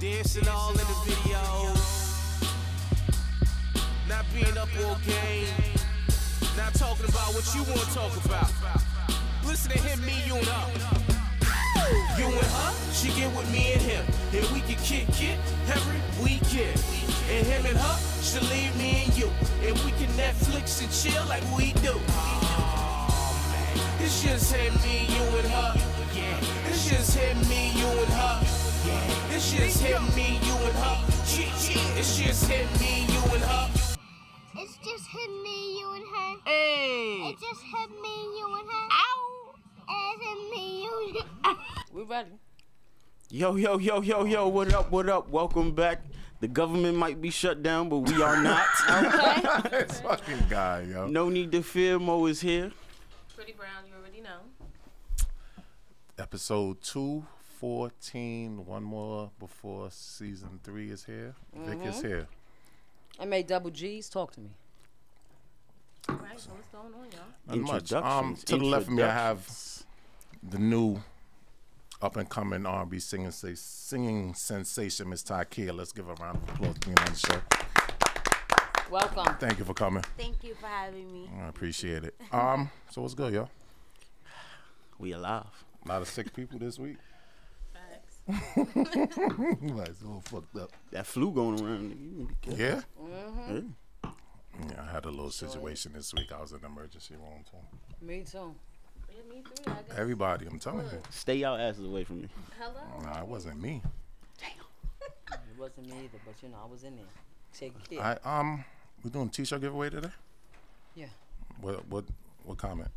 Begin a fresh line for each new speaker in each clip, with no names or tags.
Dancing all in the videos. Not being up all game. Not talking about what you want to talk about. Listen to him, me, you, and up. You and her, she get with me and him. And we can kick it every weekend. And him and her, she leave me and you. And we can Netflix and chill like we do. Oh, man. It's just him, me, you and her. Yeah. It's just him, me, you and her. Yeah. It's just him, me, you and her. It's just him, me, you and her.
It's just him, me, you and her.
Hey.
It's just him, me, you and her.
Ow.
It's him, me, you and
We ready.
Yo, yo, yo, yo, yo, what up, what up? Welcome back. The government might be shut down, but we are not.
Okay.
this fucking guy, yo.
no need to fear, Mo is here.
Pretty Brown, you already know.
Episode 214, one more before season three is here. Vic
Mm-hmm.
is here.
M A double G's, talk to me.
All right, so what's going on, y'all?
Not much. Um,
Introductions,
to the left of me, I have
introductions.
the new up and coming R&B singing, say, singing sensation, Miss Takia. Let's give her a round of applause for being on the show.
Welcome.
Thank you for coming.
Thank you for having me.
I appreciate it. Um, so what's good, yo?
We alive.
A lot of sick people this week.
Facts.
like, it's all fucked up.
That flu going around. nigga. You be careful.
Yeah?
Mm-hmm.
Yeah, I had a little situation this week. I was in the emergency room, too.
Me too.
Yeah, me too. I guess.
Everybody, I'm telling you.
Stay y'all asses away from me.
Hello.
Nah, it wasn't me.
It wasn't me either, but you know, I was in there. Take it.
I um, we doing a t-shirt giveaway today.
Yeah.
What what what comment?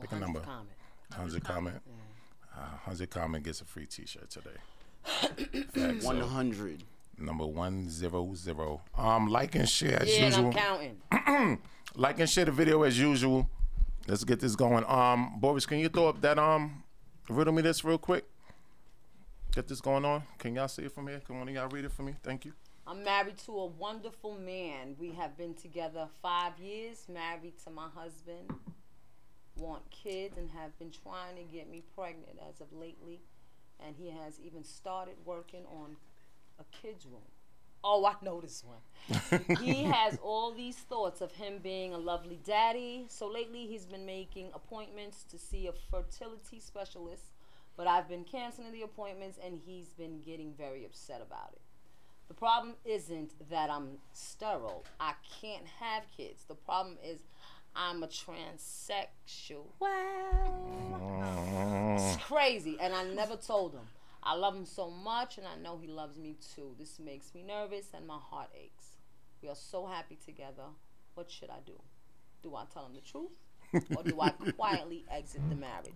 Pick a number.
Comment.
Hundred comment. Uh, Hundred comment gets a free t-shirt today. Facts.
One hundred.
Number one zero zero. Um, like and share as
Yeah, and I'm
usual.
counting.
Like and share the video as usual. Let's get this going. Um, Boris, can you throw up that um, riddle me this real quick? Get this going on. Can y'all see it from here? Can one of y'all read it for me? Thank you.
I'm married to a wonderful man. We have been together five years, married to my husband, want kids, and have been trying to get me pregnant as of lately. And he has even started working on a kid's room. Oh, I know this one. he has all these thoughts of him being a lovely daddy. So lately, he's been making appointments to see a fertility specialist, but I've been canceling the appointments, and he's been getting very upset about it. The problem isn't that I'm sterile. I can't have kids. The problem is I'm a transsexual. It's crazy. And I never told him. I love him so much and I know he loves me too. This makes me nervous and my heart aches. We are so happy together. What should I do? Do I tell him the truth? or do I quietly exit the marriage?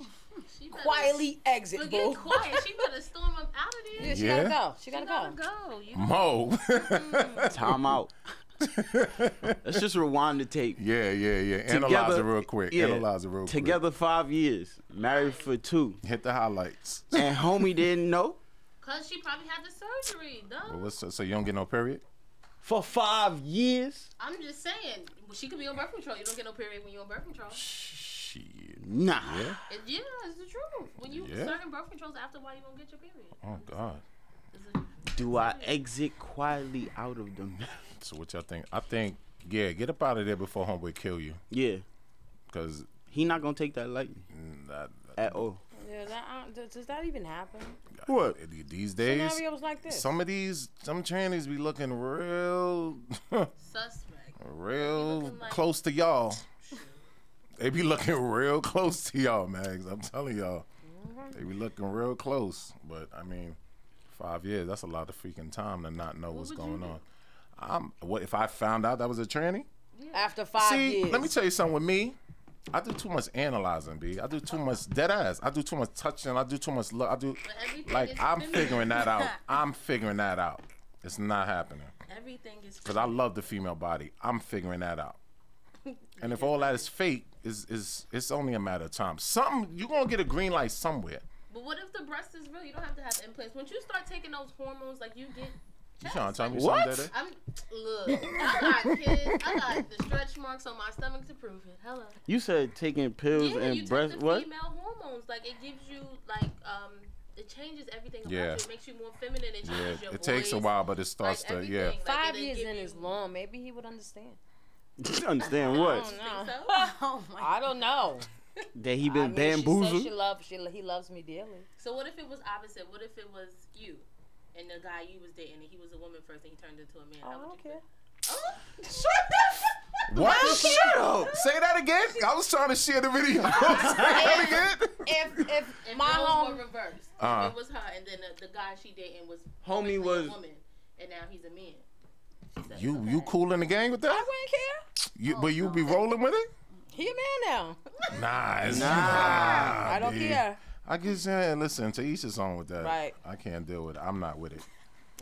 She better-
Quietly exit,
Forget
boo.
quiet. She better storm up out of there.
Yeah, she
Yeah.
gotta go. She gotta
She gotta
go.
go. You
Mo.
Mm-hmm.
Time out. Let's just rewind the tape.
Yeah, yeah, yeah. Analyze it real quick. Analyze it real quick.
Together five years, married for two,
Hit the highlights.
and homie didn't know
Cause she probably had the surgery,
Well,
though.
what's- so, you don't get no period?
for five years.
I'm just saying, well, she could be on birth control. You don't get no period when you're on birth control.
Shit.
Nah.
Yeah.
It, yeah, it's the truth. When you
Yeah.
certain birth controls, after a while you won't get your period.
Oh God.
It's a-
Do I exit quietly out of them?
So what y'all think? I think yeah, get up out of there before homeboy kill you.
yeah.
Cause
He not gonna take that lightly
mm, that,
at all.
Yeah, that, uh, does, does that even happen?
what these days.
Scenarios like this.
Some of these, some trannies be looking real,
Suspect.
real
looking like-
close to y'all. They be looking real close to y'all, Mags. I'm telling y'all,
Mm-hmm.
they be looking real close. But I mean, five years—that's a lot of freaking time to not know what's
would you
going
do?
on. I'm what if I found out that was a tranny?
After five
See,
years.
let me tell you something with me. I do too much analyzing, B. I do too much dead ass. I do too much touching. I do too much love. I do
everything
like
is
I'm
feminine.
figuring that out. I'm figuring that out. It's not happening
Everything is.
because I love the female body. I'm figuring that out. And if all that is fake, is is it's only a matter of time. Something you're gonna get a green light somewhere.
But what if the breast is real? You don't have to have the implants. Once you start taking those hormones, like you get.
You
chest.
trying to tell me
What?
something? Daddy?
I'm look. I got kids. I got the stretch marks on my stomach to prove it. Hello.
You said taking
Yeah,
pills
you
and
take
breast
the
what?
female hormones. Like it gives you like um, it changes everything. About
Yeah.
you. It makes you more feminine. It changes
Yeah,
your
it takes a
voice,
while, but it
like,
starts to yeah.
everything. Like,
Five
it'll
years
give
in
you-
is long. Maybe he would understand.
Understand what?
I
Think
don't know.
so?
Oh my.
I don't know.
That he
I
been
mean, She said
bamboozled.
she loves. She, he loves me dearly.
So what if it was opposite? What if it was you and the guy you was dating and he was a woman first and he turned into a man?
I
How would
don't
you
care.
Oh,
What? Shut up! Say that again. I was trying to share the video. Say that again.
If if
If
my
roles
home,
were reversed,
Uh-uh.
if it was her and then the, the guy she dating was
Homie
obviously
was-
a woman and now he's a man. She said,
You
okay.
you cool in the gang with
I
that?
wouldn't care.
You, but you be rolling with it?
He a man now.
Nah, it's, nah.
I don't
dude.
care.
I just saying, listen to each his own with that.
Right.
I can't deal with it. I'm not with it.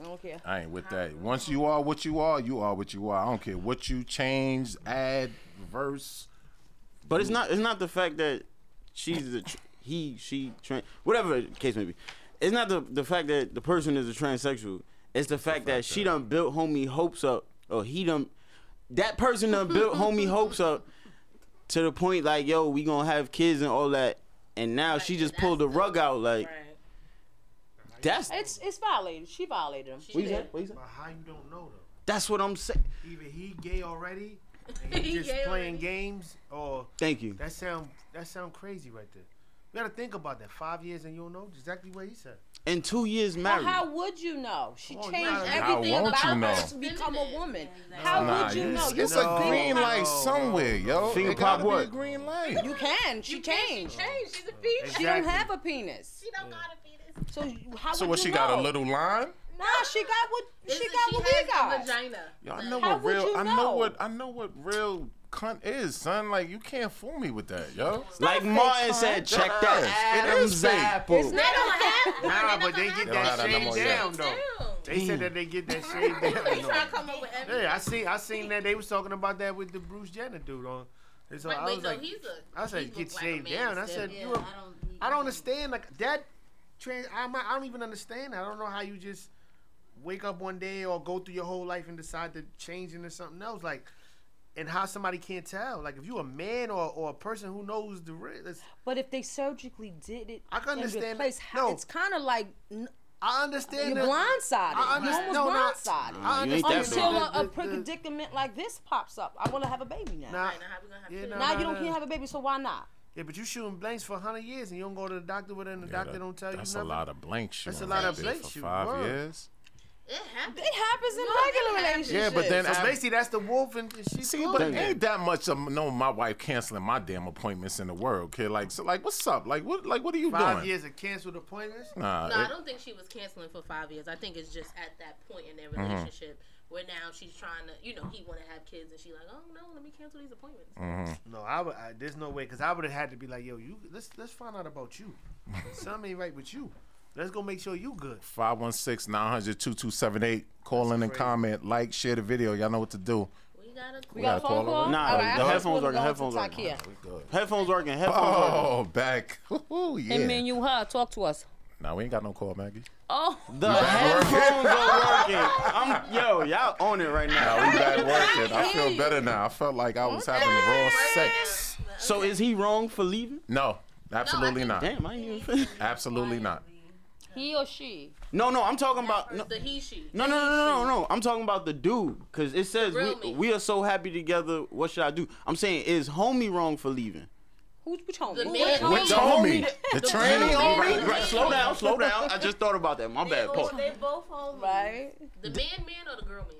I don't care.
I ain't with that. Once you are what you are, you are what you are. I don't care what you change, add, reverse.
But it's not. It's not the fact that she's a tr- he, she, trans, whatever the case may be. It's not the the fact that the person is a transsexual. It's the fact, that, she done built homie hopes up, or he done that person done built homie hopes up to the point like, yo, we gonna have kids and all that. And now she just pulled the rug out. Like
Right.
that's
It's it's violated. She violated him.
what you said? What you said?
But how you don't know though?
That's what I'm saying.
Either he gay already, and
He
he just
gay
playing
already.
games, or
Thank you.
that sound that sound crazy right there. You gotta think about that. Five years and you don't know exactly what he said.
And two years
But
married.
how would you know? She
Come on,
changed
you gotta-
everything
How won't
about
you know?
her to become a woman. How
Nah,
would you know?
it's,
You
it's
No,
a green
no,
light
no.
somewhere, yo.
Finger
It gotta
pop
be a
what?
green light.
you can. She
She
changed.
changed. She's a peach.
She don't
Exactly.
have a penis.
She don't gotta be this.
So you- how
So
would
what?
you
She
know?
got a little line.
Nah, she got what she
Isn't-
got what we
has a
got.
vagina.
Yo, I know
How
what
would
real.
you
I know
know?
what. I know what real cunt is, son. Like you can't fool me with that, yo.
like
fake
Martin
cunt.
said, check
It
that
is. It is
Adam's
fake.
apple.
They don't have one.
Nah, but they
don't
get
don't have
that
that no more
shade
yet.
down though.
Damn.
They said that they get that shade
They
down.
try
though.
to come up with everything.
Yeah, I seen I seen that they was talking about that with the Bruce Jenner dude on. And so
Wait,
I
wait,
was
no,
like,
he's a.
I said,
he's a
get
black
shaved
man
down. I
still.
said, you. A, I, don't understand like that. Trans. I'm, I don't even understand. I don't know how you just wake up one day or go through your whole life and decide to change into something else. Like. And how somebody can't tell, like if you a man or, or a person who knows the real, it's-
But if they surgically did it,
I can
and
understand-
replaced how-
no.
it's kind of like n-
I understand.
you're
the-
blindsided.
I understand.
You're
No, no,
almost blindsided.
I
You ain't
understand
that
Until
the-
a, a
the- the-
predicament like this pops up, I want to have a baby now.
Nah,
Now how we gonna have
Yeah,
kids?
nah.
now you don't can't have a baby, so why not?
yeah, but you shooting blanks for hundred years and you don't go to the doctor with it, and the
Yeah,
doctor
that-
don't tell you
That's
nothing.
a lot of blank shit.
That's a lot
of
blank
for
shit,
five
word.
years.
It happens.
It happens in
No, it
regular
happens.
relationships.
Yeah, but then
So
af-
basically, that's the wolf and and she's
See,
cool.
but ain't that much of no my wife canceling my damn appointments in the world, kid. Like, so, like, what's up? Like, what, like, what are you
five
doing?
years of canceled appointments.
Nah,
Uh,
No,
it-
I don't think she was canceling for five years. I think it's just at that point in their
Mm-hmm.
relationship where now she's trying to, you know, he want to have kids, and she like, oh no, let me cancel these appointments.
No, I would. I, there's no way because I would have had to be like, yo, you. Let's let's find out about you. Something ain't right with you. Let's go make sure you good.
516 900 2278. Call in and comment, like, share the video. Y'all know what to do.
We gotta.
we got a
gotta
phone
call
call.
her.
Nah,
All right,
the
I'm
headphones
gonna
working,
go
headphones
to
working.
Takia.
Headphones working. Headphones working.
Oh, back. Ooh, yeah.
And me and you, her, talk to us.
Nah, we ain't got no call, Maggie.
Oh,
The headphones are working. I'm yo, y'all on it right
Nah,
now.
we back working. I
hear
feel
you.
better now. I felt like I was having raw sex.
So is he wrong for leaving?
No, absolutely not.
Damn, I ain't even.
Absolutely not.
he or she.
No, no, I'm talking about Uh, no,
The he she.
no, no, no, no, no. I'm talking about the dude because it says
Real
we,
me.
we are so happy together. What should I do? I'm saying is homie wrong for leaving?
Who's which homie?
The
Who-
man
With
homie.
the homie, the tranny
Right,
homie.
right. Slow down, slow down. I just thought about that. My bad, Paul.
They both homies.
Right.
The man man or the girl man?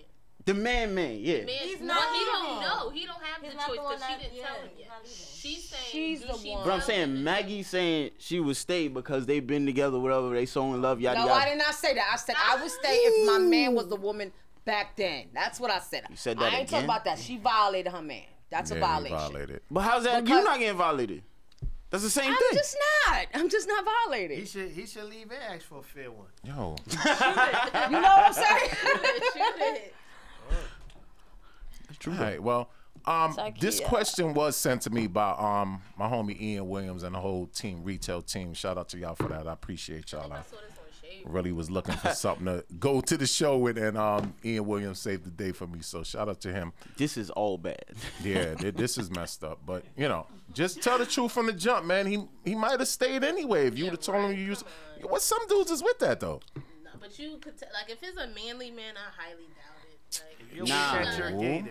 The man, man, yeah.
Man,
He's
no,
not.
He don't know. He don't have
He's
the
not
choice
the one
because she
that-
didn't
yeah,
tell him
he's
yet.
not either.
She's saying.
She's
do
the
she
one.
But I'm
tell
saying
him?
Maggie saying she would stay because they've been together, whatever. They so in love, yada
No,
yada.
I did not say that. I said I would stay if my man was the woman back then. That's what I said. You
said that
I ain't talking
again?
about that. She violated her man. That's a
Yeah, he
violation.
violated.
But how's that?
Because-
you not getting violated. That's the same
I'm
thing.
just not. I'm just not
He
violated.
should he should leave and ask for a fair one.
Yo,
You know what I'm saying?
Shoot it.
All right. Well, um, this
Takia.
question was sent to me by um my homie Ian Williams and the whole team, retail team. Shout out to y'all for that. I appreciate y'all.
I
I,
saw this on Shade.
really was looking for something to go to the show with, and um, Ian Williams saved the day for me. So shout out to him.
This is all bad.
Yeah, th- this is messed up, but you know, just tell the truth from the jump, man. He he might have stayed anyway if you'd have told him you used. What some dudes is with that though.
No, but you could t- like if it's a manly man, I highly doubt it. Like,
You'll
Nah.
be that you're
Ooh.
gay then.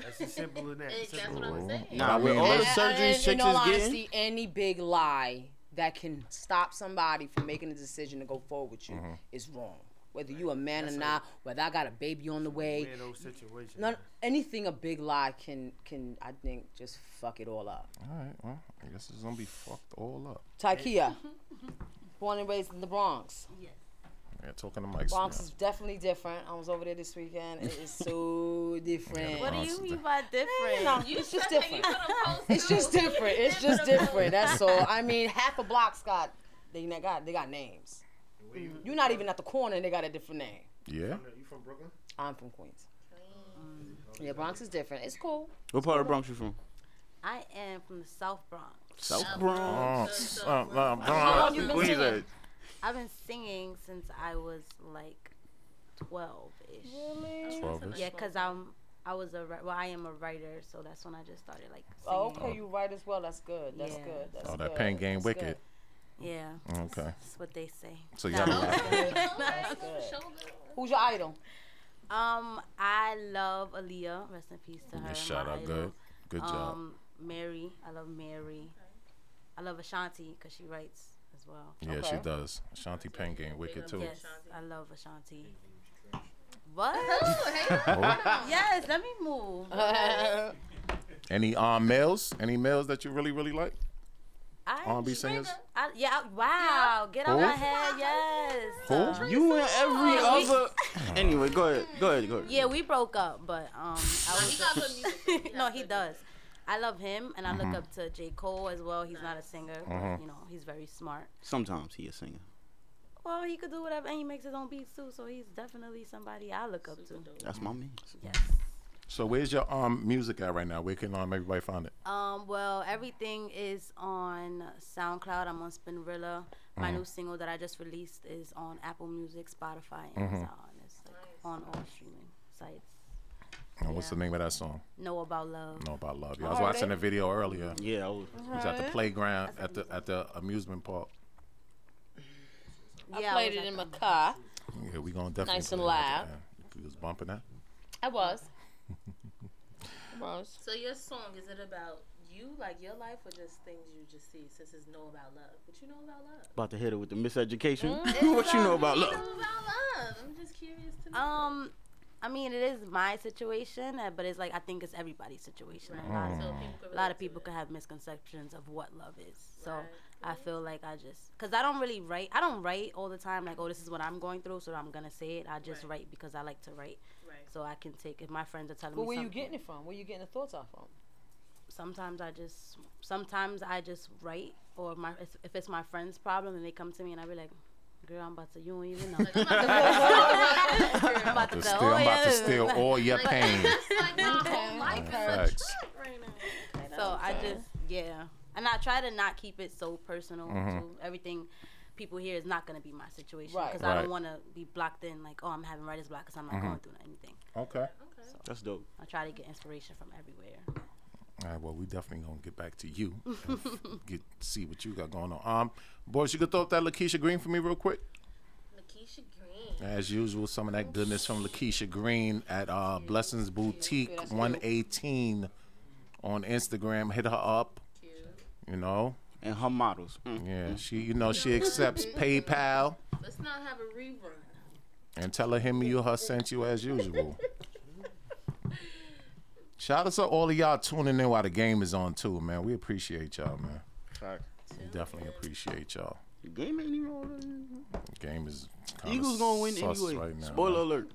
That's as simple as that.
it- that's what I'm saying.
Nah,
I
with
mean,
all the
And-
surgeries
and, in
chicks
all
is
honesty,
getting,
any big lie that can stop somebody from making a decision to go forward with you
Mm-hmm.
is wrong. Whether you a man or not, whether I got a baby on the way,
Weirdo situation.
none, anything a big lie can can I think just fuck it all up.
All right, well, I guess it's gonna be fucked all up.
Tykea, born and raised in the Bronx.
Yeah, talking to Mike.
Bronx is definitely different. I was over there this weekend. It is so different.
Oh,
What do you mean by different?
You know,
You
it's just
said that you
different.
could've posted
It's just different. It's just
Different.
different. That's all. I mean, half a block's got they na- got they got names. You're not even at the corner and they got a different name.
Yeah.
You from Brooklyn?
I'm from Queens. Yeah, Bronx is different. It's cool.
what part of Bronx you from?
I am from the South Bronx.
South Bronx.
Oh, uh, uh,
How
Bronx.
long you been
Queens
singing?
are-
I've been singing since I was like 12 ish.
Twelve is-
Yeah, because I'm. I was a wri- well, I am a writer, so that's when I just started like singing.
Oh, okay, you right as well. That's good. That's
Yeah.
good. That's
Oh,
good.
that pain game
That's
wicked.
Yeah,
Okay.
that's what they say.
So you have
good. That's good. Who's your idol?
Um, I love Aaliyah. Rest in peace to her.
a shout
my
out.
idol.
Good. Good job.
Um, Mary. I love Mary. I love Ashanti because she writes as well.
yeah, she
okay.
does. Shanti Pain Game, wicked too.
Yes, I love Ashanti. What?
Oh.
yes, let me move.
Any um males? Any males that you really really like?
I,
R&B singers?
I, yeah, I- wow. Get out
Who?
my head. Yes.
Who?
You and every
Oh, we-
other. Anyway, go ahead. Go ahead. Go ahead.
Yeah, we broke up, but um, I was no, he does. I love him, and I
Mm-hmm.
look up to J. Cole as well. He's not a singer, but you know, he's very smart.
Sometimes he a singer.
Well, he could do whatever, and he makes his own beats too. So he's definitely somebody I look up to.
That's my man.
Yes.
So where's your um music at right now? Where can um everybody find it?
Um. Well, everything is on SoundCloud. I'm on Spinrilla.
Mm-hmm.
My new single that I just released is on Apple Music, Spotify,
Mm-hmm.
and Amazon. It's like on all streaming sites.
And what's the name of that song?
Know about love.
Know about love. I was watching a video earlier.
Yeah. I was,
It was at the playground at the at the amusement park.
Yeah, I
Played
was
it
at
in
the-
my car.
Yeah, we gonna definitely
Nice and
play that at
loud.
the end. We was bumping that.
I was. I was.
So your song is it about you, like your life, or just things you just see? Since it's know about love, what you know about love?
about to hit her with the miseducation.
Mm-hmm.
Mm.
what you know about love?
Know about love. I'm just curious to know.
Um, I mean, it is my situation, uh, but it's like I think it's everybody's situation. A lot of-
So people could
A lot of
relate to
people
it.
could have misconceptions of what love is. So
Right,
I feel like I just, cause I don't really write. I don't write all the time. Like, oh, this is what I'm going through, so I'm gonna say it. I just
Right.
write because I like to write.
Right.
So I can take if my friends are telling
But
me.
where you
something,
getting it from? Where you getting the thoughts out from?
Sometimes I just, sometimes I just write, or my if- if it's my friend's problem and they come to me and I be like, girl, I'm about to, you don't even know. I'm about
To
to
steal,
oh,
I'm about to
yeah.
steal all your pain.
It's like my whole life is a
Facts.
trip right now.
So I just yeah, and I try to not keep it so personal. Too.
Mm-hmm.
Everything people hear is not gonna be my situation
Right.
because I
Right. Mm-hmm.
don't want to be blocked in like oh I'm having writer's block because I'm not going through anything.
Okay.
That's dope.
I try to get inspiration from everywhere.
All right, well, we definitely gonna get back to you. and f- get see what you got going on. Um, boys, you could throw up that Lakeisha Green for me real quick.
Lakeisha Green.
As usual, some of that goodness from Lakeisha Green at uh, Blessings Boutique 118 on Instagram. Hit her up. You know,
And her models. Mm.
yeah, she, you know, she accepts PayPal.
Let's not have a rerun.
And tell her him you her sent you as usual. Shout out to all of y'all tuning in while the game is on too, man. We appreciate y'all, man. We definitely appreciate y'all.
The game ain't even all that.
Game is kinda
Eagles gonna win
sus
anyway.
Right now,
Spoiler
man.
alert.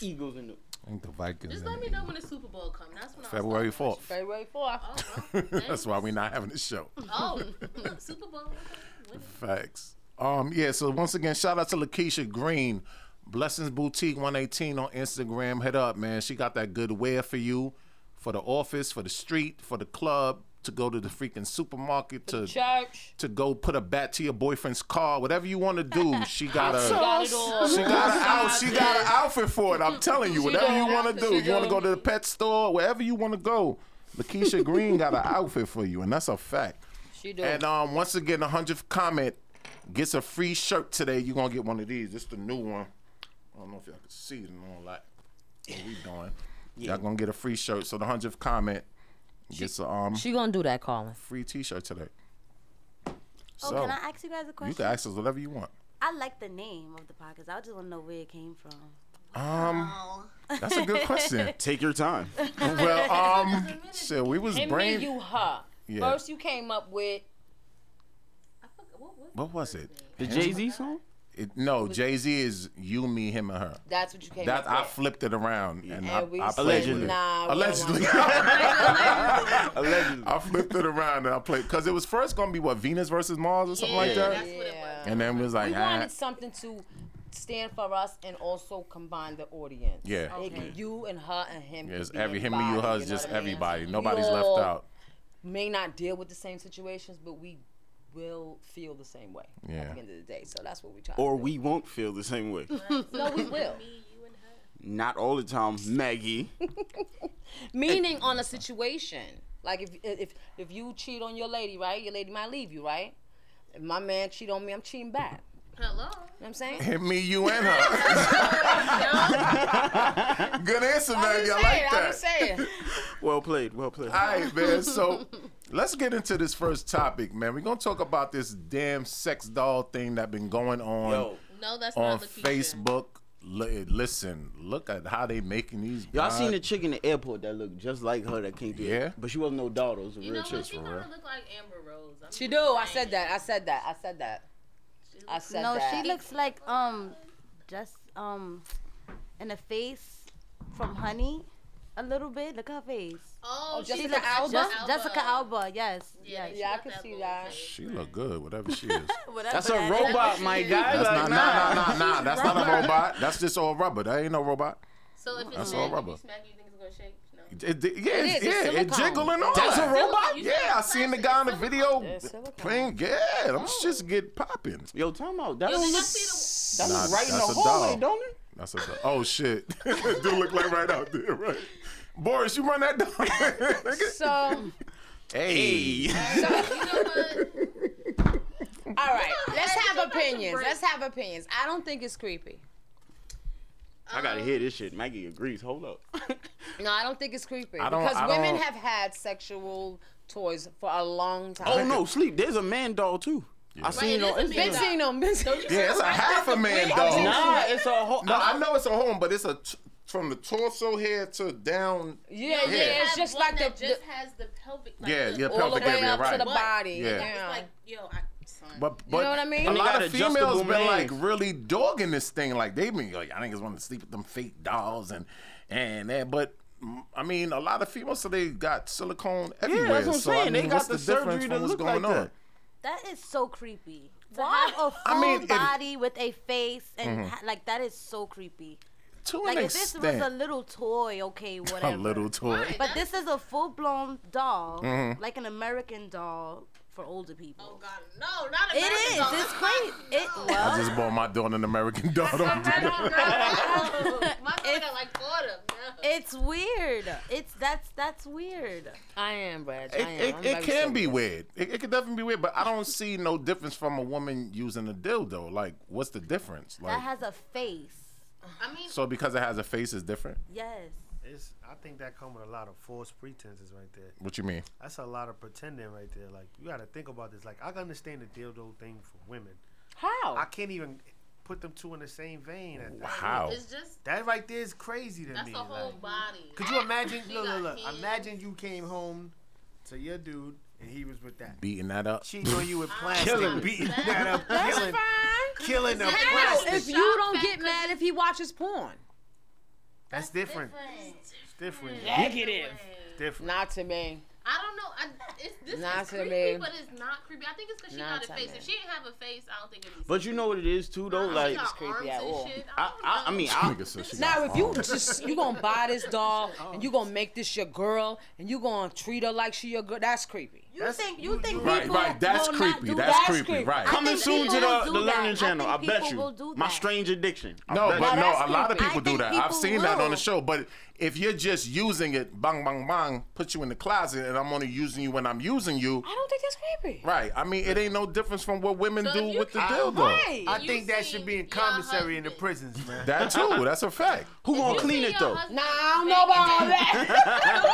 Eagles in the.
I think the Vikings.
Just
and
let
the
me know when the Super Bowl comes. That's when I'll
February
start watching. Oh,
fourth.
February 4th.
Thanks.
That's why we're not having a show.
Oh, Super Bowl. okay, win it.
Facts. Um, yeah, so once again, shout out to Lakeisha Green. Blessings Boutique 118 on Instagram. Hit up, man. She got that good wear for you, for the office, for the street, for the club. to go to the freaking supermarket, to
Church.
to go put a bat to your boyfriend's car, whatever you want to do. She got
She
a
got it all.
she got an out, she got an outfit for it. I'm telling you, whatever
got
you
an
want to
outfit,
do,
she
you want to
got
go to the pet store, wherever you want to go. Lakeisha Green got an outfit for you, and that's a fact.
She do.
And um, once again, the hundredth comment gets a free shirt today. You gonna get one of these. This the new one. I don't know if y'all can see it and all that. What we doing? Y'all gonna get a free shirt. So the hundredth comment gets a um
she gonna do that, Colin.
free T-shirt today.
Oh,
So
can I ask you guys a
you
question?
can ask us whatever you want.
I like the name of the podcast. I just want to know where it came from.
Um,
Oh.
that's a good question.
Take your time.
well, um, so we was
And
brain.
me, you, her.
Yeah.
First, you came up with
I forgot- what- what-
What was it?
The Jay Z song?
It- no, Jay Z is you, me, him, and her.
that's what you came
That
up
I
with.
flipped it around and, I,
And we
I
said,
played with it.
nah, we don't
allegedly.
Allegedly.
I flipped it around and I played because it was first gonna be what Venus versus Mars or something like
Yeah,
that,
That's what it was.
and then we was like,
We
ah,
wanted something to stand for us and also combine the audience.
Yeah.
It could- you and her and him.
yeah,
could
it's
be
every him and
everybody,
you, her,
know
is just
what I mean?
everybody.
We
Nobody's
all
left out.
May not deal with the same situations, but we will feel the same way
Yeah.
at the end of the day. So that's what we try.
Or
to do.
we won't feel the same way.
no, we will.
Me, you, and her.
Not all the time, Maggie.
Meaning on a situation. Like if if if you cheat on your lady, right? Your lady might leave you, right? If my man cheat on me, I'm cheating back.
Hello.
You know what I'm saying?
Him, me, you, and her. Good answer, man. I
I'm
like that.
just saying.
Well played, well played.
All right, man. So let's get into this first topic, man. We're gonna talk about this damn sex doll thing that been going on
Yo,
No, that's
on
not Lakeisha.
Facebook. Li- listen, look at how they making these.
y'all
broad-
seen the chick in the airport that looked just like her that came through?
Yeah.
But she wasn't no daughter. It was a
You
real
know
chick.
what? She kind of look like Amber Rose. I'm
She
just
do. I
saying.
said that. I said that. I said that. I said
no,
that.
she looks like um, just um, in the face from Honey, a little bit. Look at her face.
Oh,
Jessica
she
She
looks
looks
Alba?
Jess- Jessica Alba. Yes.
Yeah,
yes.
she
Yeah, I
got
can
that
see
bold
that.
face.
She look good, whatever she is.
Whatever
That's
that
a
is.
robot, my guy.
That's
Like,
not, nah, nah, nah, nah.
She's
That's not a
rubber.
robot. That's just all rubber. That ain't no robot.
So if it's
That's
That's
all
all
rubber.
You smack, you think it's gonna shake? No.
It, it- yeah,
It is,
it's,
it's
yeah, it
silicone.
jiggle and all.
That's a
that.
robot?
You said
Yeah, I
it's
seen the
plastic,
guy on the
it's silicone.
video
It's silicone.
playing. Yeah, them shits get popping.
Yo, time out. That
Yo,
don't
did y'all
look.
see
That
Nah,
look right in the
that's a
hallway,
dog.
don't it?
That's a, oh shit. it do look like right out there, right? Boris, you run that down. nigga.
So, all
hey.
the? You know what?
right. Let's have
back to
opinions.
break.
Let's have opinions. I don't think it's creepy.
I gotta hear this shit. Maggie agrees. Hold up.
No, I don't think it's creepy
I don't-
because
I
women
don't-
have had sexual toys for a long time.
oh no, sleep. There's a man doll too. I seen
it
it on
is a
Instagram.
man
been seen them. Been seen
Yeah, it's a half a man dog.
Nah, it's a whole.
No, I know it's a home, but it's a t- from the torso here to down.
Yeah, yeah,
Yeah.
It's
Have
just
one
like the,
that
the-
just has the pelvic. Like,
Yeah,
the,
yeah,
all the
pelvic
way
area,
up to
right?
the body.
Yeah.
Yeah.
It's
It's like, yo, I, son.
But, but
know what I mean?
A
And they
lot
got
of females
adjustable
been
man.
like really dogging this thing. Like they been like, I niggas want to sleep with them fake dolls and and that. But mm, I mean, a lot of females today got silicone everywhere.
that's what I'm
so, I
saying.
mean,
They got
what's
the
difference
surgery to
from what's
look
going on?
like that.
That is so creepy. To
Why?
have a full
I mean, if-
body with a face and ha- like that is so creepy.
Mm-hmm. To
Like
an
if this was a
extent,
little toy, okay,
a
whatever.
little toy. Mm-hmm.
But this is a full blown doll, like an American doll for older
Oh
people.
God, no, not
It
American
is.
Doll.
It's crazy. It
I
well,
just bought my daughter an American doll. Don't do
I
that.
don't know. My daughter
It's-
like four of them. No.
it's weird. It's that's that's weird.
I am, Brad. I
It,
am.
it,
I'm
it
very
can
serious.
be weird. It, it could definitely be weird, but I don't see no difference from a woman using a dildo. Like, what's the difference? Like,
That has a face.
I mean,
so because it has a face, is different.
Yes.
It's, I think that come with a lot of false pretenses right there.
What you mean?
That's a lot of pretending right there. Like you got to think about this. Like I can understand the dildo thing for women.
How?
I can't even put them two in the same vein. At that.
How?
it's just
that right there is crazy to
that's
me.
the whole
like-
body.
could you imagine?
She
Look,
got
look, look.
hands.
Imagine you came home to your dude and he was with that.
Beating that up.
Cheating on you with plastic.
Killing,
beating that up. Killing, killing the
How?
plastic.
If you don't get mad if he watches porn.
That's different. It's different.
Negative.
Different.
Not to me.
I don't know. know. I, it's this
Nah,
is
to me.
creepy, but it's not creepy. I think it's because she
Nah,
got
to
a face.
me.
If she didn't have a face, I don't think it'd be.
But you know what it is too though. Like
got
It's creepy
arms
at
and
all.
shit.
I, I, I mean, I,
Nigga said she
Now,
got
if you
arms.
just you gonna buy this doll and you gonna make this your girl and you gonna treat her like she your girl, that's creepy.
You
That's-
think you think
right,
people
right. That's
will not
creepy.
do
That's
that?
creepy.
creepy.
Right.
I
coming
think
soon to
people
the,
will
the
do that.
learning
I
channel. I
think
bet
people will
you.
do
My
that.
strange addiction. I
No,
bet
but
you.
no,
that's
a lot of
creepy.
people
I
do
think
that. I've
people
seen that on the
will.
show. But if you're just using it, bang, bang, bang, put you in the closet, and I'm only using you when I'm using you.
I don't think that's creepy.
Right. I mean, it ain't no difference from what women
So if
do
you
with the
can-
dildo.
Right.
I
You
think that should
seen
be in
your
commissary in the
husband.
prisons, man.
That too. That's a fact.
Who gonna clean it though?
Nah, I don't know about all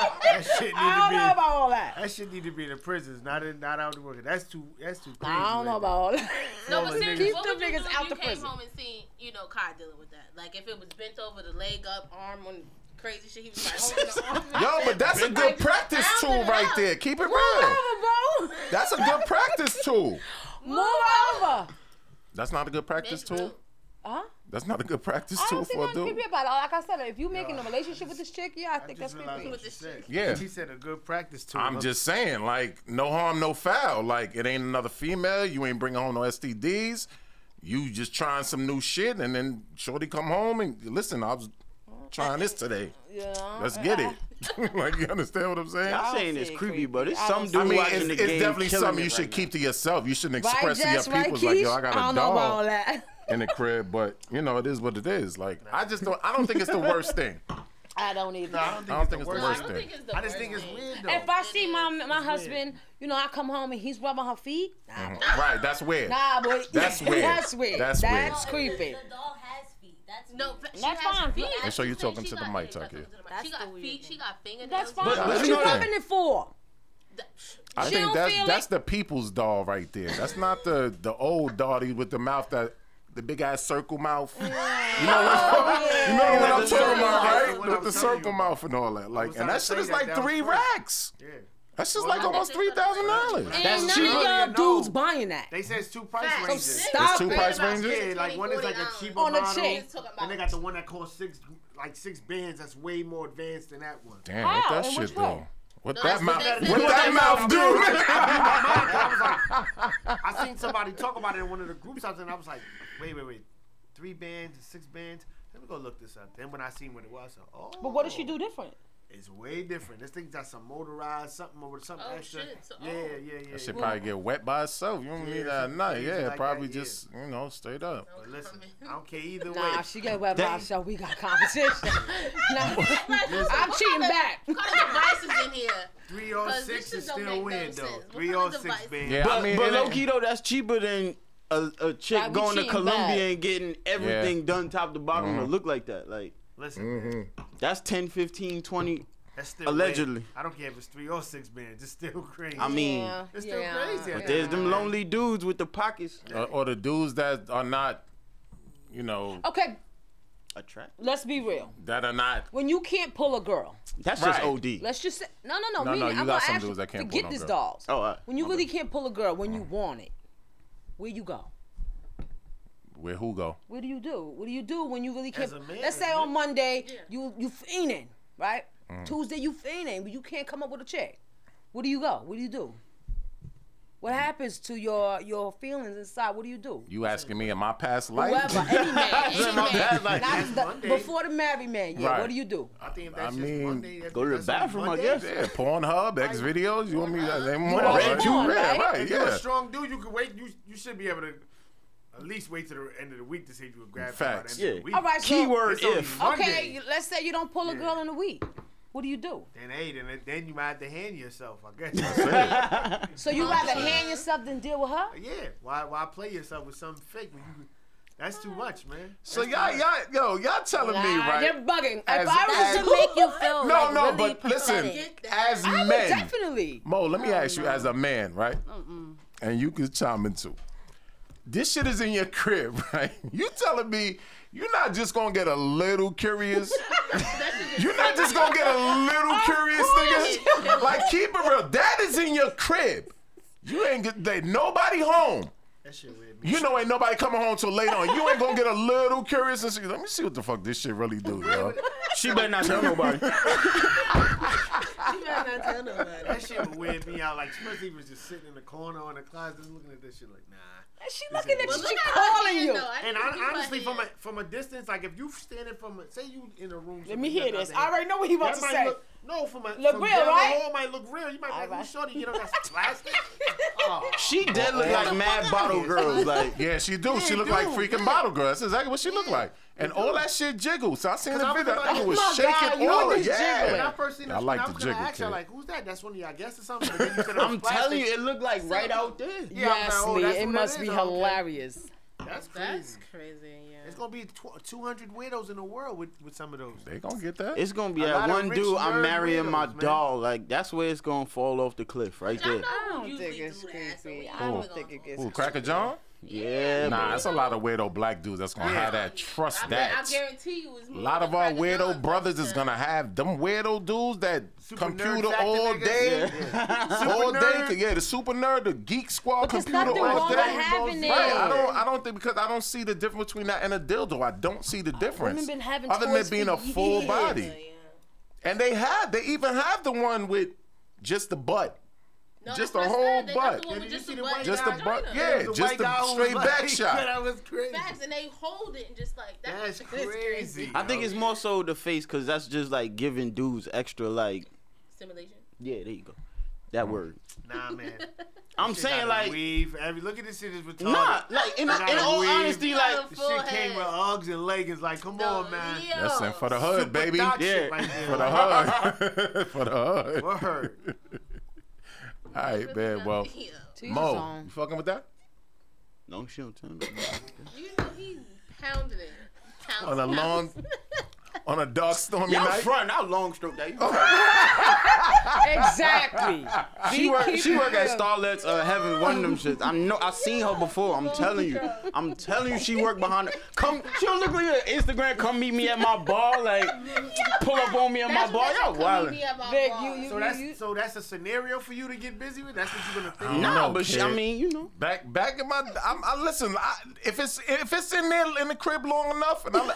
that.
That shit need to be.
I don't know about all that.
that shit need to be in the prisons, not in, not out the working. That's too. That's too crazy.
I don't know
right
about all that.
No, but
Keep
seriously,
them
what would you
niggas
do if
out
you
the
came
prison.
home and seen, you know, Kai dealing with that? Like, if it was bent over the leg up, arm on crazy shit, he was like holding the arm.
Yo, but that's a good practice tool
rounding it
right
up.
there. Keep it
Move
real.
over, bro.
That's a good practice tool.
Move over.
That's not a good practice tool.
Huh?
That's not a good practice
I
tool
don't see
for a
nothing
dude.
creepy about it. Like I said, if you making a relationship with this chick, yeah, I
I
think that's
just realized
creepy.
what you said.
Yeah.
She said a good practice tool.
I'm just saying, like, no harm, no foul. Like, it ain't another female. You ain't bringing home no STDs. You just trying some new shit, and then Shorty come home and listen. I was trying this today.
Yeah.
Let's get it. like, you understand what I'm saying?
I'm
don't
saying
see
it's
it
creepy,
creepy.
but it's
I
some
don't
dude
I mean,
watching
it's,
the
it's
game
definitely
killing
something
it
you should
right
keep to yourself. You shouldn't
Right,
express
Jess,
to your
right,
people
Keish?
like, yo, I
I
got a
don't know about all
dog
that.
in the crib. But you know, it is what it is. Like, I just don't. I don't think it's the worst thing.
I don't either.
No, I don't
I don't
think
think it's
it's
the
the worst.
I
worst
don't
thing.
think it's the
I just
worst
think it's
thing.
weird though.
If I see my my husband, you know, I come home and he's rubbing her feet. Nah,
Right? That's weird.
Nah, boy.
That's weird.
That's weird.
That's
That's,
weird.
creepy.
The doll has feet. That's
No,
weird.
but she
That's
has
fine.
Feet.
And so you
She said
talking
she
to the
got-
mic,
yeah,
Tuck,
that's
yeah.
what I'm talking to the mic. She got
That's the weird
feet.
thing.
She got fingernails.
That's fine.
She
But-
got-
but
what
you
you
know that-
rubbing it for?
I
She
think
don't
that's
feel
that's
it?
the people's doll right there. That's not the the old dolly with the mouth that the big ass circle mouth. You know what, you know what I'm talking about,
That's
right?
what
With
I'm
the
telling you
circle
about.
mouth and all that. Like,
was
and that
trying to
shit
say
is
that,
like
that was
three
free.
racks.
Yeah.
That's just like almost three thousand dollars.
Ain't none
cheap.
of y'all
No.
dudes buying that.
They said it's two price
Facts.
ranges.
Some
Stop
It's two
it.
price
Right.
ranges.
Yeah, like one is like a cheaper
On a
model,
chick.
and they got the one that costs six, like six bands. That's way more advanced than that one.
Damn, what
How?
that
In
shit
which
though.
way?
What
that's
that mouth?
what they
What
said.
that mouth do?
I seen somebody talk about it in one of the groups I was in. I was like, wait, wait, wait, three bands, six bands. Let me go look this up. Then when I seen what it was, I said, oh.
But what does she do different?
It's way different. This thing got some motorized something over something
Oh,
extra.
shit. So-
yeah,
oh.
yeah, yeah.
That shit
yeah.
probably get wet by itself. You don't
Yeah,
need that
it's
night.
crazy
Yeah,
like that,
probably
yeah.
just you know straight up.
But listen, I don't care either way.
Nah, she get wet by
Damn.
herself. We got competition. nah, I'm
What
cheating
kind of-
back.
What kind of devices in here?
Three or
Cause
six
this
is
shit don't
still
make
win
no sense.
though.
What
Three
kind
or
of
six
device?
bands.
Yeah, I
But,
mean,
but
it
low
ain't-
key though, that's cheaper than a, a chick
Why we
going to
cheating
Colombia
back?
and getting everything done top to bottom
Mm-hmm.
to look like that. Like
Listen,
that's 10, 15, 20.
that's still
Allegedly.
Win. I don't care if it's three or six bands. It's still crazy.
I mean,
Yeah,
it's still
yeah.
crazy.
but there's them lonely dudes with the pockets.
or, or the dudes that are not, you know,
Okay,
Attract.
let's be real.
that are not
When you can't pull a girl,
That's
Right.
just OD.
let's just say, no, no, no.
No,
meaning,
no, you
I'm
got
gonna
some
ask
dudes that can't pull
forget
no
this
girl.
dolls.
Oh, all right.
when you really can't pull a girl when you want it, where you go?
where who go.
What do you do? What do you do when you really can't?
a man,
let's say
isn't
on Monday you you fiending, right? Tuesday you fiending, but you can't come up with a check. Where do you go? What do you do? What happens to your your feelings inside? What do you do?
You asking me in my past life?
Whoever, any man, any
My
man,
bad, like-
not the,
Monday.
before the married man. Yeah,
Right.
what do you do?
I think if
I
that's just
mean,
Monday, that's,
go to the
that's
bathroom, I
Monday.
guess.
yeah, Pornhub, X videos. You want me
uh-huh.
to name more?
What else
right?
you want,
yeah,
right?
right,
If you're
yeah.
a strong dude, you can wait. You you should be able to at least wait to the end of the week to see if you can grab it by the end of
Facts.
the
Yeah.
week.
All right, so
Keyword
It's only
if.
Monday.
okay, you- let's say you don't pull a girl in a week. What do you do?
Then hey, then then you might have to hand yourself. I guess.
So you rather hand yourself than deal with her?
yeah. Why why play yourself with something fake? When you, that's too much, man.
So y'all, y'all, yo, y'all telling me
Nah,
right?
You're bugging.
As-
if I was
as-
To
to
make you feel
no,
like
no,
really
but listen,
pathetic.
as
I would
men,
definitely.
Mo, let me ask you as a man, right? And you can chime in too. This shit is in your crib, right? You telling me you're not just gonna get a little curious? you're not just gonna get a little curious, nigga? Like, keep it real. That is in your crib. You ain't get they, nobody home.
That shit weird. Me.
You know, ain't nobody coming home till later on. You ain't gonna get a little curious and see, let me see what the fuck this shit really do, yo.
She better not tell nobody.
not tell nobody.
That shit would weird me out. Like, especially if he was just sitting in the corner or in the closet just looking at this shit like, nah.
She looking at
But
you.
look
She
at her
calling
hand,
you.
though. I
And
think
hon-
it's her
honestly, from a
hand.
from a distance, like if you standing from, a, say you in a room.
Let me hear this. I already know what he
That
wants to
might
say.
Look, no, from a
Look
from
real,
down the
right?
hall might look real. You might be like,
Alright.
who's shorty? You know that's plastic. oh,
She dead look like mad bottle girls. Like
Yeah, she do. she
Yeah,
look like
dude,
freaking
yeah.
bottle girl. That's exactly what she look
Yeah,
like. And all that shit jiggles. I seen
'Cause
the
I
video. That
remember-
nigga was
Oh my God,
shaking
you
all
was
of
When I
Yeah.
first seen
I
this,
like
I
the
was gonna
jiggle
ask y'all
kid.
like, who's that? That's one of y'all guests or something. But then you said it was
I'm telling
plastic.
you, it looked like right out there.
Yeah, I'm like, oh,
Lee,
that's
it
what that
must
is.
be
Okay.
hilarious.
That's
That's
crazy.
crazy. Yeah.
It's gonna be tw- 200 widows in the world with, with some of those.
They gonna get that.
It's gonna be
A
that
lot of
one
rich
dude. I'm
nerd
marrying my
weirdos, man.
doll. Like that's where it's gonna fall off the cliff right
I
there.
know
I
who
don't think
usually
it's
do that. So
creepy.
we-
I don't think it gets
Ooh, Cracker John?
Yeah,
Nah,
bro.
it's a lot of weirdo black dudes that's gonna have that. Trust
I bet-
that.
I guarantee you, it's
A lot of our weirdo brothers is
to.
gonna have them weirdo dudes that
Super
computer
nerds acting
all
niggas.
day, all
Super
day.
nerd.
Yeah, the super nerd, the geek squad
But there's
computer
nothing
all
wrong
day.
with having it.
Right, I don't, I don't think because I don't see the difference between that and a dildo. I don't see the difference.
been having
other than
toys
it being
for
a full
years.
body, and they have, they even have the one with just the butt.
No,
Just
that's
a
what I
whole
said. They got
butt.
the one with
Yeah, did you
Just
see
a
the
butt.
white
Just
guy?
the
vagina.
butt, yeah,
It was
just
white
the
guy who
straight
was
back
like-
shot.
That was crazy.
Facts, and they hold it and just like that.
That's
It's
crazy.
I think it's more so the face because that's just like giving dudes extra like.
Stimulation.
Yeah, there you go. That
Mm.
word.
Nah, man.
I'm saying like
weave. Every look at this shit is retarded.
nah, like in, in
You gotta
all
weave.
honesty,
You
like
gotta
This
full
shit came
head.
with Uggs and leggings. Like, come on, man.
Yo.
That's it for the hood,
Super
baby.
thot shit
Yeah.
right there.
For the hood, for the hood. All right,
Word.
man. Well,
Yeah.
Mo, you fucking with that?
no she don't tell me.
You know he pounding it. Pounding
On a
it.
long, on a dark stormy night. Oh.
I'll long stroke that. You
exactly.
she work she work at Starlet's uh, Heaven, one of them shits. I know I seen her before. I'm telling you. I'm telling you she work behind her. Come she'll look on your Instagram, come meet me at my bar, like pull up on me at my
That's
bar.
what
Y'all
that's coming
wildin'.
me about
Vic,
bars.
you, you,
So
you, you,
that's so that's a scenario for you to get busy with. That's what you're gonna think.
Nah.
No,
know,
but she, I
kid.
mean, you know.
Back, back in my, I'm, I listen. I, if it's if it's in there in the crib long enough, and I,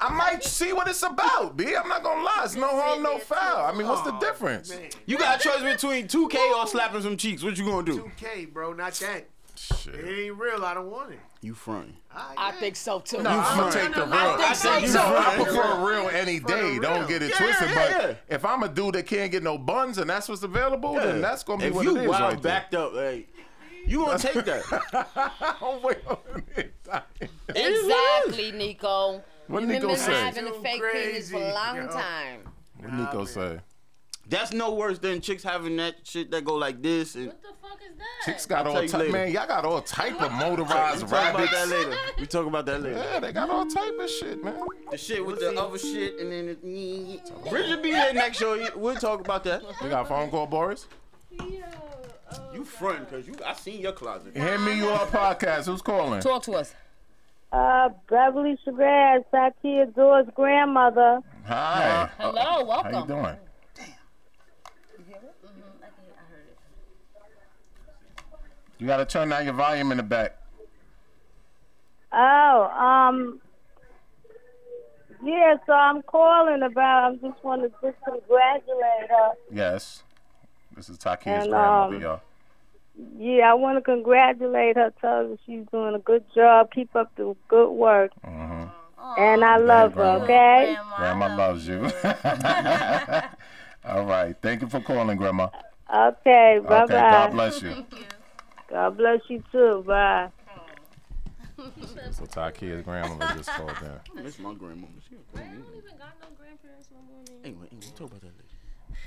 I might see what it's about. B, I'm not gonna lie. It's no harm, no foul. I mean, what's the
Oh,
difference?
Man,
You got a choice between 2K or slapping some cheeks. What you gonna do?
2K, bro. Not that. It
Shit.
ain't real. I don't want it. Ah,
You fronting.
I,
I think so too.
No, I'm gonna take the real.
I think
I,
so,
you
too.
I prefer real any
For the
day. Don't
real.
get it
Yeah,
twisted.
yeah,
but if I'm a dude that can't get no buns and that's what's available, Oh, then that's gonna be
if
what
you
it is
wild
right there.
backed up, like you gonna take that.
Oh, wait, wait, wait.
Exactly, Nico.
What
You've
Nico
been
say?
having a
Too
fake penis for a
crazy,
long
yo.
time.
What Nico
man.
say?
That's no worse than chicks having that shit that go like this and
What the fuck is that?
Chicks got
I'll
all
tell you
type,
later.
man. Y'all got all type of motorized
we talk about
rabbits.
that later. We talk about that later.
Yeah, they got all type of shit, man.
The shit with the other shit and then it, Bridget be there next show. We'll talk about that.
You got a phone call, Boris?
Yo, oh.
You front cause you I seen your closet.
Hand me your podcast. Who's calling?
Talk to us.
Uh, Beverly Shabazz, Tatia Dora's grandmother.
Hi.
Hello,
How you
welcome.
doing? You gotta turn down your volume in the back.
Oh, um, yeah, so I'm calling about, I just want to just congratulate her.
Yes. This is Takia's
And,
grandmother,
um,
y'all.
Yeah, I want to congratulate her, tell her she's doing a good job. Keep up the good work.
Mhm.
And I love her,
Grandma.
okay?
Grandma loves you. All right. Thank you for calling, Grandma.
Okay, bye
Okay. God
bye.
bless you.
God bless you too. Bye.
So Takia's grandmother just called in.
That's my grandma. She a grandma.
I don't even got no grandparents no more. man.
Anyway, anyway, we'll talk about that later.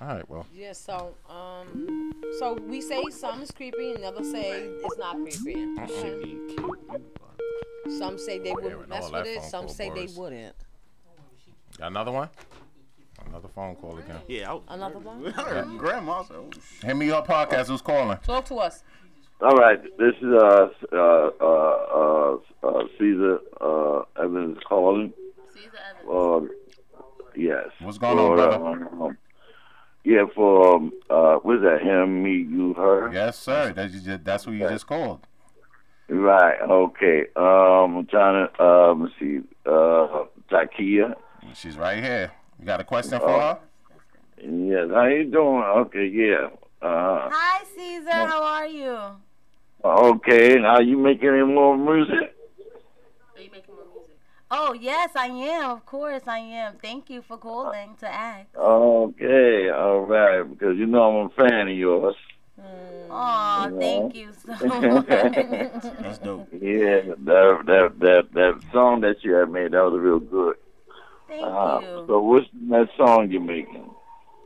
All right. Well.
Yeah, so um, so we say some is creepy, and others say it's not creepy.
Shit being cute. You are-
Some say they
with
would mess
all that
with it.
phone
Some
call,
say they
Boris.
wouldn't.
Got another one? Another phone call again.
Yeah, I was
Another one?
Grandma said, oh, shit.
Hand me your podcast. Who's calling?
Talk to us.
All right, this is uh uh uh, uh, uh Caesar uh Evans calling.
Caesar Evans.
Um, yes.
What's going on,
For, uh,
brother?
um, yeah, for um, uh, what is that? Him, me, you, her.
Yes, sir. That's, you just, that's who you just called.
Right. Okay. Um, I'm trying to um, let's see. Uh, Takia. Uh,
She's right here. You got a question for her?
Yes. How you doing? Okay. Yeah. Uh,
Hi, Caesar. How are you?
okay. Now you making any more music?
Oh, yes, I am. Of course, I am. Thank you for calling to ask.
Okay. All right. Because you know I'm a fan of yours.
Aw,
Yeah.
thank you so much.
That's dope. Yeah, that that that that song that you had made that was real good.
Thank
Uh,
you.
So what's that song you're making?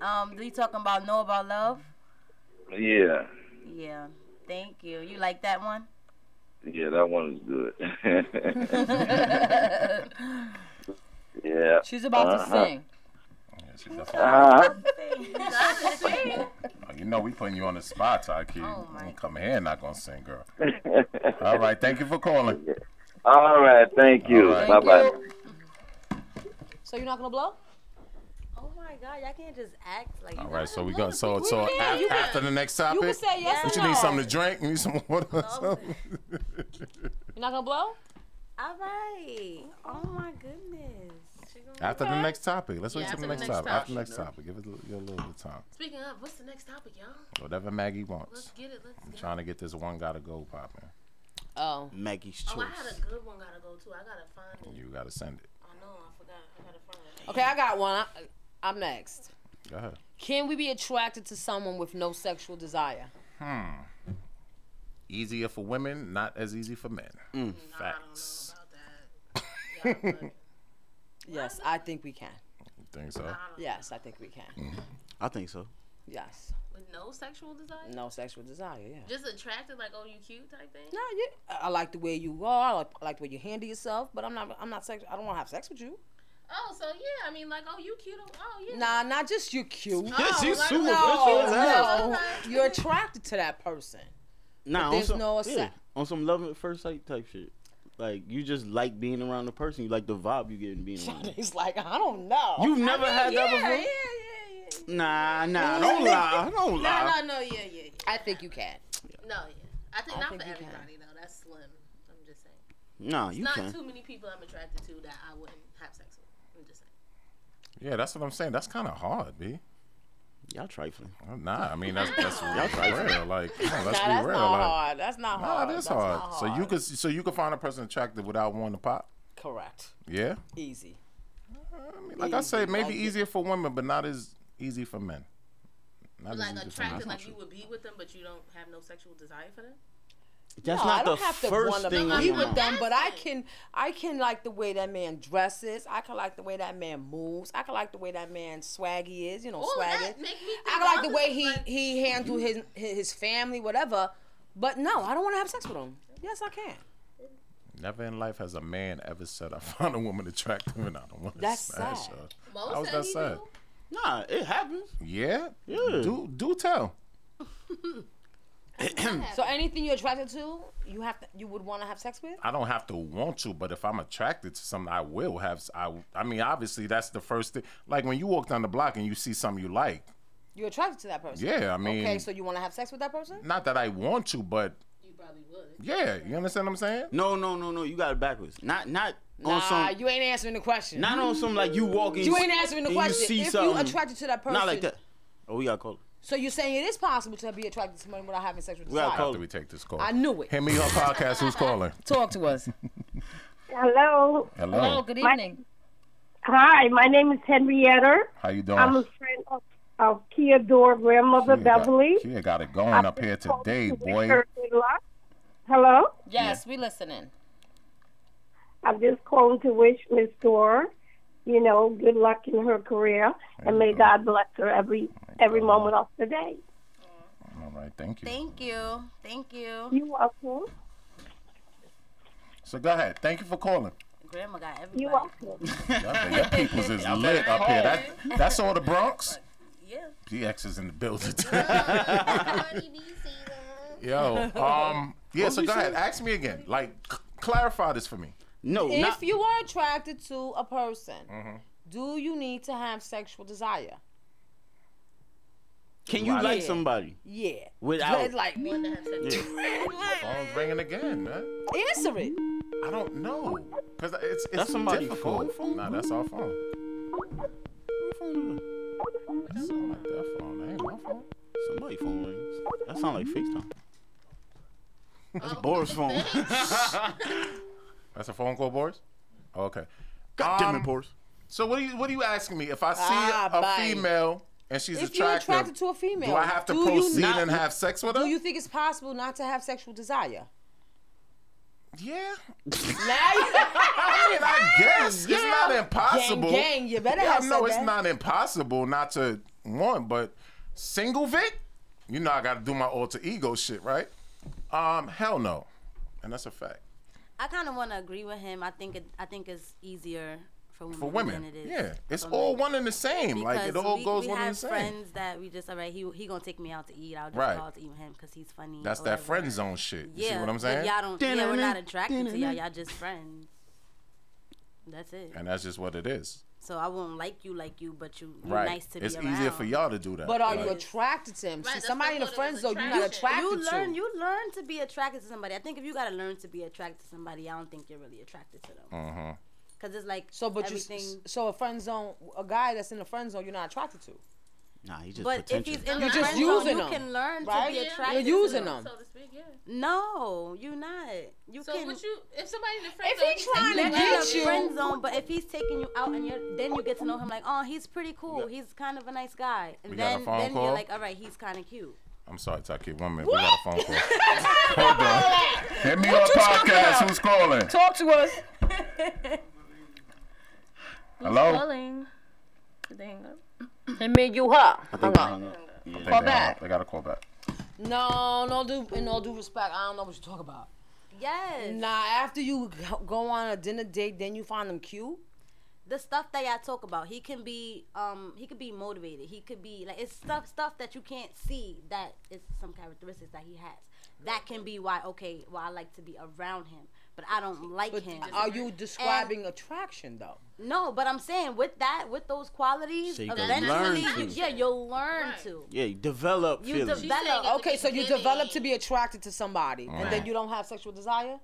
Um, do you talking about know about love?
Yeah,
Yeah. Thank you. You like that one?
yeah, that one is good. yeah.
She's about to
Uh-huh.
sing.
Uh-huh.
Oh, You know we putting you on the spot, Taki.
Oh,
you ain't come here and not gonna sing, girl. All
All
right, thank you for calling.
All right. Thank you.
All right.
Bye bye.
So you're not gonna blow?
Oh my God, y'all can't just act like.
All right, so we got so so af- after the next topic.
can say yes
What
or
you need
no.
something to drink? You need some water? Or something?
You're not gonna blow?
All right. Oh my goodness.
after the next topic. Let's
Yeah,
wait till
after
the
the
next
next
topic. After the
topic.
next topic, give it a little, give it a little bit of time.
Speaking of, what's the next topic, y'all?
Whatever Maggie
Let's
wants.
get it. Let's
I'm
get it.
trying to get this one gotta go popping.
Oh.
Maggie's
Oh, I
choice.
had a good one. Gotta go too. I gotta find it.
You gotta send it.
I know. I forgot. I gotta find it.
Okay, I got one. I, I'm next.
Go ahead.
Can we be attracted to someone with no sexual desire?
Hmm. Easier for women, not as easy for men.
Mm.
Facts.
Yes, I think we can.
You think so?
Yes, I think we can.
Mm-hmm. I think so.
Yes.
With no sexual desire.
No sexual desire, yeah.
Just attracted, like oh you cute type thing.
No, yeah. I- I like the way you are. I like, I like the way you handle yourself, but I'm not I'm not sexual. I don't want to have sex with you.
Oh, so yeah. I mean, like oh you cute. Oh, Oh yeah. Oh,
Nah, not just you're cute.
Yeah, she's super
No,
vicious.
no. You're attracted to that person. But
Nah, on
there's
some,
no
yeah,
accept-
on some love at first sight type shit. Like you just like being around the person. You like the vibe you getting being around. them.
He's like, I don't know.
You've never had that
yeah,
before?
Yeah,
Nah, nah, don't lie, don't lie.
yeah. No, no, no. Yeah, yeah, yeah.
I think you can.
No, yeah. I think
I
not
think
for
you can.
everybody though. That's slim. I'm just saying.
Nah, you
not
can.
too many people I'm attracted to that I wouldn't have sex with. I'm just saying.
Yeah, that's what I'm saying. That's kind of hard, B. Oh,
Y'all trifling.
Nah, I mean that's that's
Y'all trifling.
real. Like, come
Nah,
on, let's
that's
be
not
real. like,
hard. That's not
Nah,
hard.
it is
That's
hard.
not
So you could so you could find a person attractive without wanting to pop.
Correct.
Yeah.
Easy.
I mean,
Mm,
like I say, maybe e- easier for women, but not as easy for men. Not as
like
easy for men.
attracted,
That's not
like
true.
you would be with them, but you don't have no sexual desire for them.
That's
no,
not
I don't
the
have to
first
wanna
thing on
be
your
with
mind.
them, but I can, I can like the way that man dresses. I can like the way that man moves. I can like the way that man swaggy is. You know,
All that
swaggy.
make me think
I like the
opposite,
way he
like-
he handle his his family, whatever. But no, I don't want to have sex with him. Yes, I can.
Never in life has a man ever said, "I found a woman attractive and I don't want to
That's
smash
sad.
her."
Most
How is
of
that
you
sad?
Nah, it happens.
Yeah.
Yeah.
Do do tell.
so anything you're attracted to, you have to, you would want to have sex with.
I don't have to want to, but if I'm attracted to something, I will have. I I mean, obviously, that's the first thing. Like when you walk down the block and you see something you like.
You're attracted to that person.
Yeah, I
okay,
mean-
so you want to have sex with that person?
Not that I want to, but
You probably would.
yeah, you understand what I'm saying?
No, no, no, no. You got it backwards. Not, not
Nah,
on some.
you ain't answering the question.
Not on some like you walking.
You ain't answering the
and
question.
You see
if
something.
you attracted to that person,
Not like that. Oh, we got called.
So you're saying it is possible to be attracted to someone without having sexual
We gotta
desire?
call. After we take this call,
I knew it.
Hit me up, podcast. Who's calling?
Talk to us.
Hello.
Hello.
Oh, good
My-
evening.
Hi, my name is Henrietta.
How you doing?
I'm a friend of, of Theodore grandmother
She got-
Beverly.
She got it going up here today, boy.
Her good luck. Hello.
Yes, we listening.
I'm just calling to wish Miss Dora, you know, good luck in her career, and may God bless her every every moment of the day.
All right, thank you.
Thank you. Thank you.
You're welcome.
So go ahead. Thank you for calling.
Grandma got everybody.
You're welcome.
Y'all, y'all peoples is lit up here. That, that's all the Bronx.
Yeah.
GX is in the building. Yo, um, yeah.
What
So
we
go ahead.
say?
Ask me again. Like, c- clarify this for me.
No,
If
not.
you are attracted to a person, do you need to have sexual desire?
Can you
Right.
like
Yeah.
somebody
Yeah.
without?
It's like
Wouldn't have sex with them.
Phone's ringing again, man.
answer it.
I don't know, cause it's it's
That's somebody's
difficult.
phone. Hmm.
Nah, that's our phone.
Somebody phone rings. That sound like FaceTime. That's Boris' phone.
That's a phone call, Boris. Oh, Okay.
God damn it,
Boris. So what are you what are you asking me? If I see
Ah,
a
bye.
female and she's
if you're
attractive,
attracted to a female,
do I have to
do you
proceed
not-
and have sex with her?
Do you think it's possible not to have sexual desire?
Yeah.
Now you-
I mean, I guess it's not impossible.
Gang, gang, you better
yeah,
have
I know
said
it's
that.
not impossible not to want, but single Vic, you know I got to do my alter ego shit, right? Um, hell no, and that's a fact.
I kind of want to agree with him. I think it, I think it's easier for women,
For women,
than it is.
yeah, it's
for
all
men.
one and the same. like it
Because
all
we,
goes
we
one
have
and the same.
friends that we just all right. He he gonna take me out to eat. I'll just
Right.
go out to eat with him because he's funny.
That's
or
that
whatever.
friend zone shit. You
yeah,
see what I'm
but
saying?
Y'all don't. Yeah, we're not
Da-na-na,
attracted to y'all.
da-na-na.
Y'all just friends. That's it.
And that's just what it is.
So I won't like you like you, but you you
Right.
nice to
it's
be around.
easier for y'all to do that.
But are you
Like,
attracted to him? See, somebody in the friend zone you're not attracted
you
to.
learn you learn to be attracted to somebody. I think if you gotta learn to be attracted to somebody, I don't think you're really attracted to them.
Uh-huh.
Cause it's like
So, but you,
everything.
s- so a friend zone, a guy that's in the friend zone, you're not attracted to.
Nah, he just
but if
potential.
he's in
You're
the
just
friend zone,
using
you
them,
can learn
right?
to be
Yeah.
attracted.
You're using
to
them.
So to speak, yeah.
No, you're not. You
So
can.
what you if somebody in the friend
If he
zone,
trying to
Let
you
him
get
in the
you-
friend zone, but if he's taking you out and you're, then you get to know him like, oh, he's pretty cool. He's kind of a nice guy, and
We got a
then
phone
then
call?
you're like, all right, he's kind of cute.
I'm sorry, Taki. One minute. We got a phone call. Hold on. Hit me on podcast. Who's calling?
Talk to us.
Hello?
Calling. Did they hang up? And me, you up.
I think they hung up. I think they hung
back.
up. They got to call back.
No, no, do in all due respect, I don't know what you're talking about.
Yes.
Nah, after you g- go on a dinner date, then you find them cute.
The stuff that y'all talk about, he can be, um, he could be motivated. He could be like, it's stuff stuff that you can't see that is some characteristics that he has. That can be why, okay, well, I like to be around him, but I don't like him.
Are you describing attraction though?
No, but I'm saying with that, with those qualities,
So you can
eventually,
learn
you,
to.
yeah, you'll learn to.
yeah, you develop
You
feelings.
develop- She's saying at the
Okay, so you develop to be attracted to somebody, and then
Right.
you don't have sexual desire.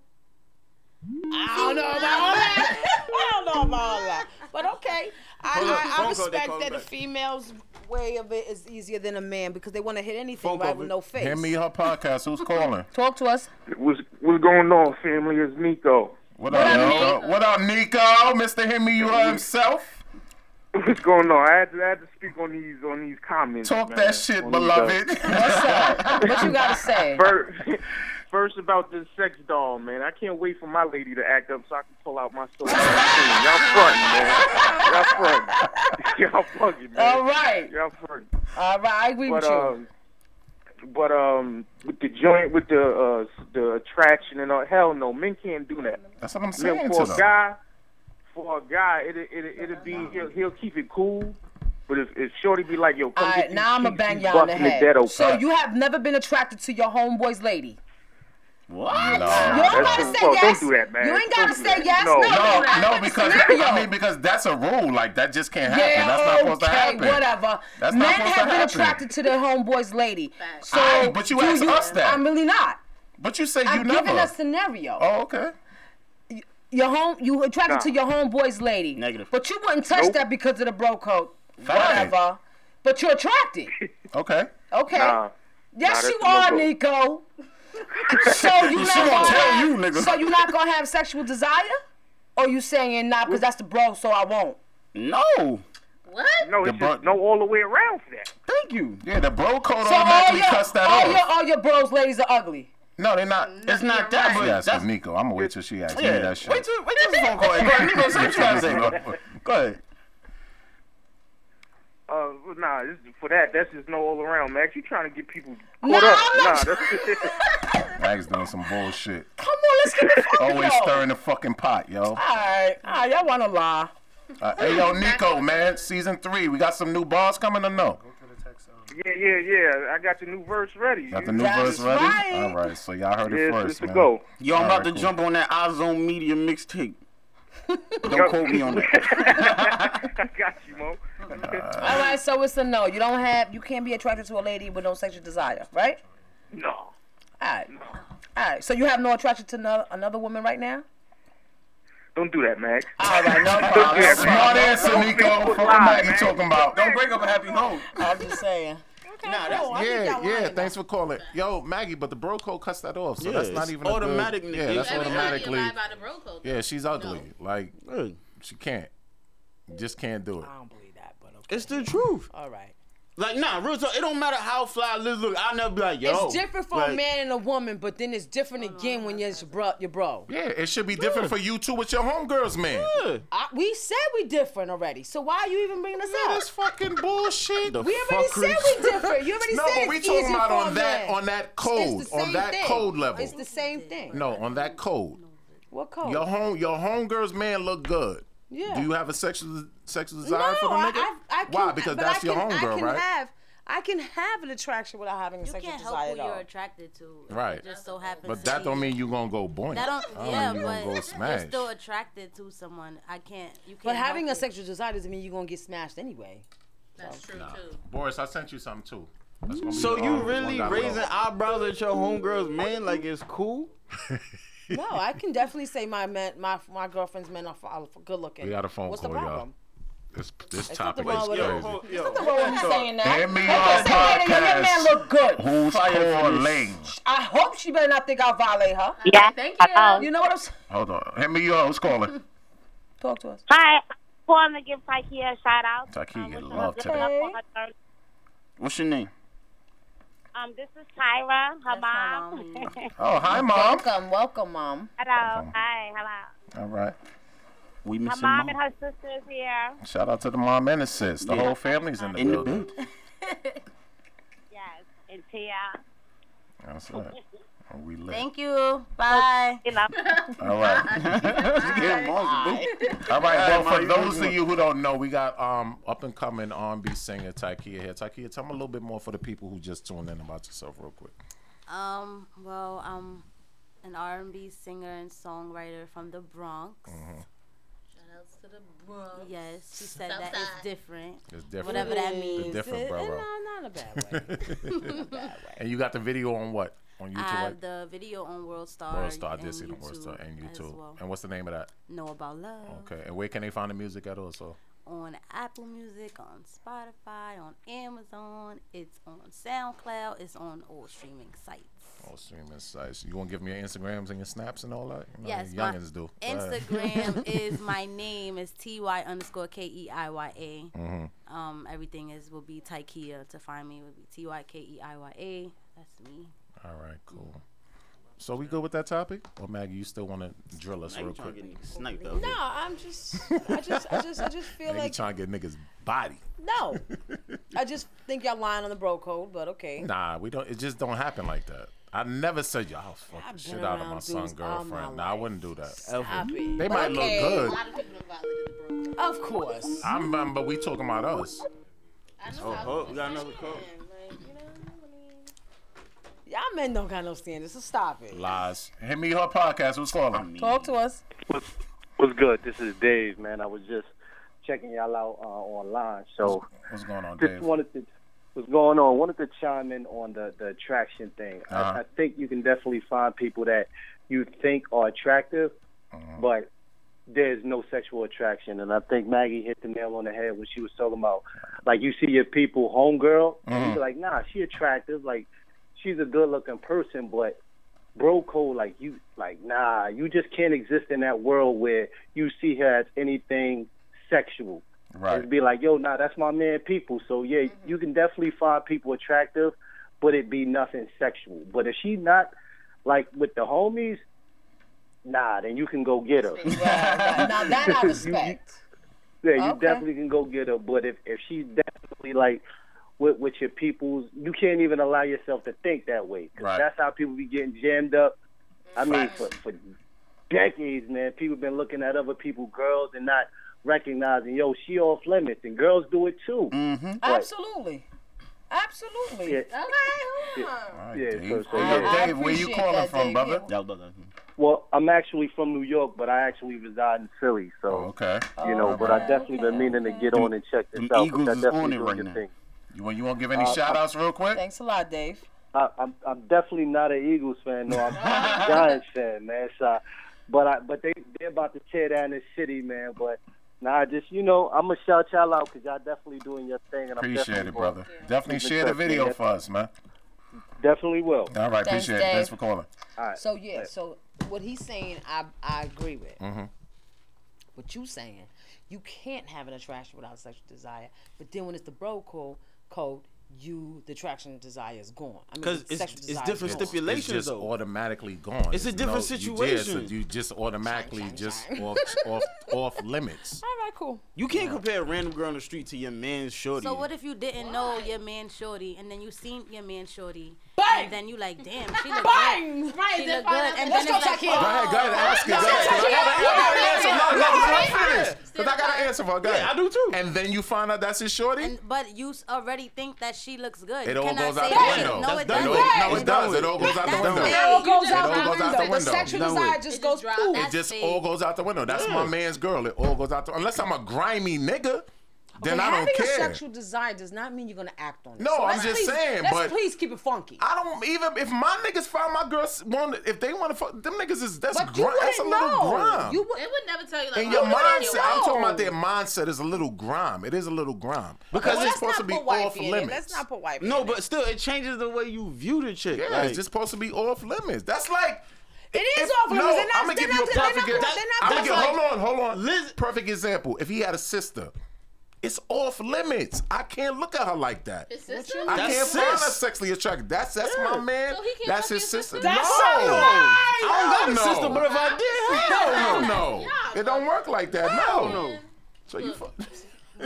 I don't know about all that. I don't know about all that. But okay, I,
Hold up,
I, I
phone call, they
respect
call
that a
back.
female's way of it is easier than a man because they want to hit anything
Phone
right
call,
with
Vic.
no face.
Hit me her podcast. Who's calling?
Talk to us.
What's what's going on, family? It's Nico.
What up, Nico? What up, Nico? Mister Hit me you Her himself.
What's going on? Oh, I had to, I had to speak on these on these comments.
Talk
man.
that shit,
On these, uh,
beloved. What's up?
What you
gotta say?
First, first about this sex doll, man. I can't wait for my lady to act up so I can pull out my sword. Y'all front, man. Y'all front. Y'all fucking man.
All right.
Y'all front.
All right, I agree
But
with you.
um, but um, with the joint, with the uh, the attraction and all, hell no, men can't do that.
That's what I'm
Look,
saying
for
to
a
them.
guy, for a guy, it it it'll be he'll, he'll keep it cool. But if, if Shorty be like, yo, come
All
get
right,
these
now I'm gonna
cheeks,
bang
you
y'all in the
busting dead
head.
open.
So you have never been attracted to your homeboy's lady.
What? No.
You don't gotta say
Oh,
well,
yes.
Don't do that, man.
You ain't
Don't
gotta
do
say
that.
yes.
No,
No,
no,
that's not the
because
scenario.
I mean because that's a rule. Like that just can't happen.
Yeah,
that's not supposed to
okay,
happen.
whatever.
That's
Men
not supposed
have
to
been
happen.
attracted to their homeboy's lady. So,
I- but you
do
asked us that.
I'm really not.
But you say you
I'm
never.
giving a scenario.
Oh, okay.
Your home, you attracted
Nah.
to your homeboy's lady.
Negative.
But you wouldn't touch that because of the bro code.
Fine.
Whatever. But you're attracted.
Okay.
Okay.
Nah.
Yes,
Nah,
you are,
that's no go.
Nico. so you
She
not
gonna
gonna
tell
have,
you, nigga.
So you not gonna have sexual desire? Or you saying not because that's the bro, so I won't.
No.
What?
No, it's just no all the way around for that.
Thank you. Yeah, the bro code
So all
automatically
your,
cuts that
all
off.
your all your bros, ladies are ugly.
No, they're not. It's not that. She asked for Nico. I'm gonna wait till she asks me
Yeah.
that shit.
Wait till wait till this phone call. ends. Go ahead, Nico, say what you gotta say.
Go ahead.
Uh, well, nah, this, for that, that's just no all around, man. You trying to get people caught
Nah,
up?
I'm not-
Nah, that's
Max doing some bullshit.
Come on, let's get the fuck
Always
up.
stirring the fucking pot, yo.
Alright, alright, y'all wanna lie.
Uh, hey, yo, Nico, man, season three. We got some new bars coming or no?
yeah, yeah, yeah. I got the new verse ready.
Got the new verse ready? All right, so y'all heard it
Yes,
first,
it's a
man.
go.
Yo, I'm
All
about
right,
to
cool.
jump on that Ozone Media mixtape. Don't quote me on that.
I got you, Mo.
Uh.
Alright, so it's a no. You don't have you can't be attracted to a lady with no sexual desire, right?
No.
Alright. Alright. So you have no attraction to no, another woman right now?
Don't do that, Max.
All right, no problem.
Smart answer, Nico. What am I talking about?
Don't break up a happy home.
I'm just saying.
Nah,
that's- I think
yeah,
y'all
yeah.
lying
Thanks for calling. Yo, Maggie, but the bro code cuts that off, so
Yeah,
that's not
it's
even a good-
automatic
yeah,
negation.
that's
Everybody
automatically.
lie by the bro code,
yeah, she's ugly. Like she can't, just can't do it.
It's the truth.
All right.
Like nah, real talk. It don't matter how fly Liz look. I'll never be like yo.
it's different for a
like,
man and a woman, but then it's different again when you're your bro. Your bro.
Yeah, it should be different for you too with your homegirls, man.
I, we said we different already, so why are you even bringing us up?
That's fucking bullshit.
we already said we different. You already
no,
said
but we
it's
talking
easy
about
for a
on that
man.
on that
It's
code
the
on
same
that
thing.
code level.
It's the same thing.
No, on that code.
What code?
Your home your homegirls man look good.
Yeah.
Do you have a sexual sexual
no,
desire for the
I,
nigga?
I, I can,
Why? Because
but
that's
I can,
your homegirl,
I can
right?
Have, I can have an attraction without having a
You
sexual
can't
desire
help who
at all.
you're attracted to.
Right.
It just so happens.
But
to
that
be-
don't mean you gonna go boing.
That don't.
I
yeah,
mean you gonna go
but
smash.
you're still attracted to someone. I can't. You can't.
But having a
help it.
sexual desire doesn't mean you're gonna get smashed anyway.
That's true too.
Boris, I sent you something too. That's gonna be,
So you
um,
really
one dot
raising
low.
eyebrows at your homegirls, man? Like it's cool?
No, I can definitely say my men, my my girlfriend's men are, are good looking.
We got a phone
What's
call,
the problem?
y'all. This this
It's
topic
nothing
is
wrong with it.
crazy.
It's nothing wrong with you saying that.
Hit me
They
up,
just say that, yo, your man
podcast.
look good.
Who's calling?
I hope she better not think I'll violate her.
Yeah.
Thank
Uh-oh.
You know what I'm saying?
Hold on. Hit me up. Who's calling?
Talk to us.
Hi. I want to give Tykea a shout out.
Takia get
I'm
love
good enough
today.
for her third-
What's your name?
Um, this is Tyra, her mom.
Oh, hi, mom.
Welcome, welcome, mom.
hello. Hi. Hello.
All right. We
Her
missing
mom and her sister is here.
Shout out to the mom and the sis. The whole family's in the
In the
building.
Yes, and Tia.
That's right. Oh, we lit.
Thank you. Bye.
All right. All right. Well, for those of you who don't know, we got um up and coming R&B singer Tykia here. Tykia, tell me a little bit more for the people who just tuned in about yourself, real quick.
Um. Well, I'm an R&B singer and songwriter from the Bronx.
Mm-hmm.
Shout outs to the Bronx.
Yes, she said that
Southside.
it's different.
It's different.
Whatever that
It's
means.
different, bro, bro.
No, not a bad way.
and you got the video on what? On
I
YouTube, right?
have the video on World Star.
World Star, this
and
and World Star, and
as
YouTube.
well.
And what's the name of that?
Know About Love.
Okay. And where can they find the music at also?
on Apple Music, on Spotify, on Amazon. It's on SoundCloud. It's on all streaming sites.
All Oh, streaming sites. You want to give me your Instagrams and your snaps and all that? You know,
yes,
you
my
youngins do. Go ahead.
Instagram is my name is T Y underscore K E I Y A.
Mhm.
Um, everything is will be Tykea. To find me would be T Y K E I Y A. That's me.
All right, cool. So we good with that topic? Or Maggie, you still want to drill us
Maggie
real
tryna
quick?
get
No, I'm just, I just, I just, I just feel
Maggie
like
trying to get niggas body.
no. I just think y'all lying on the bro code, but okay.
Nah, we don't. It just don't happen like that. I never said y'all fuck
I've
the
been
shit out of
around
my son
dudes all my
girlfriend. Nah, I wouldn't do that.
Stop it.
They might
Okay.
look good.
Of course.
I'm, um, but we talking about us.
Oh, oh, we got another call.
Y'all men don't got no standards, so stop it.
Lies. Hit me her podcast. What's calling?
Talk to us.
What's good? This is Dave, man. I was just checking y'all out uh, online. So
what's going on,
just
Dave?
wanted to what's going on? Wanted to chime in on the the attraction thing.
Uh-huh.
I, I think you can definitely find people that you think are attractive,
Uh-huh.
but there's no sexual attraction. And I think Maggie hit the nail on the head when she was talking about like you see your people homegirl,
Mm-hmm.
and you be like, nah, she attractive, like she's a good looking person, but bro code like you like nah you just can't exist in that world where you see her as anything sexual
Right.
It'd be like, yo, nah, that's my man, people. So yeah,
Mm-hmm.
you can definitely find people attractive, but it be nothing sexual. But if she not like with the homies, nah, then you can go get her.
Now that I respect.
Yeah, you
Okay.
definitely can go get her. But if if she's definitely like with with your peoples, you can't even allow yourself to think that way. 'Cause
Right.
that's how people be getting jammed up. I mean, for for decades, man, people been looking at other people, girls, and not recognizing, yo, she off limits, and girls do it too. Mm-hmm.
Absolutely. Absolutely.
Yeah.
Okay. hold on.
yeah, so,
I-
so,
I
yeah.
Dave, where you appreciate calling that, from, Dave. brother? Hmm.
Well, I'm actually from New York, but I actually reside in Philly. So
okay,
you know, but I definitely been meaning to get on and check this
The
out.
Eagles
because
is
I definitely
on it
doing
right
your
now.
Thing.
You want you want to give any
Uh,
shout
I-
outs real quick?
Thanks a lot, Dave.
I, I'm I'm definitely not an Eagles fan. No, I'm a Giants fan, man. So But I, but they they're about to tear down this city, man. But nah, just you know, I'm gonna shout y'all out because y'all definitely doing your thing, and I'm
Appreciate
definitely
it,
gonna-
brother. Definitely share the
Keep in touch,
video
man.
for us, man.
Definitely will.
All right,
Thanks,
appreciate
Dave.
it. Thanks for calling.
All right.
So yeah, so what he's saying, I I agree with.
Mm-hmm.
Mhm.
What you saying? You can't have an attraction without sexual desire. But then when it's the bro code, code you the attraction and desire is gone. I mean, sexual desire is gone.
it's just automatically gone.
It's a
There's
different
no- you- Yeah,
situation.
so you just automatically just
chime.
off off off limits.
All right, cool.
You can't compare a random girl on the street to your man's shorty.
So what if you didn't know your man shorty and then you seen your man shorty and then you like damn she look
Bang!
good
Right,
she
then
look good
finally-
and
Let's
then
go
it's like
check in. Go ahead, go ahead, ask it, go ahead,
Because I gotta answer. No, no,
Right.
before I finish. 'Cause I gotta answer for her. Go ahead.
I do too.
And then you find out that's his shorty.
And- but you s- already think that she looks good
It
You
all
cannot
goes
say
out the
that.
window.
no it
It all-
doesn't
No, it does. It all goes out the window.
It all goes
It
out
all
the
goes out
window.
the
The
window.
sexual desire just goes through.
It just all goes out the window. That's my man's girl. It all goes out the unless I'm a grimy nigga, then
Okay,
I
having
don't
a
care.
sexual desire does not mean you're gonna act on it.
No,
So
I'm
let's
just
please-
saying,
Let's
but-
please keep it funky.
I don't even if my niggas find my girls want if they want to fuck them niggas is that's
But you
grime. That's a
wouldn't
little
know.
grime.
You would, they would never tell you like.
and
oh,
your
you wouldn't
mindset, I'm talking about
know.
their mindset is a little grime. It is a little grime because
Well,
it's
let's
supposed to
not
be
put wifey
off
in it.
limits.
Let's not
put wife.
No, but still, it changes the way you view the chick.
Yeah,
Like-
it's just supposed to be off limits. That's like.
It is off limits. They're not-
I'm gonna
they're
give you a
not- they're
perfect.
not-
ex-
they're not-
I'm gonna
that's
give, hold
like-
on, hold on. perfect example. If he had a sister, it's off limits. I can't look at her like that.
His sister?
I can't
That's
find her
sis.
sexually attractive. That's that's
Yeah.
my man.
So he can't
that's
fuck
his
your
sister.
sister? That's
no,
so nice.
I don't
That's
know.
sister, but if I did, hell
no,
no.
no, no. It don't work like that. No, no. So you. Fuck.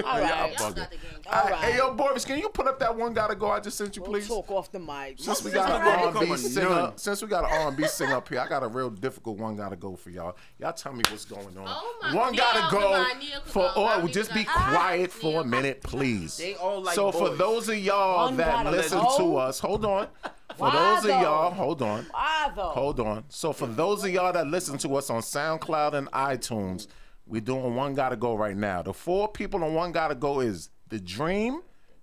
All
Y'all
right.
bugging.
All
All right. Hey,
right.
yo, Boris, can you put up that one guy to go I just sent you,
We'll
please?
talk off the mic.
Since we
This
got
is
an
right.
R&B singer,
none.
since we got an R&B singer up here, I got a real difficult one gotta go for y'all. Y'all tell me what's going on.
Oh
One
my-
gotta
Neil
go
Kazan, Neil
for
Kazan,
all.
Rodney
Just be
Kazan.
quiet for a minute, please.
They all like
so for
boys.
those of y'all
One
that
gotta
listen
go.
to us, hold on. For
Why
those of
though?
y'all, hold on.
Why though?
Hold on. So for those of y'all that listen to us on SoundCloud and iTunes, we're doing one gotta go right now. The four people on one gotta go is the Dream,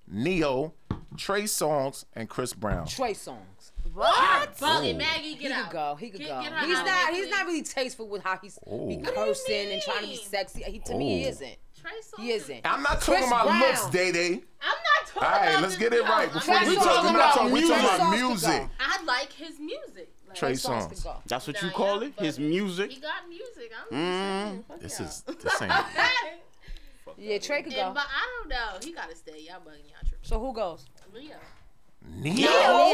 Neo, Trey Songs, and Chris Brown.
Trey songs.
What?
Buggy
Maggie,
he
get
could
out.
go. He could
Get-
go.
get her
he's
out.
not. He's not really tasteful with how he's
Oh.
be
What do
cursing and trying to be sexy. He to me he
Oh.
isn't.
Trey
He isn't.
I'm not
Chris
talking about
Brown.
looks, Day Day.
I'm not
All
talking
right,
about
let's
this-
get it
no,
right.
I'm
Before
not
we
talking
talk, we're not
about
talking, we talking
music.
about music.
I like his music. Like,
Trey songs.
That's what you call it? His music?
He got music. I'm
Mm.
Mm-hmm.
This is this ain't.
Yeah, Trey could
And-
go.
But I don't know. He gotta stay. Y'all bugging y'all tripping.
So who goes?
Leo.
Neo?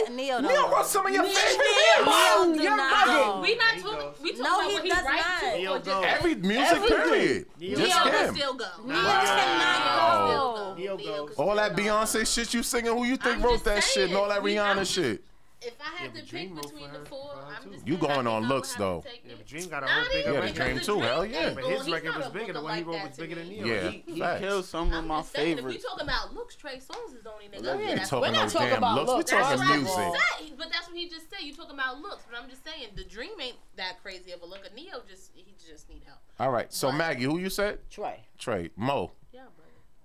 Neo,
Neo wrote some of your
Neo-
favorite
Neo
hits.
do
You're
not
bugging.
go. We not talking. We talking
No,
about
he
what he
does
writes
not.
to. or just-
Every music period.
Neo
Just
can
him.
still go. Neo
Wow.
cannot go. Neo goes.
All that Beyonce shit you singing, who you think wrote that shit and all that Rihanna shit?
If I had to pick between the four, I'm just
You going on looks though.
Yeah, but Dream got a
Nah,
whole
he
bigger
Yeah, the
record.
Dream too, hell yeah.
But his
He's
record
not
was
a
bigger. The one he wrote was bigger than Neil.
Yeah,
He, he
facts.
killed some of my
saying, if we
favorites.
talking about looks, Trey Songz is the only nigga.
Yeah,
up there
we
that's-
talking We're not those talking damn about looks, we looks.
That's
talking
what I'm
music.
saying, But that's what he just said. You talking about looks, but I'm just saying the dream ain't that crazy of a look. Neo just he just need help.
All right, so Maggie, who you said?
Trey.
Trey. Mo.
Yeah,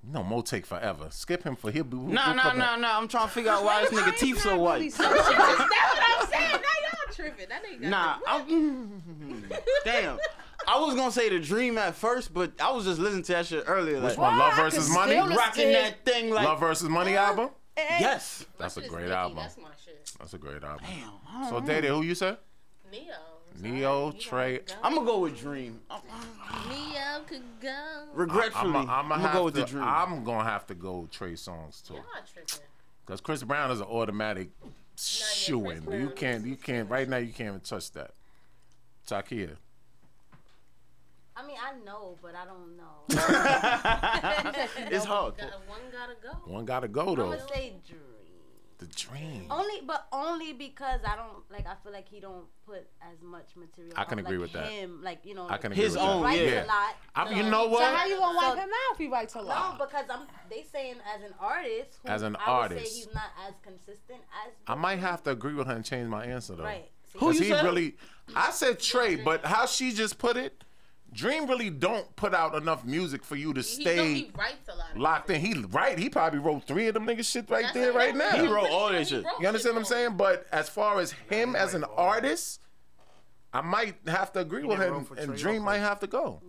No, Mo take forever. Skip him for he'll be.
Nah, nah, nah, nah. I'm trying to figure out why this nigga teeth so white.
That's what I'm saying. Now y'all tripping. That nigga.
Nah, I'm, damn. I was gonna say the dream at first, but I was just listening to that shit earlier.
Which
Like,
one? Love versus money.
Rocking that thing like
Love versus money album.
Yes.
That's a great album.
That's my shit.
That's a great album.
I don't
So
know.
Day Day, who you said?
Neo.
Neo, Trey.
I'm gonna go with Dream.
Neo could go.
Regretfully,
I'm, I'm,
I'ma
gonna
go
have
with
to,
the Dream.
I'm gonna have to go Trey songs too,
Y'all tripping.
because Chris Brown is an automatic shoe in. You can't, you can't. Right now, you can't even touch that. Takia.
I mean I know but I don't know
It's hard.
Got- One gotta go.
One gotta go
I'm
though.
gonna say Drew.
The dream.
Only, but only because I don't like. I feel like he don't put as much material.
I can
out,
agree with
like
that.
Him, like you know,
I can
he
agree with that.
writes
Yeah.
a lot.
I- you know what?
So how you gonna wipe
So-
him out if he writes a lot?
No, because I'm. They saying as an artist. Who
As an
I would
artist.
say he's not as consistent as.
I might have to agree with her and change my answer though.
Right. See? Who
Because
you
he
said?
really I said Trey, but how she just put it, Dream really don't put out enough music for you to
He, don't-
stay
he writes a lot. Of
locked in. He right, he probably wrote three of them niggas shit right
That's
there
what
right
I'm
now.
saying. He wrote all that
You understand what I'm saying? But as far as him as an artist, I might have to agree with him, and Dream might have to go.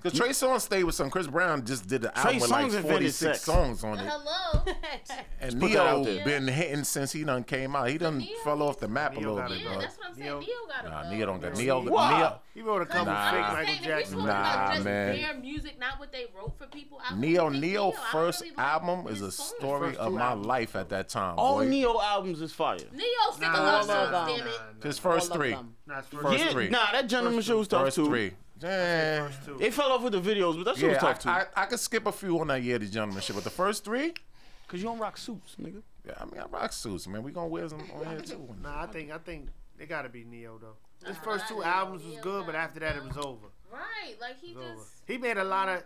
Because Trey Songz stayed with some. Chris Brown just did an
Trey
album with like
Songz invented
46
sex.
songs on it.
Hello.
And
Just put that out
Neo
there.
been hitting since he done came out. He done fell off the map a little bit,
yeah,
dog.
that's what I'm saying. Neo, got
Nah,
it.
Neo don't got Neo.
Why?
Neo.
He wrote a couple
nah.
fake Michael Jackson.
Nah, man.
Their music, not what they wrote for people. I
Neo
really
Neo
feel. I
first
really like
album is a story
First
of
two
my
albums.
life at that time.
All
boy.
Neo albums is fire.
Neo stick a lot of songs, damn it.
His first
All of
three.
them.
Nah, it's first
First
yeah,
three.
Nah, that gentleman show was tough
First
too.
three. Yeah.
They fell off with the videos, but that shit
yeah,
was tough too.
I, I, I could skip a few on that year, the gentleman shit, but the first three.
Cause you don't rock suits, nigga.
Yeah, I mean I rock suits, man. We gonna wear some on here Oh, too.
Nah, I think I think they gotta be Neo though. His first two albums was good, but after that it was over.
Right, like he
It was over.
just.
He made a lot of.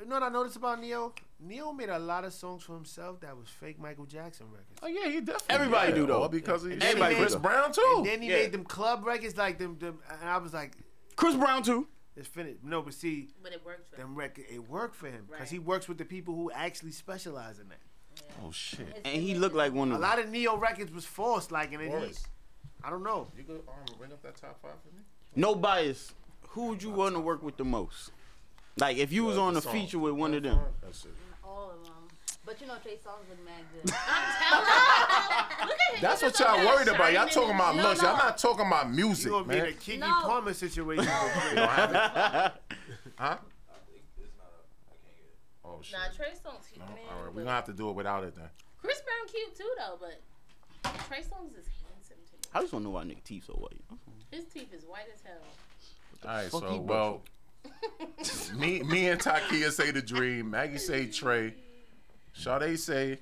You know what I noticed about Neo? Neo made a lot of songs for himself that was fake Michael Jackson records.
Oh yeah, he definitely.
Everybody do though.
all because of
And then he
everybody.
made-
Chris Brown too.
And then he
Yeah.
made them club records like them, them. And I was like,
Chris Brown too.
It's finished. No, but see,
But it worked for
them record. It worked for him because he works with the people who actually specialize in that.
Oh shit.
And he looked like one
A
of them.
lot of Neo records was forced, like, and it,
Forced.
I don't know.
You go um, bring up that top five for me.
No bias. Who would you want to work with the most? Like if you was on a
song.
feature with one of them.
That's it.
All of them. But you know, Trey Songz look mad good.
That's what y'all worried about. Y'all talking about
No,
looks.
no.
Y'all not talking about music,
You're gonna be in a
man.
Kiki
No.
Palmer situation.
huh? Oh shit.
Nah, Trey Songz, he,
Oh,
No,
man.
all right, we're gonna have to do it without it then.
Chris Brown cute too though, but Trey Songz is handsome to me.
I just want to know why nigga teeth so white.
His teeth is white as hell.
All right,
fuck
so
he
well, me me and Takia say the dream. Maggie say Trey. Sade say,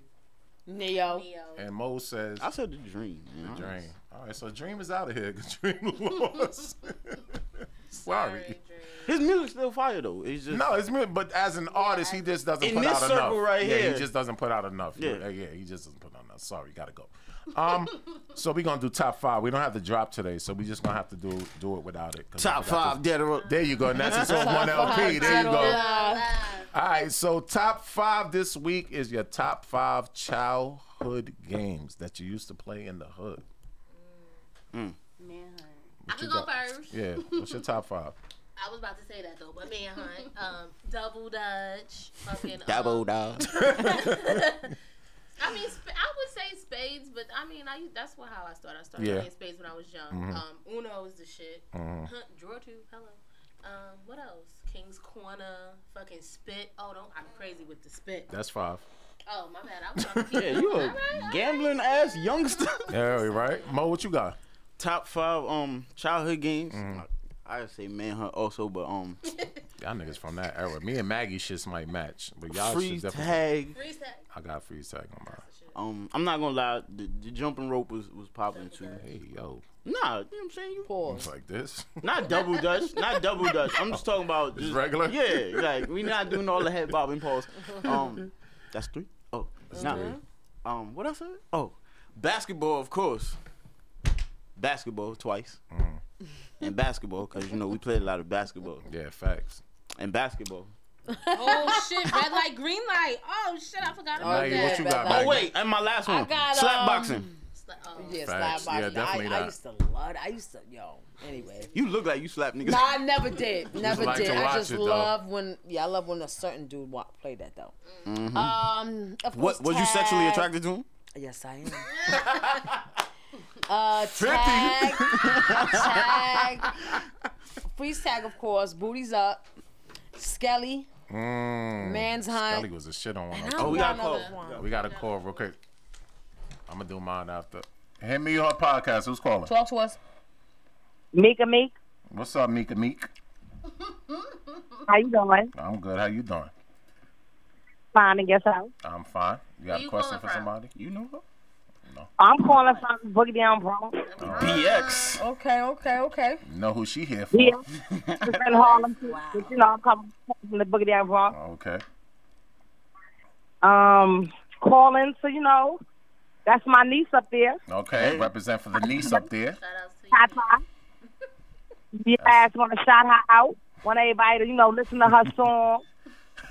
Neo.
and Mo says.
I said the dream.
The
man.
dream. All right, so dream is out of here. 'cause Dream lost. Sorry.
His music's still fire though. It's just
No, it's me. But as an artist, he just doesn't
In
put
this
out
circle
enough.
right
yeah,
here.
he just doesn't put out enough.
Yeah.
Yeah, yeah, he just doesn't put out enough. Sorry, gotta go. Um, so we gonna do top five. We don't have to drop today, so we just gonna have to do do it without it. 'cause
Top
we got
five dead or
There you go, and that's his own one LP. There you go. All right, so top five this week is your top five childhood games that you used to play in the hood.
Hmm.
I
you
could go
got?
first.
Yeah, what's your top five?
I was about to say that though, but manhunt, um, double dutch, fucking.
Double
um,
dog.
I mean, sp- I would say spades, but I mean, I u- that's what how I started. I started
Yeah.
playing spades when I was young.
Mhm.
Um, Uno is the shit.
Mhm.
Draw two, hello. Um, what else? King's Corner, fucking spit. Oh, don't I'm crazy with the spit.
That's five.
Oh my bad. I was trying to keep
Yeah, you a gambling ass youngster.
Yeah, you right. Mo, what you got? Mm.
Top five um childhood games. I, I'd say manhunt also, but um
Y'all niggas from that era. Me and Maggie shits might match, but y'all
freeze
should definitely.
tag.
Freeze tag.
I got freeze tag on mine.
Um, I'm not gonna lie, the, the jumping rope was was popping too.
Hey yo,
Nah, you know what I'm saying? You
it's like this.
Not double dutch, not double dutch. I'm just talking about just,
regular?
Yeah, like we not doing all the head bobbing pause. Um, that's three. Oh, nah.
three.
Um, what I said? Oh, basketball, of course. Basketball twice,
Mm.
and basketball because you know we played a lot of basketball
Yeah, facts.
and basketball.
oh shit, red light, green light. Oh shit, I forgot about
Maggie,
that.
what you got,
Oh
Maggie?
wait, and my last one,
got,
slap
um,
boxing.
Yeah,
Facts.
slap
Yeah,
body.
definitely
I,
that.
I used to love. I used to yo. Anyway.
You look like you slap niggas.
No, I never did. Never
like
did.
to watch
I just
it, though.
love when yeah, I love when a certain dude wa- played that though.
Mhm.
Um, of course,
what was you sexually
tag-
attracted to him?
Yes, I am. uh, tag, tag, freeze tag, of course. Booties up, Skelly.
Mm.
Man's hunt.
Scully was a shit on one.
And
of
I got
them.
Oh, we got a call.
another one.
We got a call real quick. I'm gonna do mine after. Hand me your podcast. Who's calling?
Talk to us.
Mika Meek,
What's up, Mika Meek?
how you doing?
I'm good. How you doing?
Fine, I guess so.
I'm fine. You got
Who
a
you
question
calling
for
from?
somebody? You know her?
I'm calling from Boogie Down Bronx.
PX.
Okay, okay, okay.
You know who she here for?
Yeah, it's in Harlem, too, but you know I'm coming from the Boogie Down Bronx.
Okay.
Um, calling, so you know, that's my niece up there,
Okay. Represent for the niece up there.
Tata. You guys want to shout her out? Want everybody to you know listen to her song,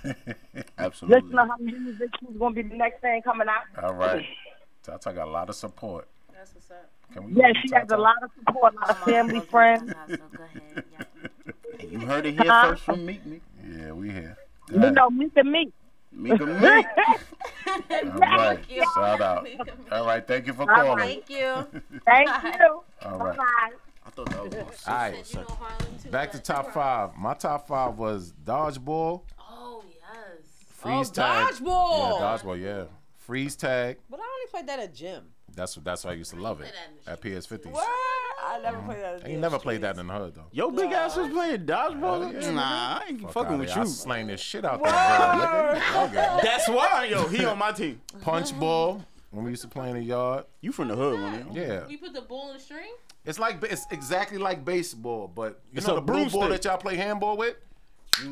listen
Absolutely.
to her music. She's gonna be the next thing coming out.
All right. Tata got a lot of support.
That's what's up.
Can we
Yeah, she has a lot of support, a lot of family, friends.
You heard it here first from Meek Meek.
Yeah, we here.
You know, me to me.
Meek and Meek.
All right. Shout out. All right. Thank you for calling.
you. Thank you.
All right.
Bye.
I thought that was my
All right. Back to top five. My top five was dodgeball,
Oh yes.
freeze
Oh,
tag.
dodgeball.
Yeah, dodgeball. Yeah, freeze tag.
But I only played that at gym.
That's that's why I used to love it at PS50s.
What? Ah, I never played that at
I ain't
gym.
never played that in the hood though.
Yo, big ass was playing dodgeball.
Yeah,
nah, I ain't
Fuck
fucking
outta
with
here. I
you.
slain this shit out there. Nigga. Nigga.
That's why, yo, he on my team.
Punch ball. When we used to play in the yard.
You from the hood, man?
Yeah.
We put the ball in the string.
It's like it's exactly like baseball, but you
It's
know
a
the blue ball
broomstick.
that y'all play handball with.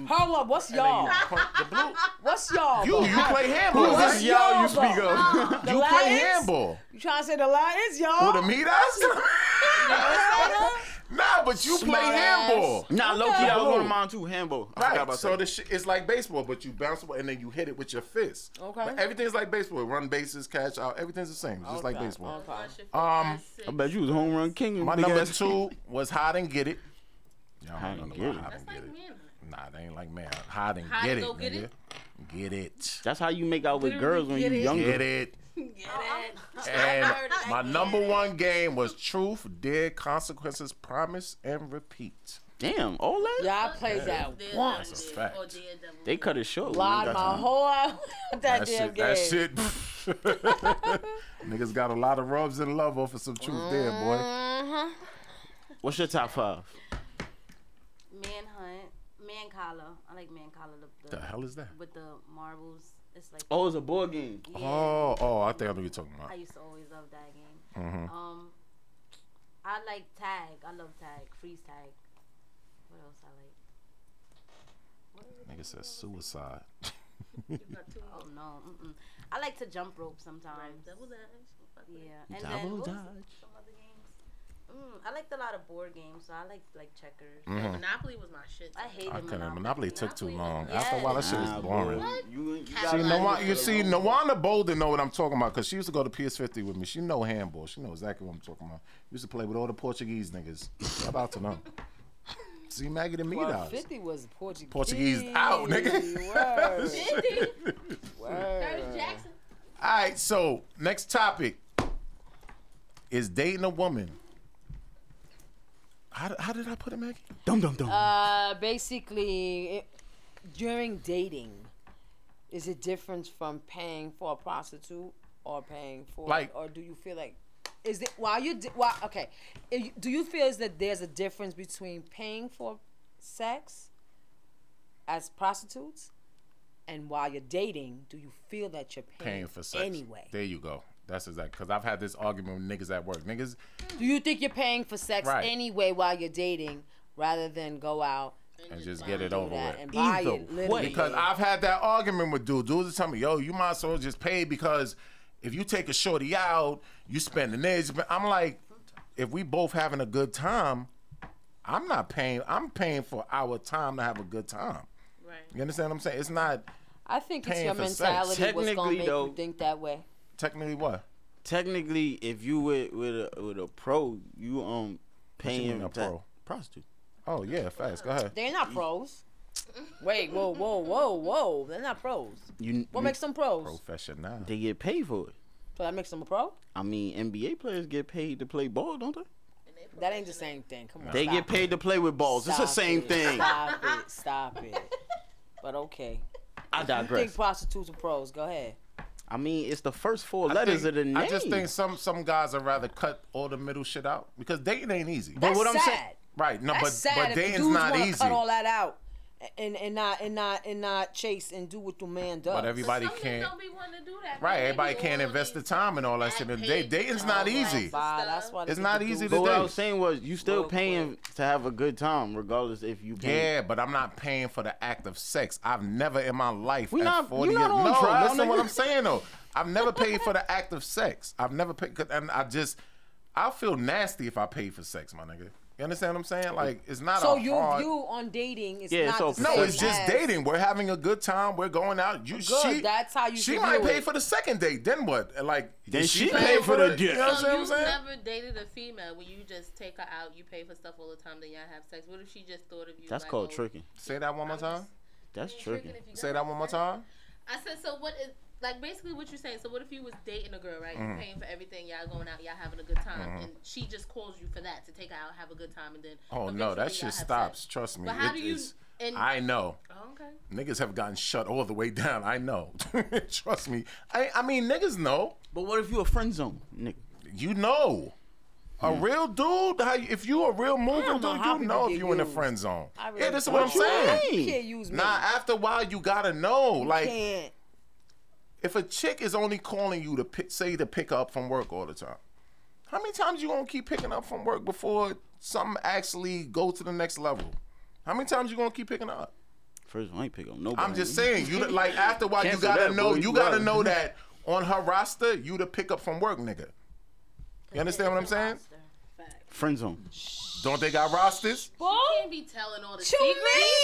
Hold up, what's y'all? What's y'all?
You you play handball.
Who
right?
is y'all you speak
you
of? The
play
Lions?
handball.
You trying to say the Lions, y'all?
Who the meat Nah, but you play
Smart ass.
handball.
Nah, low-key, I was going to mine too, handball. I forgot
Right,
about
so
that.
the shit it's like baseball, but you bounce it and then you hit it with your fist.
Okay.
But everything's like baseball. Run bases, catch out. Everything's the same, just like
Okay,
baseball.
okay.
Um,
I bet you was home run king.
My
big
number
ass.
two was hide and get it. Y'all
Hide
don't
and
know about
get it.
hide and get it. Nah, they ain't like man. Hide and
Hide
get
and
it,
go get
nigga.
it?
Get it.
That's how you make out with
Literally
girls when
get
you
it.
younger.
Get it.
Oh,
And my number one game was Truth, Dare, Consequences, Promise, and Repeat.
Damn, all that?
Yeah, I played that once.
That's a fact.
They cut it short. when
Lied
they
my
got time.
whole life with that, damn game.
shit, that shit. Niggas got a lot of rubs and love off of some Truth there, boy.
Uh-huh.
What's your top five?
Manhunt, man collar. I like man collar. The,
The hell is that?
With the marbles, it's like.
Oh, it's a board game.
Yeah.
Oh, oh, I think I know what you're talking about.
I used to always love that game.
Mhm.
Um, I like tag. I love tag. Freeze tag. What else I like?
Nigga said suicide.
Oh no. Mm-mm. I like to jump rope sometimes. Double dodge. Yeah. And then
Double
what was
dodge.
Some other games. Mm, I liked a lot of board games, so I like like checkers.
Mhm.
Monopoly was my shit.
I hated
I
Monopoly.
couldn't. Monopoly took too long. After a while, that shit was
Nah,
boring.
boy. You, you
See,
gotta-
Nawa- you see, Nawanda Bolden know what I'm talking about because she used to go to PS50 with me. She know handball. She know exactly what I'm talking about. Used to play with all the Portuguese niggas. Y'all about to know. See, Maggie the meat
Well,
out.
50 was Portuguese.
Portuguese out, nigga.
Word.
50?
Word.
Jackson.
All right, so next topic is dating a woman. How, how did I put it, Maggie?
Dum dum dum.
Uh, basically, it, during dating, is it different from paying for a prostitute or paying for,
Like-
or do you feel like, is it while you di- while okay, if you- do you feel is that there's a difference between paying for sex as prostitutes, and while you're dating, do you feel that you're paying,
Paying for sex.
anyway?
There you go. That's exactly because I've had this argument with niggas at work. Niggas,
Do you think you're paying for sex
Right.
anyway while you're dating, rather than go out?
and just get it
do
over
that
with.
and buy it, literally.
because I've had that argument with dudes. Dudes tell me, "Yo, you might as well just pay because if you take a shorty out, you spending this." But I'm like, if we both having a good time, I'm not paying. I'm paying for our time to have a good time.
Right.
You understand what I'm saying? It's not
I think it's
paying
your
for sex.
mentality what's gonna
Technically,
make
though-
you think that way.
technically what.
Technically, if you with with a, with a pro, you um paying
mean a
to-
pro?
prostitute.
Oh yeah, facts. Go ahead.
They're not pros. Wait, whoa, whoa, whoa, whoa! They're not pros.
You
What
you-
makes them pros?
Professional.
They get paid for it.
So that makes them a pro.
I mean, NBA players get paid to play ball, don't they?
That ain't the same thing. Come on.
They
stop
get paid to play with balls. it's the
Stop
same
it.
thing.
Stop it. Stop it. But okay.
I
You think
digress.
prostitutes are pros? Go ahead.
I mean, it's the first four
I
letters
think-
of the name.
I just think some some guys would rather cut all the middle shit out because dating ain't easy.
But That's what I'm sad. saying-
right? No,
That's
but
sad
but
if the
dating's
dudes
not
wanna
easy.
Cut all that out, and and not and not and not chase and do what your man does.
But everybody But some men can't- don't Right, everybody can't invest the time and all that shit. And da- dating's not easy.
Bye, that's why they
It's
get
not
the
easy
dudes.
to
But what I
do.
was saying was, you still paying to have a good time, regardless if you pay.
Yeah, but I'm not paying for the act of sex. I've never in my life.
We
at
not-
40
you not
years-
on
no,
trial,
listen to what
nigga.
I'm saying though. I've never paid for the act of sex. I've never paid, and I just, I feel nasty if I pay for sex, my nigga. You understand what I'm saying? Like it's not
so
a
you
hard.
you on dating is
yeah,
not
so
the
no,
same
it's just
as-
dating. We're having a good time. We're going out. You
Good,
she
that's how you
she
should
might
do
pay
it.
for the second date. Then what? And, Like
Then
is
she
paying
pay for the
it?
dick.
You know what I'm
So
saying?
you've never dated a female where you just take her out, you pay for stuff all the time, then y'all have sex. What if she just thought of you?
That's
like,
called
oh,
tricking.
Say that one more time.
That's tricking.
Say that one more time.
I said, so what is like basically what you're saying? So what if you was dating a girl, right?
Mhm.
Mm-hmm.
You're paying for everything, y'all going out, y'all having a good time,
Mhm.
and she just calls you for that to take her out, have a good time, and then
Oh no,
eventually
that
y'all
shit
have
stops.
sex.
Trust me.
But how
It
do you?
is-
and-
I know.
Oh, okay.
Niggas have gotten shut all the way down. I know. Trust me. I I mean niggas know.
But what if you a friend zone, nigga? Hmm.
You know. A real dude, how, you- if you a real mover, dude,
know how
you
people
know if
get
you in the
used.
friend zone.
I
yeah,
really
this is
don't.
what I'm
What you
saying.
mean? You can't use me.
Nah, after a while, you gotta know. like,
can't.
if a chick is only calling you to pick, say to pick up from work all the time, how many times you gonna keep picking up from work before something actually go to the next level? How many times you gonna keep picking up?
First of all, I ain't pick on nobody.
I'm just saying, you like after a while, you
Cancel
gotta
that,
know.
boy.
You gotta
Right.
know that on her roster, you the pick up from work, nigga. You understand what I'm saying?
Friend zone.
Don't they got rosters?
You can't be telling all the
What
secrets.
you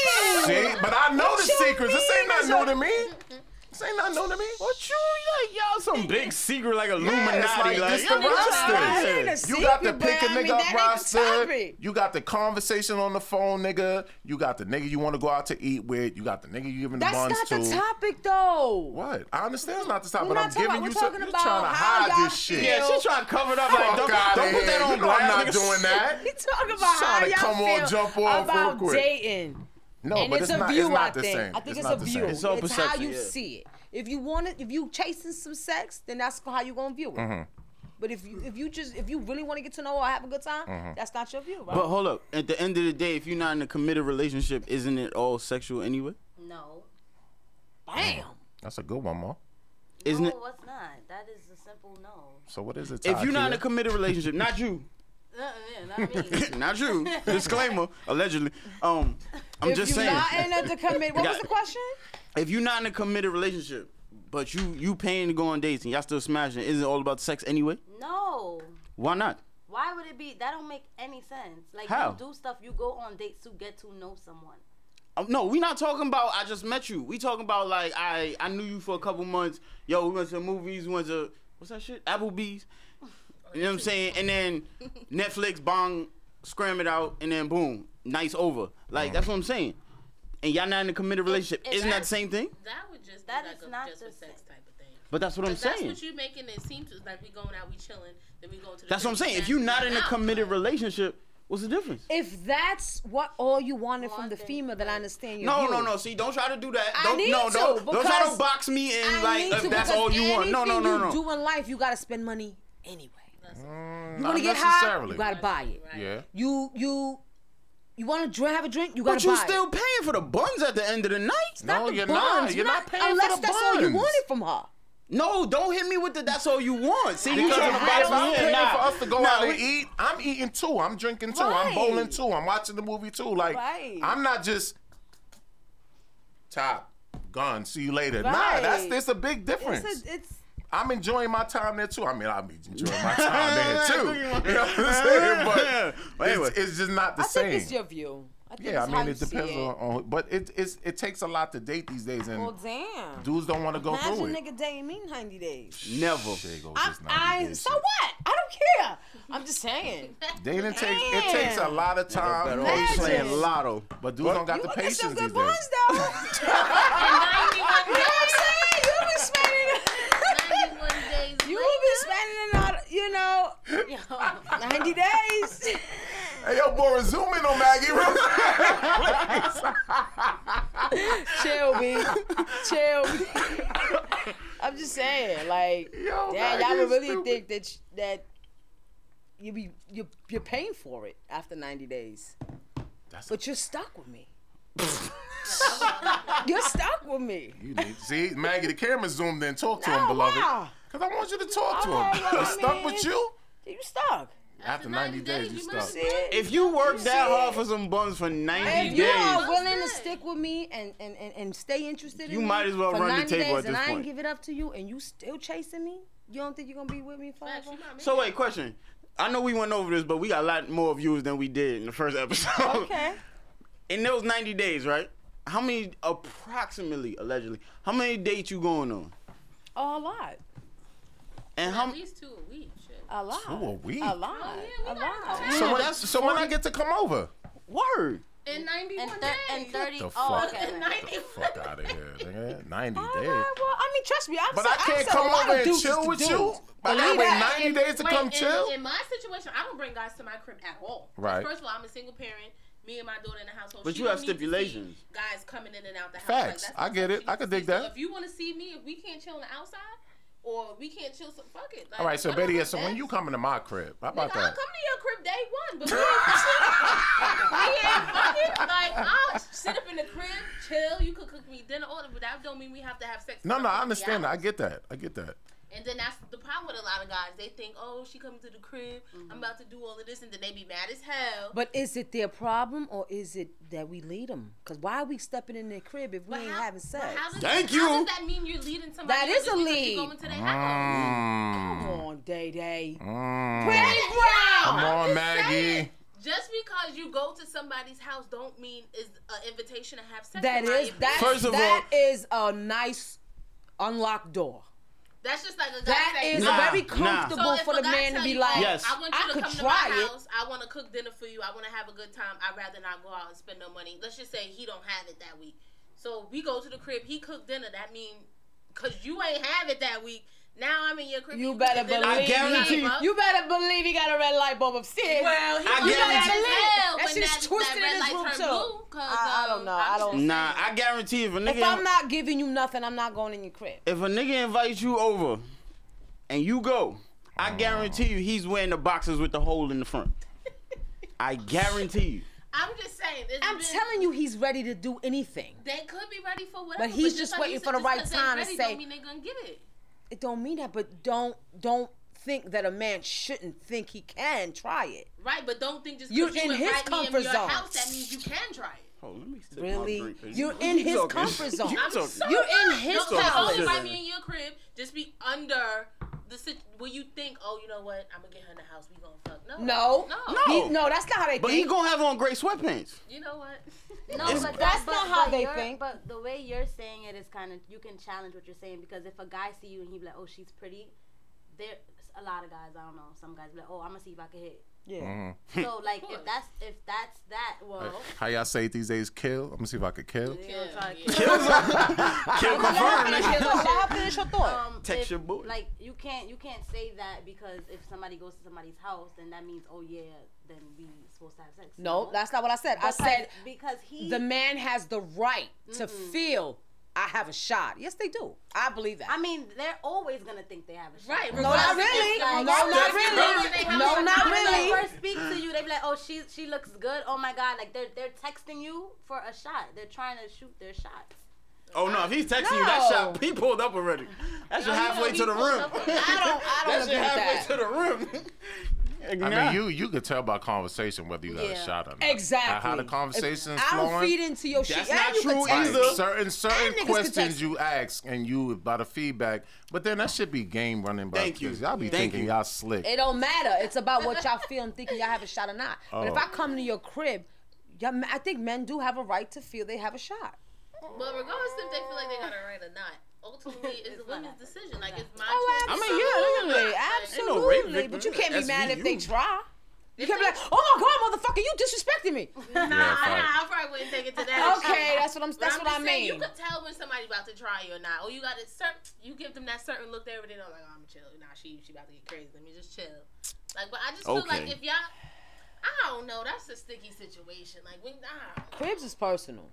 See, but I know the
What you
secrets. This ain't
mean
not
is
new
a-
to me. This ain't not new to me. What you like, y'all?
Some big secret like Illuminati.
Yeah, it's like,
like,
this the roster. You got to pick a nigga up roster.
topic.
You got the conversation on the phone, nigga. You got the nigga you want to go out to eat with. You got the nigga you giving the
That's
buns
not
to.
the topic though.
What? I understand it's not the topic,
We're
but I'm
not talking-
giving
we're
you some.
talking
You're
about
trying to
how
hide
y'all
this shit.
Yeah, she trying to cover it up. Like,
Fuck
don't,
outta
don't put
here.
that on
You know
blast.
I'm not
nigga.
doing that.
He talking about
She's
how
trying to
y'all
come on,
feel
jump off
about
real quick.
dating.
No,
and
but
it's,
it's
a
not- it's
view.
not
I
the
think.
same.
I think
It's
it's,
not
a
the
view.
same.
It's,
It's all
how
perception,
you
yeah.
see it. If you want it, if you chasing some sex, then that's how you gonna view it.
Mm-hmm.
Mhm.
But if you if you just if you really want to get to know her, have a good time,
Mm-hmm.
Mhm.
that's not your view, right?
But hold up. At the end of the day, if you're not in a committed relationship, isn't it all sexual anyway?
No.
Bam.
That's a good one, Ma.
Isn't
no,
it?
it's not. That is a simple no.
So what is it?
If you're not in a
Takia?
committed relationship, not you,
Uh, yeah, not me.
not you. Disclaimer, allegedly. Um, I'm
if
just
you
saying.
Not in a commit. What was
Got-
the question?
if you're not in a committed relationship, but you you paying to go on dates and y'all still smashing, isn't it all about sex anyway?
No.
Why not?
Why would it be? That don't make any sense. Like
How?
you do stuff. You go on dates to get to know someone.
Um, no, we not talking about I just met you. We talking about like I I knew you for a couple months. Yo, we went to the movies, we went to what's that shit? Applebee's. You know what I'm saying? And then Netflix bong scram it out and then boom, night's over. Like that's what I'm saying. And y'all not in a committed relationship.
if
Isn't that
that-
the same thing?
That would just that is not just a sex type of thing.
But that's what I'm
'Cause that's
saying.
what you making it seem to like we going out, we chilling, then we going to. The
That's what I'm
crib,
saying. If
snack,
you're
we
not in a
out.
committed relationship, what's the difference?
If that's what all you wanted from the female, then I understand your
No,
view.
no, no. See, don't try to do that.
I
Don't,
need
no,
to,
don't, don't try
because
to box me in
I
like
uh,
need
if
to,
that's
because
all you want. No, no,
anything
no,
you
no.
do in life, you gotta spend money anyway. You
Mm, not
want to get high,
necessarily.
you gotta buy it.
Yeah.
You you you want to drink, have a drink, you gotta
but you
buy it.
still paying for the buns at the end of the night.
No, you're not. You're not paying for
unless
the
that's all you
buns.
wanted from her.
No, don't hit me with the. That's all you want. See, you
Because
trying
if
to
I- if I'm
box me in
paying
Nah.
for us to go
Nah,
out and
we-
eat, I'm eating too. I'm drinking too. I'm
Right.
bowling too. I'm watching the movie too. Like
Right.
I'm not just top gone. See you later. Nah,
Right.
that's there's a big difference.
It's, a, it's
I'm enjoying my time there too. I mean, I'm enjoying my time there too. You know what I'm saying? But,
anyway.
it's, it's just not the
I
same.
think it's your view. I think
yeah, I
it's how
mean,
you
it
see
depends on, on. But it it's, it takes a lot to date these days, and
Well, damn.
dudes don't want to go
Imagine
through it.
nigga dating me 90 days.
Never.
I, I so what? I don't care. I'm just saying.
Dating takes it takes a
Damn.
lot of time.
better off playing
patience.
lotto.
But dudes don't got the
Get some
patience these
good
days.
buns though. you know what I'm saying? You be spending. You be spending a lot. of- You know, 90 days.
Hey, yo, boy, zoom in on Maggie.
Chill, B. Chill. B. I'm just saying, like, damn,
Maggie
y'all
is
would really
stupid.
think that sh- that you be you you're paying for it after 90 days. but you're stuck with me. you're stuck with me.
You need see Maggie. The camera zoomed in. Talk to
Nah,
him, beloved.
why?
Cause I want you to talk to him.
Alright, Oh, well,
I'm
I
stuck
mean,
with you.
You stuck.
After 90 days, you stuck.
If you work that hard for some buns for 90
If
days,
you are willing to stick with me and, and, and, and stay interested in
You
me
might as well
for
run the
90
table
days
at
and
this
I ain't
point.
give it up to you and you still chasing me, you don't think you're going to be with me forever?
So uh, wait, question. I know we went over this, but we got a lot more views than we did in the first episode.
Okay.
in those 90 days, right? How many, approximately, allegedly, how many dates you going on?
Oh, a lot.
And how
At least two a week. Shit. Oh,
A lot.
Two a week?
A lot. a lot.
So when, that's, so when I get to come over?
Word.
In 91
And
days.
thir- and 30
The
oh,
fuck?
okay.
Get the fuck out of here, nigga. 90 days.
Well, I mean, trust me, I've
But
said,
I can't
have
come
a lot
over
of
and
dudes
chill
to
with
do.
you? But I
Believe
wait
that.
90 days to
Wait,
come
in,
chill?
In my situation, I don't bring guys to my crib at all. 'Cause
Right.
First of all, I'm a single parent. Me and my daughter in the household.
But
She
you have
don't need to see
stipulations.
Guys coming in and out the house. Like,
Facts.
that's
I get it. I could dig that.
If you want to see me, if we can't chill on the outside, or we can't chill, so fuck it. Like,
All right, so
I don't
Betty,
have
so
that.
when you coming to my crib, how
Nigga,
about
I'll
that?
come to your crib day one, but we ain't, we ain't fucking. Like, I'll sit up in the crib, chill. You could cook me dinner, all that, but that don't mean we have to have sex.
No, no, I
Yeah.
understand that. I get that. I get that.
And then that's the problem with a lot of guys. They think, oh, she coming to the crib. I'm about to do all of this, and then they be mad as hell.
But is it their problem or is it that we lead them? Because why are we stepping in their crib if we ain't having sex?
How does, How does that mean you're leading somebody?
That is a lead.
Mm.
Come on, Day Day.
Mm.
Pretty brown.
Come
I'm
on,
just
Maggie.
Just because you go to somebody's house don't mean is an invitation to have sex.
That
in my
is that.
First of
that is a nice unlocked door.
That's just like a guy
That
saying,
is
Nah,
very
nah.
comfortable
So if
for
a
the
guy
man to
tell
be
you,
like,
"Oh,
Yes.
I want you
I
to
could
come to
try
my
it.
house. I want to cook dinner for you. I want to have a good time. I'd rather not go out and spend no money. Let's just say he don't have it that week. So we go to the crib. He cooked dinner. That mean because you ain't have it that week. Now I'm in your crib.
You better believe.
I guarantee.
he, you better believe he got a red light bulb upstairs.
Well, he
you
was mad
better
as hell
believe that
when
shit's
that- that
twisted
red
in
light
his room
turned
too.
blue, 'cause, um,
I, I don't know. I don't.
Nah, I guarantee if a nigga
If I'm not giving you nothing, I'm not going in your crib.
if a nigga invites you over and you go, I guarantee you he's wearing the boxes with the hole in the front. I guarantee you.
I'm just saying. it's
I'm
been-
telling you, he's ready to do anything.
They could be ready for whatever.
But he's just
like
waiting
you said,
for the right
'cause they
time to
ready
say-
Don't mean they gonna get it.
It don't mean that, but don't don't think that a man shouldn't think he can try it.
Right, but don't think just 'cause
You're
you
in his
invite me in
comfort
your
zone.
house that means you can try it.
Hold on, let me sip my
Really,
drink, 'cause
you're
you-
in
you
his
talking-
comfort zone.
you talking-
You're in his
no, Don't
comfort
invite
zone.
me in your crib. Just be under the sit where you think, oh, you know what? I'm gonna get her in the house. We gonna fuck. No,
No,
no.
He- no, that's not how they
But he
think.
gonna have on gray sweatpants.
You know what?
No,
It's-
but
That's
but-
not
but
how they
you're-
think.
But the way you're saying it is kind of you can challenge what you're saying because if a guy see you and he be like, "Oh, she's pretty," there's a lot of guys. I don't know. Some guys be like, "Oh, I'm gonna see if I can hit."
Mhm.
So like, if that's if that's that, well,
um,
How y'all say it these days? Kill. I'm gonna see if I could kill.
Kill,
Kill
Let her
confirmed.
finish her thought. Let her
finish her
thought.
Text
Um, if-
your boy.
Like you can't you can't say that because if somebody goes to somebody's house, then that means oh yeah, then we supposed to have sex.
No, that's not what I said.
Because-
I said
because he
the man has the right to
Mm-mm.
feel I have a shot. Yes, they do. I believe that.
I mean, they're always gonna think they have a shot.
Right, No, not regardless really. if it's No, like- not really. No, not really.
When they first speak to you, they be like, "Oh, she she looks good. Oh my god!" Like they're they're texting you for a shot. They're trying to shoot their shots.
Oh no, if he's texting you that shot, he pulled up already. That's your halfway to the rim. I don't
I
That's your halfway
that.
to the rim.
I
Nah.
mean, you you could tell by conversation whether you got a shot or not.
Exactly.
How- How the conversation's
I
flowing.
don't feed into your shit.
That's
And
not
you
true
can text
either.
me.
Certain
And niggas
certain
can
questions
text-
you ask and you by the feedback, but then that should be game running by.
Thank you.
because Y'all be
Thank
thinking
you.
all slick.
It don't matter. It's about what y'all feel and thinking y'all have a shot or not. But if
Oh.
I come to your crib, y'all, I think men do have a right to feel they have a shot.
But regardless if they feel like they got it right or not, ultimately it's the women's decision. Like it's my
Oh,
choice.
absolutely,
Ain't
no rape
absolutely. But you
victim.
can't be
That's
mad
me,
if they
you.
try. You can't be like, oh my god, motherfucker, you disrespecting me.
Nah, nah, I probably wouldn't take it to that.
Okay,
extreme.
that's what I'm-
But
that's what
just
I
saying, You
mean.
could tell when somebody's about to try you or not, or you got a certain. You give them that certain look there, but they know like, oh, I'm chill. Nah, she she about to get crazy. Let me just chill. Like, but I just feel like
Okay.
if y'all, I don't know, that's a sticky situation. Like, when nah,
Cribs is personal.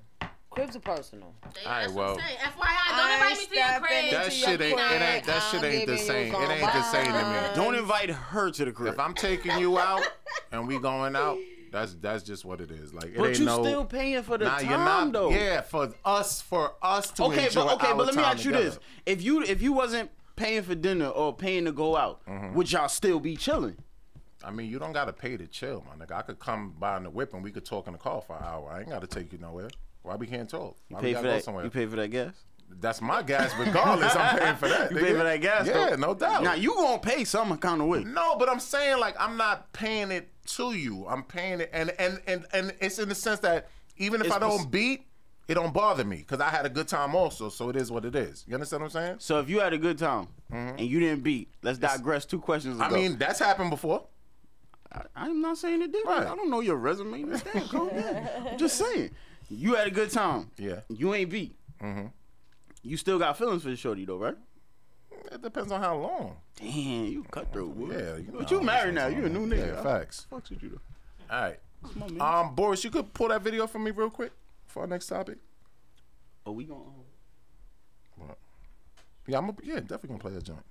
Cribs are personal.
All right, well.
hey, FYI, don't invite me to your crib.
That shit ain't, it ain't that shit ain't the same. It ain't the same to me.
Don't invite her to the crib.
If I'm taking you out and we going out, that's that's just what it is. Like it
But
ain't
you
no,
still paying for the
Nah,
time
you're not,
though.
Yeah, for us for us to
okay,
enjoy
but okay,
our
but let me
time
ask you
together.
this: if you if you wasn't paying for dinner or paying to go out, would y'all still be chilling?
Mm-hmm. I mean, you don't gotta pay to chill, my nigga. I could come by in the whip and we could talk in the car for an hour. I ain't gotta take you nowhere. Why we can't talk?
You
Why
pay
we
for
gotta go
that.
somewhere?
You pay for that gas.
That's my gas, regardless. I'm paying for that.
You
nigga.
pay for that gas,
Yeah,
though.
no doubt.
Now, you
gonna pay some kind of way. No, but I'm saying like I'm not paying it to you. I'm paying it, and and and and it's in the sense that even if
It's
I
pers-
don't beat, it don't bother me because I had a good time also. So it is what it is. You understand what I'm saying?
So if you had a good time and you didn't beat, let's digress two questions ago.
Mm-hmm. I mean, that's happened before.
I'm not saying it did.
Right.
I don't know your resume. It's damn cool. I'm just saying. You had a good time.
Yeah.
You ain't beat. Mm-hmm. You still got feelings for the shorty though, right?
It depends on how long.
Damn, you cutthroat. Wood.
Yeah, you
but
know,
you married now. You a new nigga.
Yeah, facts.
Fucks with you though.
All right.
Come on, man.
Um, Boris, you could pull that video for me real quick for our next topic.
Are Oh, we um, going?
Yeah, I'm. A, yeah, definitely gonna play that joint.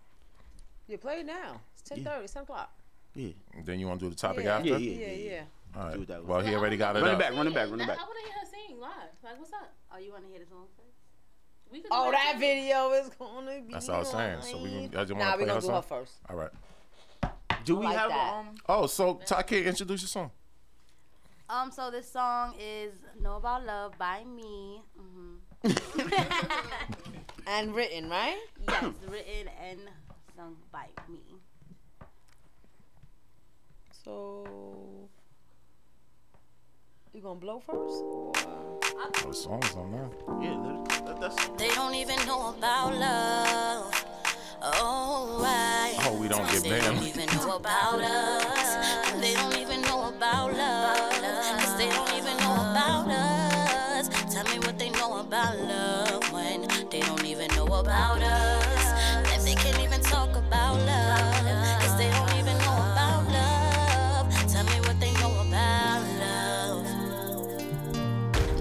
You play it now. It's 10:30, 7 o'clock.
Yeah. Then you want to do the topic
Yeah.
after?
Yeah, yeah, yeah, yeah.
All right. well, he already got it.
Run it
up.
back, run it back, run it
I want to hear her sing live. Like, what's up?
Oh, you want to hear the song first?
We could do
Oh,
it
that
too.
video is gonna be.
That's what I was saying. So we gonna, I just
Nah,
want to
we
play
gonna
her
do
song.
her first.
All right.
Do
we Like have a, that. um,
Oh, so Take, introduce your song.
Um, so this song is "Know About Love" by me. hmm
and written, right?
Yes, written and sung by me.
So you gonna blow first?
What Oh, song is on there?
Yeah, that's.
They don't even know about love. Oh, right.
Oh, we don't give
They don't
them.
even know about us. They don't even know about love. 'Cause they don't even know about us. Tell me what they know about love when they don't even know about us. If they can't even talk about love. 'cause they don't even know about love. Tell me what they know about love.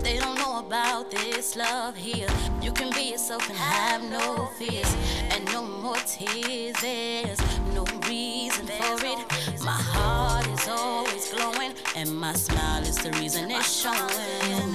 They don't know about this love here. You can be yourself and have no fears. And no more tears. There's no reason for it. My heart is always glowing. And my smile is the reason it's showing.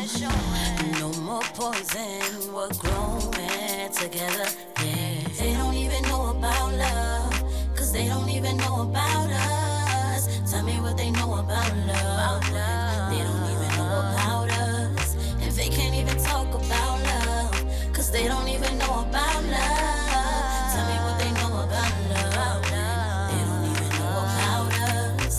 No more poison. We're growing together. Yeah. They don't even know about love. Cause they don't even know about us. Tell me what they know about love. They don't even know about us. And they can't even talk about love. Cause they don't even know about love. Tell me what they know about love. They don't even know about us.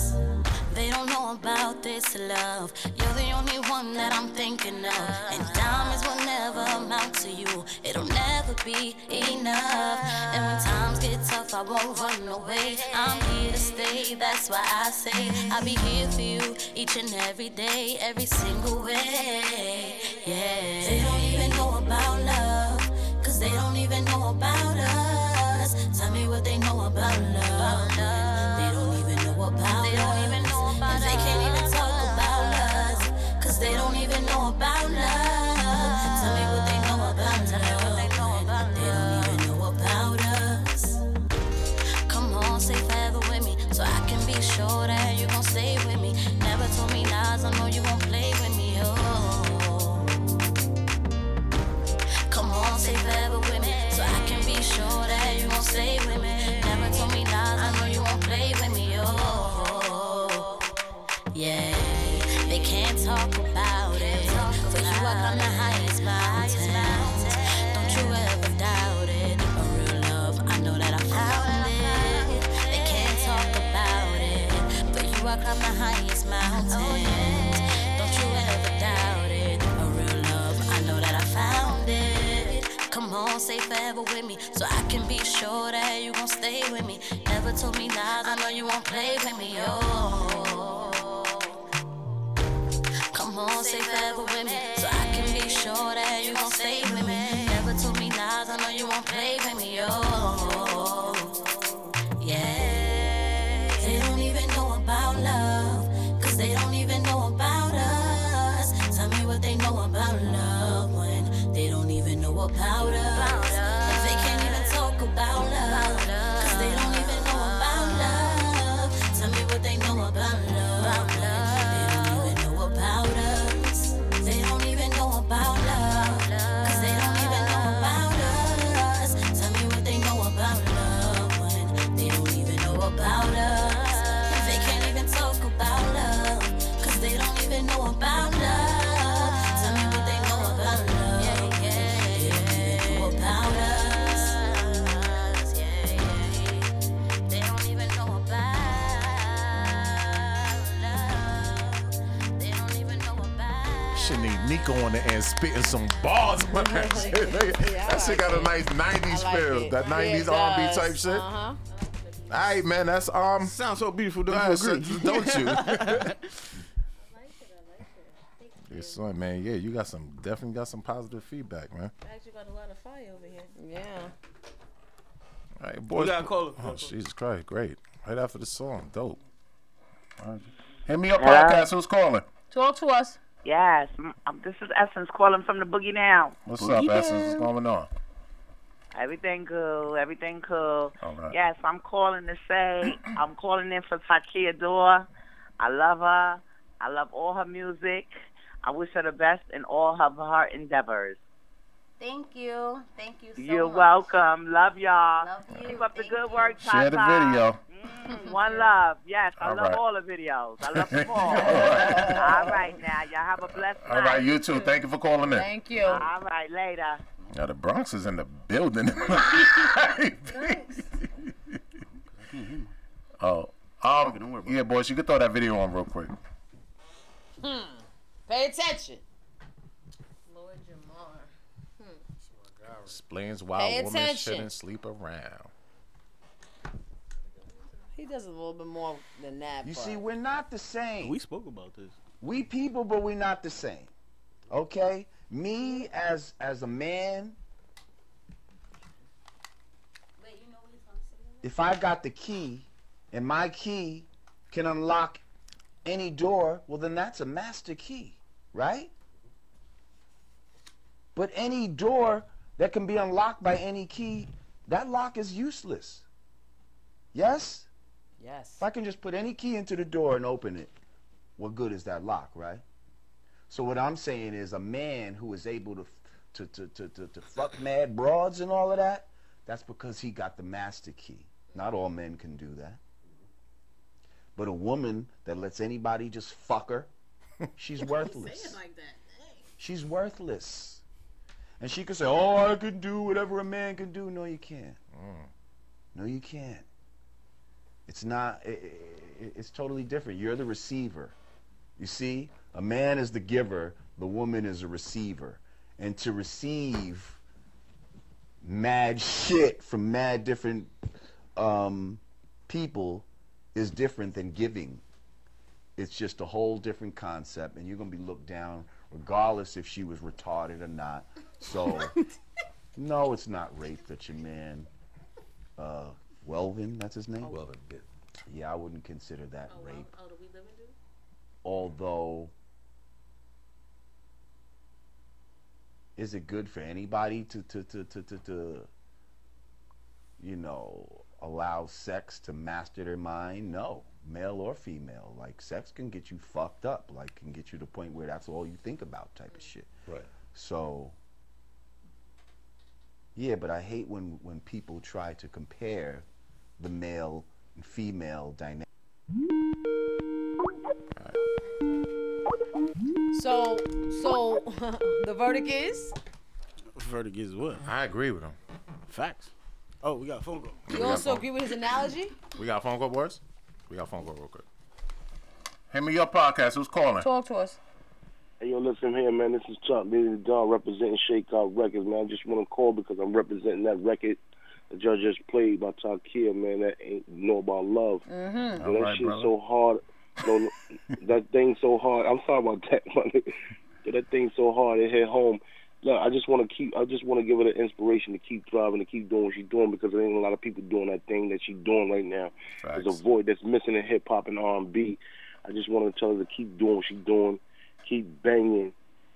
They don't know about this love. You're the only one that I'm thinking of. And diamonds will never amount to you. It'll never be enough. And when times get tough, I won't run away. I'm here to stay, that's why I say I'll be here for you each and every day, every single way. Yeah. They don't even know about love. Cause they don't even know about us. Tell me what they know about love. They don't even know about they don't even know about they can't even talk about us. Cause they don't even know about love. Tell me what they know about love. They don't even know about us. Come on, stay forever with me. So I can be sure that you gon' stay with me. Never told me lies, I know you won't play with me. Oh. Come on, stay forever with me. So I can be sure that you gon' stay with me. Never told me lies, I know you won't play with me. Oh, yeah. They can't talk about it. For you, I climb the highest mountain. Don't you ever doubt it. A real love, I know that I found it. They can't talk about it. For you, I climb the highest mountain. Don't you ever doubt it. A real love, I know that I found it. Come on, stay forever with me, so I can be sure that you gon' stay with me. Never told me lies, I know you won't play with me. Oh. Come on, stay forever with me, so I can be sure that you gon' stay with me. Never told me lies, I know you won't play with me. Oh. Yeah. They don't even know about love. Cause they don't even know about us. Tell me what they know about love when they don't even know about us. If they can't even talk about love. Cause they don't even know about love. Tell me what they know about love. They don't even know about us. They don't even know about love. Cause they don't even know about us. Tell me what they know about love when they don't even know about us. If they can't even talk about love. Cause they don't even know about love. Tell me what they know about love. Yeah, yeah, yeah. They don't even know about
should need Nico on the end spitting some bars on that shit. nigga.
Yeah, I
that shit
like
got a
it.
nice 90s
I like
feel.
it.
That
Yeah, it
90s R&B
does.
type shit.
Uh-huh.
All right, man, that's um. Sounds so beautiful, don't you
agree?
Don't you? Yes, sir, man. Yeah, you got some. Definitely got some positive feedback, man.
Actually, got a lot of fire over here.
Yeah.
All right, boys.
gotta call it.
Oh, Jesus Christ, great! Right after the song, dope. All right. Hit me up,
Hello?
podcast. Who's calling?
Talk to us. Yes, m- um, this is Essence calling from the Boogie Now.
What's up, Essence? What's going on?
Everything cool. Everything cool.
All right.
Yes, I'm calling to say I'm calling in for Takia Dor. I love her. I love all her music. I wish her the best in all of her endeavors.
Thank you. Thank you so
You're
much.
welcome. Love y'all.
Love you.
Keep up the good work,
Share the
Tata.
video.
Mm, One love. Yes, I
All
love
right.
all the videos. I love them all. all right now. Y'all have a blessed
All right, you too. Thank you for calling in.
you. All right, later.
Yeah, the Bronx is in the building. oh, um, yeah, boys, you can throw that video on real quick.
Hmm. Pay attention.
Lord Jamar.
Explains why
Pay
women
attention.
shouldn't sleep around.
He does a little bit more than that.
You
but-
see, we're not the same.
We spoke about this.
We people, but we're not the same. Okay? Me as as a man, if I got the key and my key can unlock any door, well then that's a master key, right? But any door that can be unlocked by any key, that lock is useless. Yes?
Yes.
If I can just put any key into the door and open it, what good is that lock, right? So what I'm saying is a man who is able to to to to, to, to fuck mad broads and all of that, that's because he got the master key. Not all men can do that. But a woman that lets anybody just fuck her, she's worthless.
like that.
She's worthless. And she could say, Oh, I can do whatever a man can do. No, you can't. No, you can't. It's not, i i- i it's totally different. You're the receiver. You see, a man is the giver, the woman is a receiver. And to receive mad shit from mad different um, people is different than giving. It's just a whole different concept, and you're going to be looked down regardless if she was retarded or not. So, no, it's not rape that your man, uh, Welvin, that's his name? Welvin, yeah. I wouldn't consider that rape
Oh, do we live in dude?
although is it good for anybody to to to to to, to you know allow sex to master their mind no male or female like sex can get you fucked up like can get you to the point where that's all you think about type of shit
right
so yeah but i hate when when people try to compare the male and female dynamic
So, so the verdict is
Verdict is what?
I agree with him.
Facts. Oh, we got a phone call.
you also agree with his analogy.
We got a phone call, boys? We got a phone call real quick. Hit me your podcast. Who's calling?
Talk to us.
Hey, yo, listen here, man. This is Chuck Leader the Dog representing Shake Out Records, man. I just want to call because I'm representing that record that y'all just played by Takia, man. That ain't know about love.
Mm.
Mm-hmm.
Yo, that shit's so hard. No, that thing's so hard. I'm sorry about that, my nigga. Yo, that thing's so hard. It hit home. Look, I just want to keep. I just want to give her the inspiration to keep driving, to keep doing what she's doing because there ain't a lot of people doing that thing that she's doing right now. There's a void that's missing in hip hop and R&B. I just want to tell her to keep doing what she's doing, keep banging,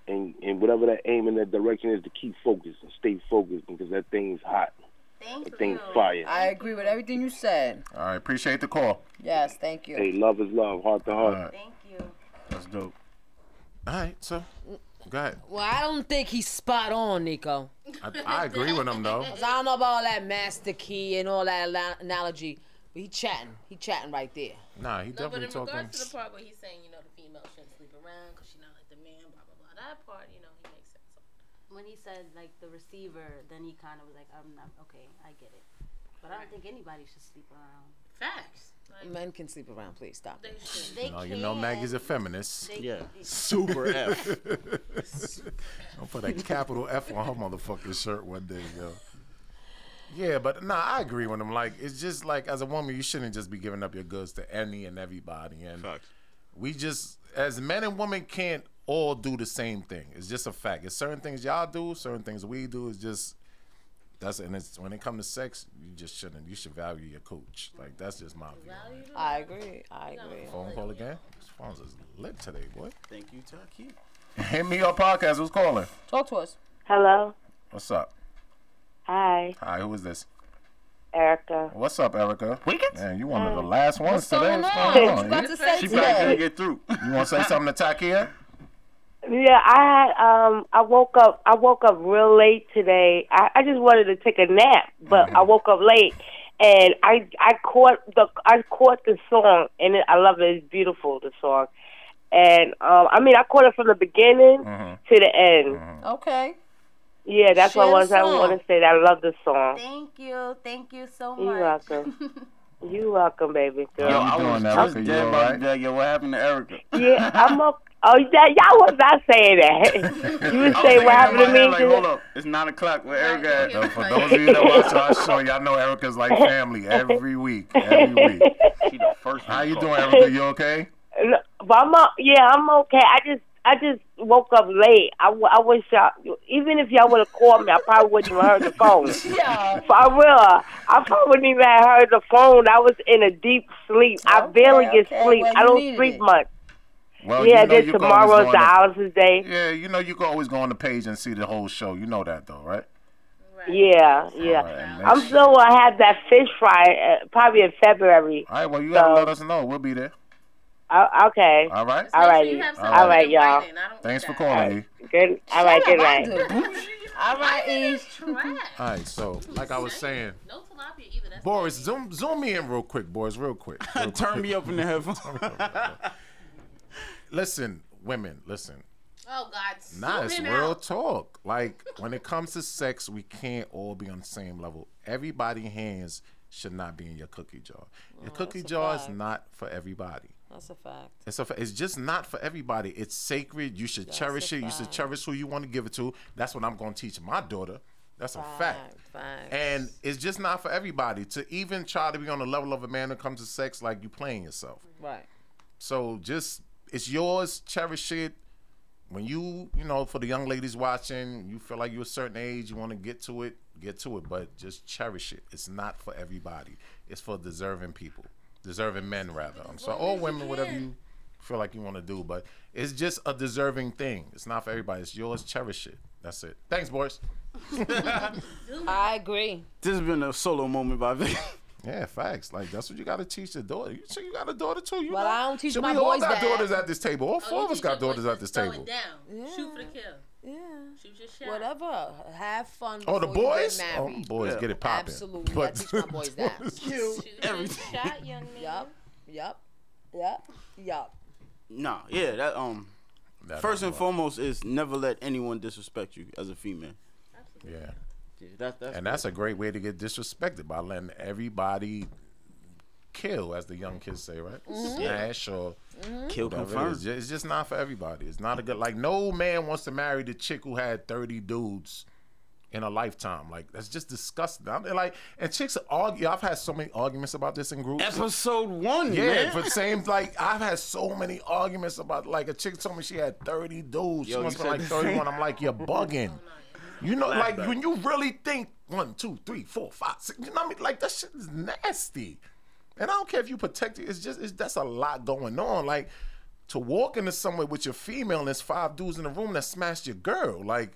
and and whatever that aim and that direction is, to keep focused and stay focused because that thing is hot. that thing's fire.
I agree with everything you said.
All right, appreciate the call.
Yes, thank you.
Hey, love is love, heart to heart.
Thank you.
That's dope. All right, so go ahead.
Well, I don't think he's spot on, Nico.
I, I agree with him though.
'Cause I don't know about all that master key and all that ala- analogy, but he chatting. He chatting right there.
Nah, he
No, but
definitely
in
talking.
regards to the part where he's saying, you know, the female shouldn't sleep around because she's not like the man, blah blah blah. That part, you know, he makes sense.
When he said like the receiver, then he kind of was like, I'm not okay. I get it, but I don't think anybody should sleep around.
Facts.
Men can sleep around. Please stop. it.
No, you know Maggie's a feminist.
Yeah.
Super F. I'll put a capital F on her motherfucking shirt one day, yo. Yeah, but nah, I agree with him. Like, it's just like as a woman, you shouldn't just be giving up your goods to any and everybody. And we just, as men and women, can't all do the same thing. It's just a fact. It's certain things y'all do, certain things we do. It's just that's and it's when it comes to sex, you just shouldn't. You should value your coach. Like that's just my view.
I agree. I agree.
Phone call again. This phone's is lit today, boy.
Thank you, Taki.
Hit me up, podcast. Who's calling?
Talk to us.
Hello.
What's up?
Hi,
Hi, who is this?
Erica.
What's up, Erica? Man, you one of the last ones
What's
today.
going
What's
on?
going
What you about
You-
to say
she probably
today?
couldn't get through. You want to say something to Takia?
Yeah, I had um I woke up I woke up real late today. I, I just wanted to take a nap, but I woke up late and I I caught the I caught the song and it, I love it. It's beautiful the song. And um I mean I caught it from the beginning
Mm-hmm.
to the end.
Okay.
Yeah, that's
Share
what I
the
was I
song.
want to say that I love the song.
Thank you. Thank you so
You
much.
welcome. You welcome, baby girl.
Yo, I was, I was dead about to die. Yo, what happened to Erica?
Yeah, I'm up. Oh, that, y'all was not saying that. You
I was
would say
thinking
what happened to
in my head,
me?
Like, hold up, it's nine o'clock. Where Erica at?
No, for those of you that watch our show, y'all know Erica's like family every week. Every week.
She the first.
How you doing, Erica? You okay?
Look, But I'm o- yeah, I'm okay. I just I just woke up late. I, w- I wish y'all, even if y'all would have called me, I probably wouldn't have heard the phone.
Yeah.
For real, I probably wouldn't even have heard the phone. I was in a deep sleep. I barely get
okay.
sleep.
Well,
I
you
don't
needed
sleep
it.
much.
Well,
yeah,
you know
then
you can always go
tomorrow's
on
the
the-
Alice's day.
Yeah, you know you can always go on the page and see the whole show. You know that though, right?
Yeah, yeah. I'm still gonna have that fish fry uh, probably in February.
All right, well you gotta let us know. We'll be there.
O- okay.
All right.
All righty. All right, y'all.
Thanks for calling. E.
Good. All right. Good night.
All right, E. Eve.
All right, so like I was saying,
No tilapia either. That's
Boris, zoom zoom me in real quick, Boris, real quick. Turn me up in the headphones. listen, women, listen.
oh God.
Nah,
zoom
it's
in
real
out.
talk. Like when it comes to sex, we can't all be on the same level. Everybody' hands should not be in your cookie jar.
Oh,
Your cookie
that's a
jar is
fact.
not for everybody.
That's a fact.
It's a, fa- it's just not for everybody. It's sacred. You should cherish it. You should cherish who you want to give it to. That's what I'm going to teach my daughter. That's a fact.
Fact.
And it's just not for everybody to even try to be on the level of a man when it comes to sex like you playing yourself.
Right.
So just it's yours, cherish it. When you, you know, for the young ladies watching, you feel like you're a certain age, you want to get to it, get to it, but just cherish it. It's not for everybody. It's for deserving people. Deserving men rather. I'm sorry. Or women, whatever you feel like you want to do, but it's just a deserving thing. It's not for everybody. It's yours. Cherish it. That's it. Thanks, boys.
I agree.
This has been a solo moment by Vic. Yeah, facts. Like that's what you gotta teach the daughter. You, so you got a daughter too. You
Well,
know?
I don't teach
So
my
we all
boys
got
that.
daughters at this table. All four of us got daughters at this
Throw
table.
it down. Shoot for the kill.
Yeah.
Shoot your shot.
Whatever. Have fun.
Oh, the
before you get
boys? Oh,
married.
boys, get it popping.
Absolutely.
But-
I teach my boys that.
Boys,
Shoot
everything.
Shot, young man. Yup. Yup. Yup. Yup.
Nah, yeah, that um.
That
first
don't
and foremost is never let anyone disrespect you as a female.
Yeah.
Yeah, that, that's
and that's a great way to get disrespected by letting everybody kill, as the young kids say, right?
Mhm.
Smash or
Mhm. Kill
whatever it
confirmed.
is. Ju- It's just not for everybody. It's not a good like. No man wants to marry the chick who had thirty dudes in a lifetime. Like that's just disgusting. I'm, like, and chicks argue. I've had so many arguments about this in groups.
Episode one,
yeah.
man.
For the same, like I've had so many arguments about like a chick told me she had thirty dudes. she
Yo, you
must be
said
like
the
thirty one.
same-
I'm like, you're bugging. You know, like
Flashback.
when you really think one, two, three, four, five, six. You know what I mean? Like that shit is nasty. And I don't care if you protect it. It's just it's that's a lot going on. Like to walk into somewhere with your female and there's five dudes in the room that smashed your girl. Like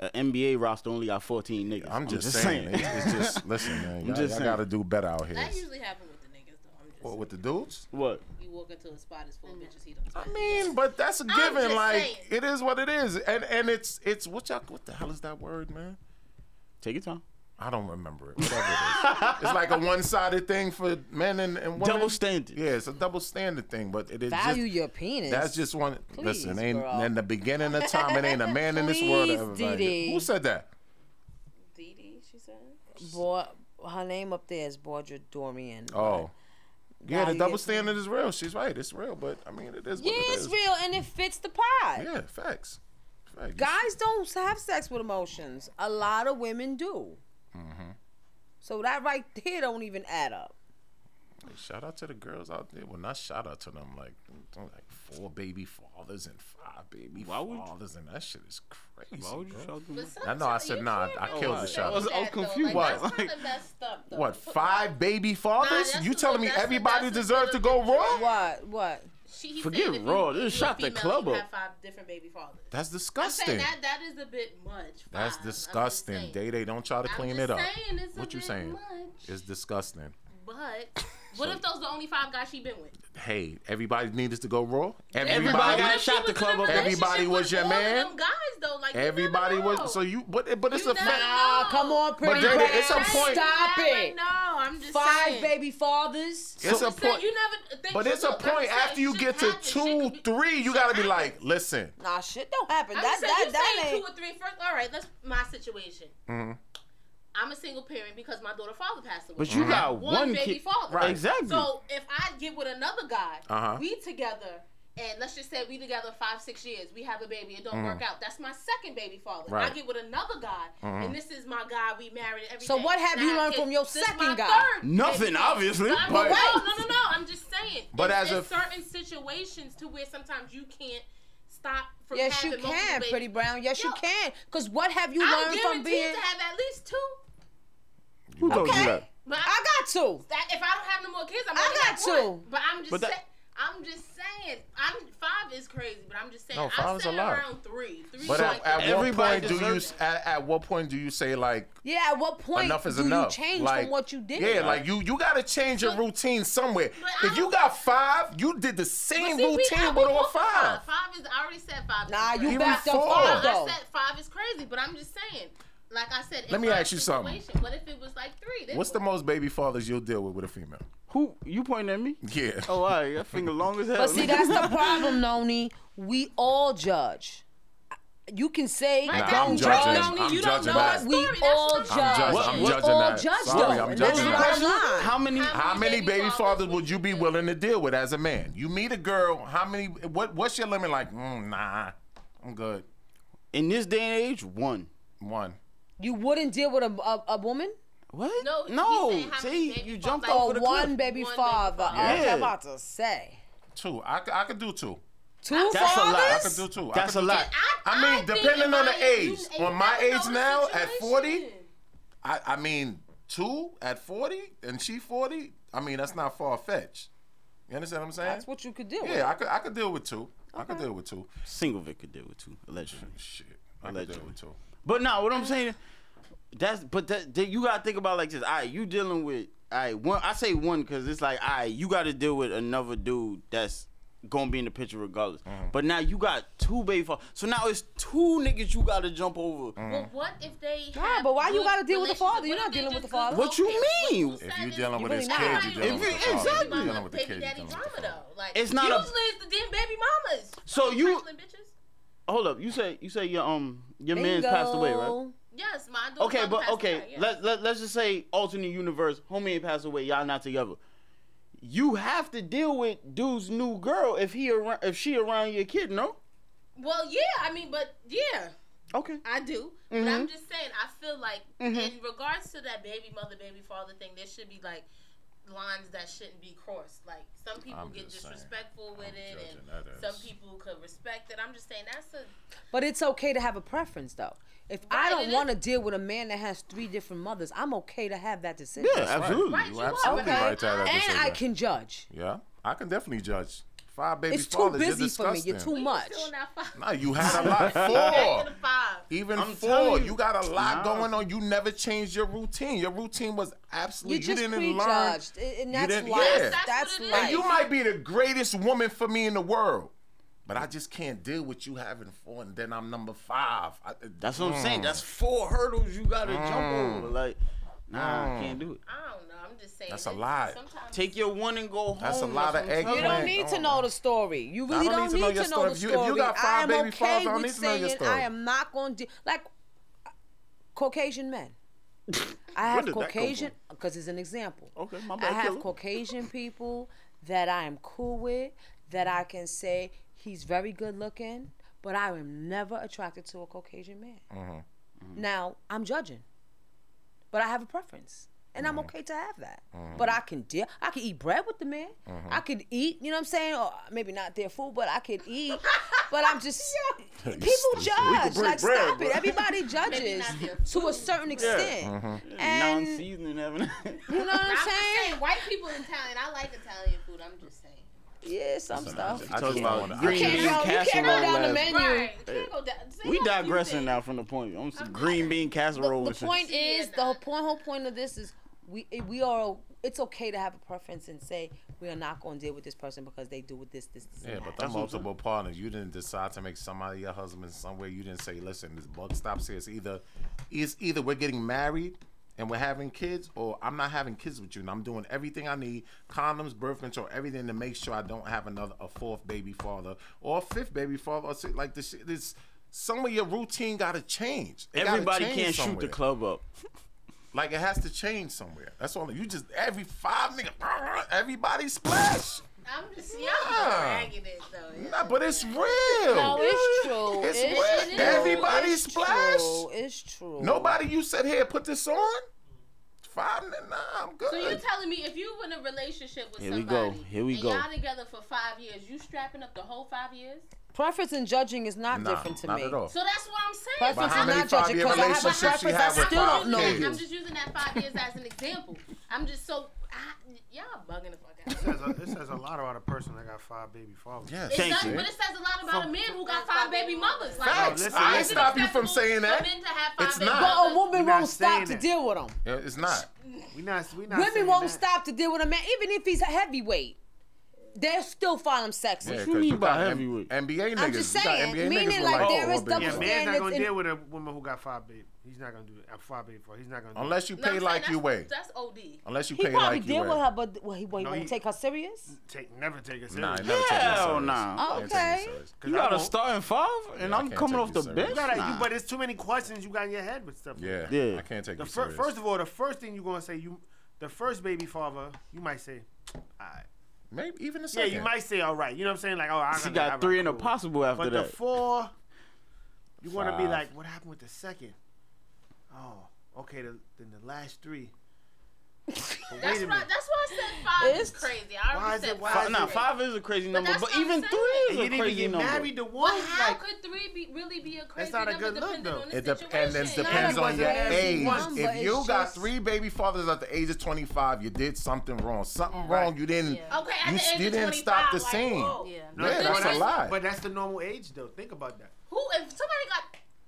an NBA roster only got fourteen niggas.
I'm just, saying, It's, it's just listen, man.
I'm
y'all,
just
y'all
saying.
gotta do better out here.
That usually happens with the niggas though. I'm just
What with the dudes?
What?
you walk into a spot it's full of bitches he don't.
I mean, but that's a
I'm
given.
just
Like
saying.
it is what it is, and and it's it's what y'all what the hell is that word, man?
Take your time.
I don't remember it. Whatever it is. it's like a one sided thing for men and, and women.
Double standard.
Yeah, it's a double standard thing, but it is
Value
just,
your penis.
That's just one.
Please,
listen, ain't
girl.
in the beginning of time, it ain't a man in this world. that
Please,
ever valued
Dee
it.
Dee.
Who said that?
Dee Dee, she said.
Boy, her name up there is Bordra Dormian.
Oh, Yeah, the
value
double
it.
standard is real. She's right. It's real, but I mean, it is.
Yeah,
what it
it's
is.
real and it fits the pie.
Yeah, facts. Facts.
Guys don't have sex with emotions. A lot of women do.
Mm-hmm.
So that right there don't even add up.
Shout out to the girls out there. Well, not shout out to them. Like, don't- like four baby fathers and five baby fathers, and that shit is crazy.
Why would you
bro.
shout them
But
I know. I said nah. I
Oh,
killed
wow.
the shot.
I was- I was confused.
What?
Like, that's kinda messed up, though.
what? Five baby fathers? you telling me everybody deserves to go raw?
What? What?
She, he
Forget
said if
raw,
you-
just
you a
shot the
female,
club
you
up.
Have five different baby fathers.
That's
I'm saying
disgusting.
that that is a bit much.
That's disgusting. Day Day, don't try to
I'm
clean
just
it up.
saying it's a
What you
bit
saying?
much.
It's disgusting.
But what if those the only five guys she been with?
Hey, everybody needs to go raw.
Everybody got shot the club up.
Everybody was your man.
Them guys though, like
Everybody was so you, but but it's a fact.
Nah, come on, pretty
Jada,
brown.
it's a point-
Stop it.
No, I'm just
Five
saying.
baby fathers.
It's a point.
You never. Think
But it's a point after you get to two, three, you gotta be like, listen.
Nah, shit don't happen.
I'm
that
saying
that
you
that
saying
ain't.
two or three first. All right, that's my situation.
Mhm.
I'm a single parent because my daughter father passed away.
But you
I
got
have
one
baby
kid-
father.
Right. Exactly.
So if I get with another guy,
Uh-huh.
we together, and let's just say we together five six years, we have a baby. It don't
Mhm.
Mm.
work out. That's my second baby father.
Right.
I get with another guy,
Mm-hmm.
Mhm.
and this is my guy. We married. and Everything.
So what have
and I
you learned
kids.
from your
This is my
second guy?
third baby
Nothing,
father.
obviously,
But, I'm-
but-
no, no, no, no. I'm just saying.
But
it's-
as a-
it's certain situations to where sometimes you can't stop from
Yes,
having
you
multiple
can,
babies.
Pretty Brown. Yes, you can. Cause what have you
I'm
learned from
guaranteed
being?
to have at least two.
Who told you
Okay.
that?
But I
got two.
That if I don't have no more kids, I'm
I
only
got
one.
two.
But I'm just
But that-
saying. I'm just saying. I'm five is crazy, but I'm just saying.
No, five
I'm
is a
saying
lot.
around three. Three.
But
is
at,
like
at
the-
what
Everybody
point do you
deserves
at, at what point do you say like
Yeah. At what point
enough is
do
enough?
you change
like,
from what you did?
Yeah, like you you gotta change your routine somewhere. If you got five, you did the same
See, we- I-
routine
we
with all
both got
five.
Five is. I already said five.
Nah, you
Even
backed up
four.
five
I
though.
said five is crazy, but I'm just saying. Like I said,
Let me ask you something.
something. What if it was like three? Then
What's the most baby fathers you'll deal with with a female?
Who you pointing at me?
Yeah.
Oh, all right. Your finger long as hell.
But see, that's the problem, Noni. We all judge. You can say
Nah,
don't
I'm
judge.
judging. I'm judging that.
We all judge.
I'm judging, I'm
we
judging
all
that.
judge
Sorry,
though.
I'm
And that's
judging
the
that.
bottom line.
How many?
How many baby fathers would you be willing to deal with as a man? You meet a girl, how many? What What's your limit? Like, mm, nah, I'm good.
In this day and age, one.
One.
You wouldn't deal with a a, a woman.
What?
No,
No. See, you jumped
Oh,
off
one
with a cliff.
baby father.
father.
I was
Yeah.
about to say.
Two. I, c- I could do two.
Two
That's a lot. I
fathers?
could do two. I
That's
could
a
do
lot.
two. I, mean, depending on the age. on my age now, at 40, I, I mean, two at 40 and she 40, I mean, that's not far fetched. You understand what I'm saying?
That's what you could do.
Yeah, I could, I could deal with two. I could deal with two.
Single Vic could deal with two, allegedly.
Shit, I could deal
allegedly.
with two.
But no, what I'm saying, that's but that, that you gotta think about like this. All right, you dealing with all right. One, I say one because it's like all right, you got to deal with another dude that's gonna be in the picture regardless.
Mm-hmm.
But now you got two baby fathers, so now it's two niggas you got to jump over.
Mm-hmm.
Well, what if they?
Nah, but why you gotta deal with the father? You're not dealing with the father.
What you mean?
If you're dealing
You
with
really
his
not.
kids, you're dealing
If
with
you-
the father. You're
exactly.
dealing with the
baby
kids.
daddy drama though. Like
It's not a-
usually it's the damn baby mamas.
So
Those
you-
trifling bitches.
Hold up, you say you say your um your man's passed away, right?
Yes, my daughter.
Okay, but
passed
okay,
away, yeah.
let, let let's just say alternate universe, homie ain't passed away, y'all not together. You have to deal with dude's new girl if he around if she around your kid, no?
Well, yeah, I mean, but yeah.
Okay.
I do. But I'm just saying, I feel like in regards to that baby mother, baby father thing, there should be like lines that shouldn't be crossed. Like some people
I'm
get
just saying.
disrespectful with it,
judging
and
that
some
as-
people could respect it. I'm just saying that's a
But it's okay to have a preference, though. If I
Right,
don't
it is.
want to deal with a man that has three different mothers, I'm okay to have that decision.
That's right. You absolutely right to have
And
that
I
decision.
can judge.
Yeah, I can definitely judge. Five baby
it's too
fathers,
busy
you're
for me.
disgusting.
You're too much.
Nah, you had a lot.
Back to
Four.
the five.
Even
I'm
four.
telling
You,
you.
got a lot
Nah.
going on. You never changed your routine. Your routine was
You're
absolutely. You,
just
didn't
prejudged,
learn.
a- and
you
that's
didn't-
life.
yeah.
That's
And
life.
you might be the greatest woman for me in the world, but I just can't deal with you having four, and then I'm number five. I-
That's what I'm saying.
Mm.
That's four hurdles you gotta jump
Mm.
over. Like, nah,
Mm.
I can't do it.
I don't know. I'm just saying.
That's a lot.
Take your one and go home.
That's a lot of
what I'm telling Oh
You don't need to know the story. You
I
really
don't
don't,
need to know
need
your
to know the
story. If you- if you
story.
got five
I am
baby
okay
fathers, I don't
with
need to know your
saying
story.
I am not going to like Caucasian men. I
Where
have
did that come
Caucasian because it's an example.
Okay, my
I
bad,
have
Kayla.
Caucasian people that I am cool with that I can say he's very good looking, but I am never attracted to a Caucasian man.
Mm.
Mm-hmm.
Now I'm judging, but I have a preference, and
Mm.
I'm okay to have that.
Mm-hmm.
Mhm.
But I can deal. I can eat bread with the man.
Mhm.
I could eat. You know what I'm saying? Or maybe not their food, but I could eat. but I'm just people
stupid. We could
judge.
break
Like
bread,
stop
bro.
it. Everybody
Maybe
judges
not
to a certain extent.
Mm-hmm.
And-
non-seasoning having.
You know what I'm
just
saying?
white people in Italian. I like Italian food. I'm just saying.
Yeah, some stuff.
I talking about
You
green
can't
bean
go- you can't
casserole.
go down the
last-
menu. Right.
You can't go down- say
We
no, you
digressing now from the point. I'm some green bean casserole.
The
and shit.
point is, the whole point, whole point of this is we it- we are. It's okay to have a preference and say we are not going to deal with this person because they do with this, this, this.
Yeah,
and
but
that.
the multiple partners, you didn't decide to make somebody your husband somewhere. You didn't say, listen, this buck stops here. It's either, it's either we're getting married and we're having kids, or I'm not having kids with you, and I'm doing everything I need, condoms, birth control, everything to make sure I don't have another a fourth baby father or a fifth baby father. Or si- like this, shit- this some of your routine got to change. It gotta
Everybody
change
can't shoot
somewhere.
the club up.
Like it has to change somewhere. That's all. You just every five nigga, everybody splash.
I'm just y'all
Nah.
bragging it though.
Nah, but it's real.
No,
it's true.
It's
It's
real.
true.
Everybody
It's
splash.
true. It's true.
Nobody, you said here, put this on. Five, nah, I'm good.
So you telling me if you in a relationship with
Here we
somebody
go. Here we
and
go.
y'all together for five years, you strapping up the whole five years?
Preference and judging is not
Nah,
different to
not
me.
at all.
So that's what I'm saying.
Preference
But how
is
many
not judging
five-year
because I have a
relationships you
preference.
have
I
with
still
five
don't know
kids?
you.
I'm just using that five years as an example. I'm just so I, y'all bugging the fuck out.
It says, a, it says a lot about a person that got five baby fathers.
Yes.
It does, but it says a lot about a man who got five baby mothers. Like,
Facts.
is
I
it
ain't stop you from
acceptable
saying
for
that.
men to have five
It's
baby
not.
mothers?
But a woman
We not
won't stop
saying
to
that.
deal with him.
Yeah, it's not.
We not. We not.
Women
saying
won't
that.
stop to deal with a man, even if he's a heavyweight. They'll still find him sexy.
Yeah, 'cause got M- NBA niggas.
I'm just
You got
saying,
NBA niggas
meaning
with
like
four
there is
baby
double
mamas.
Yeah, man's not gonna deal with a woman who got five baby. He's not gonna do that. Uh, Five baby fathers. He's not gonna. Do
Unless you
that.
pay like you weigh.
That's OD.
Unless you
he
pay
probably
like
deal
you
with
weigh.
her, but well, he, well, he
No,
won't
he-
take her serious.
Take never take us.
Nah, I
serious.
never take you
Hell
serious.
nah.
I ain't taking
Okay.
you serious. 'Cause
You
I
got a
won't.
starting five,
Yeah,
and
I
I'm
can't
coming
take
off
you
the
serious.
bench.
You gotta,
Nah.
you, but it's too many questions you got in your head with stuff. like
Yeah,
that.
yeah. I can't take
The
you
fir-
serious.
first of all, the first thing you're gonna say, you, the first baby father, you might say, all right.
Maybe even the
Yeah,
second.
you might say, all right. You know what I'm saying? Like, oh, I
She got three and a possible after
But the
that.
four, you want to be
Five.
like, what happened with the second? Oh, okay. The, then the last three. But wait
That's
a
why.
minute.
That's why I said five is
It's-
crazy. I
Why
already
is
said
it- why
five.
is
Nah,
it-
five is a crazy number,
that's
but
what I'm
even
saying.
three
And
is
you
a
didn't even
crazy
get
number.
married to
But
one.
how
like,
could three be really be a crazy
That's not a
number
good look,
depending
though.
on the
It dep- and it
situation?
depends
Not
on
a
your
question.
age.
One, but
if you
it's
got
just-
three baby fathers at the age of 25, you did something wrong. Something wrong. You didn't.
Okay, at
you,
the age
you
of
didn't stop the
25, like,
scene.
whoa.
Yeah,
No,
that's a lie.
But that's the normal age, though. Think about that.
Who if somebody got?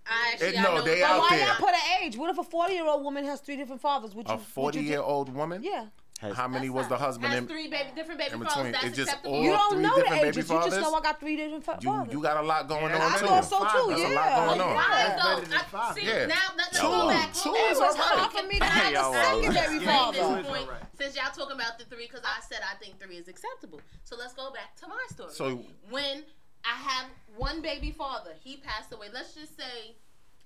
I actually,
It-
I
no,
know
they
what-
out
Why
there.
not put an age? What if a forty-year-old woman has three different fathers? Would you?
a
would you
40
do-
year old woman.
Yeah.
How many was the husband?
Has
in-
three baby, different baby
in
fathers.
between.
That's
It's just
acceptable.
all
You don't
three
know the
different baby
ages. You just
fathers?
know I got three different fa-
You,
fathers.
you got a lot going
Yeah,
on
I
too.
thought so, too,
That's a
yeah.
lot going on.
Five,
That's
though,
better than
I-
five.
see,
Yeah.
now let- let's
Two,
go back.
two
Well,
is
it's
alright.
hard for me to have
Hey, y'all
a
are
secondary
right.
father.
Two is
At this point,
alright.
since y'all talking about the three, because I said I think three is acceptable. So let's go back to my story.
So-
when I have one baby father, he passed away. Let's just say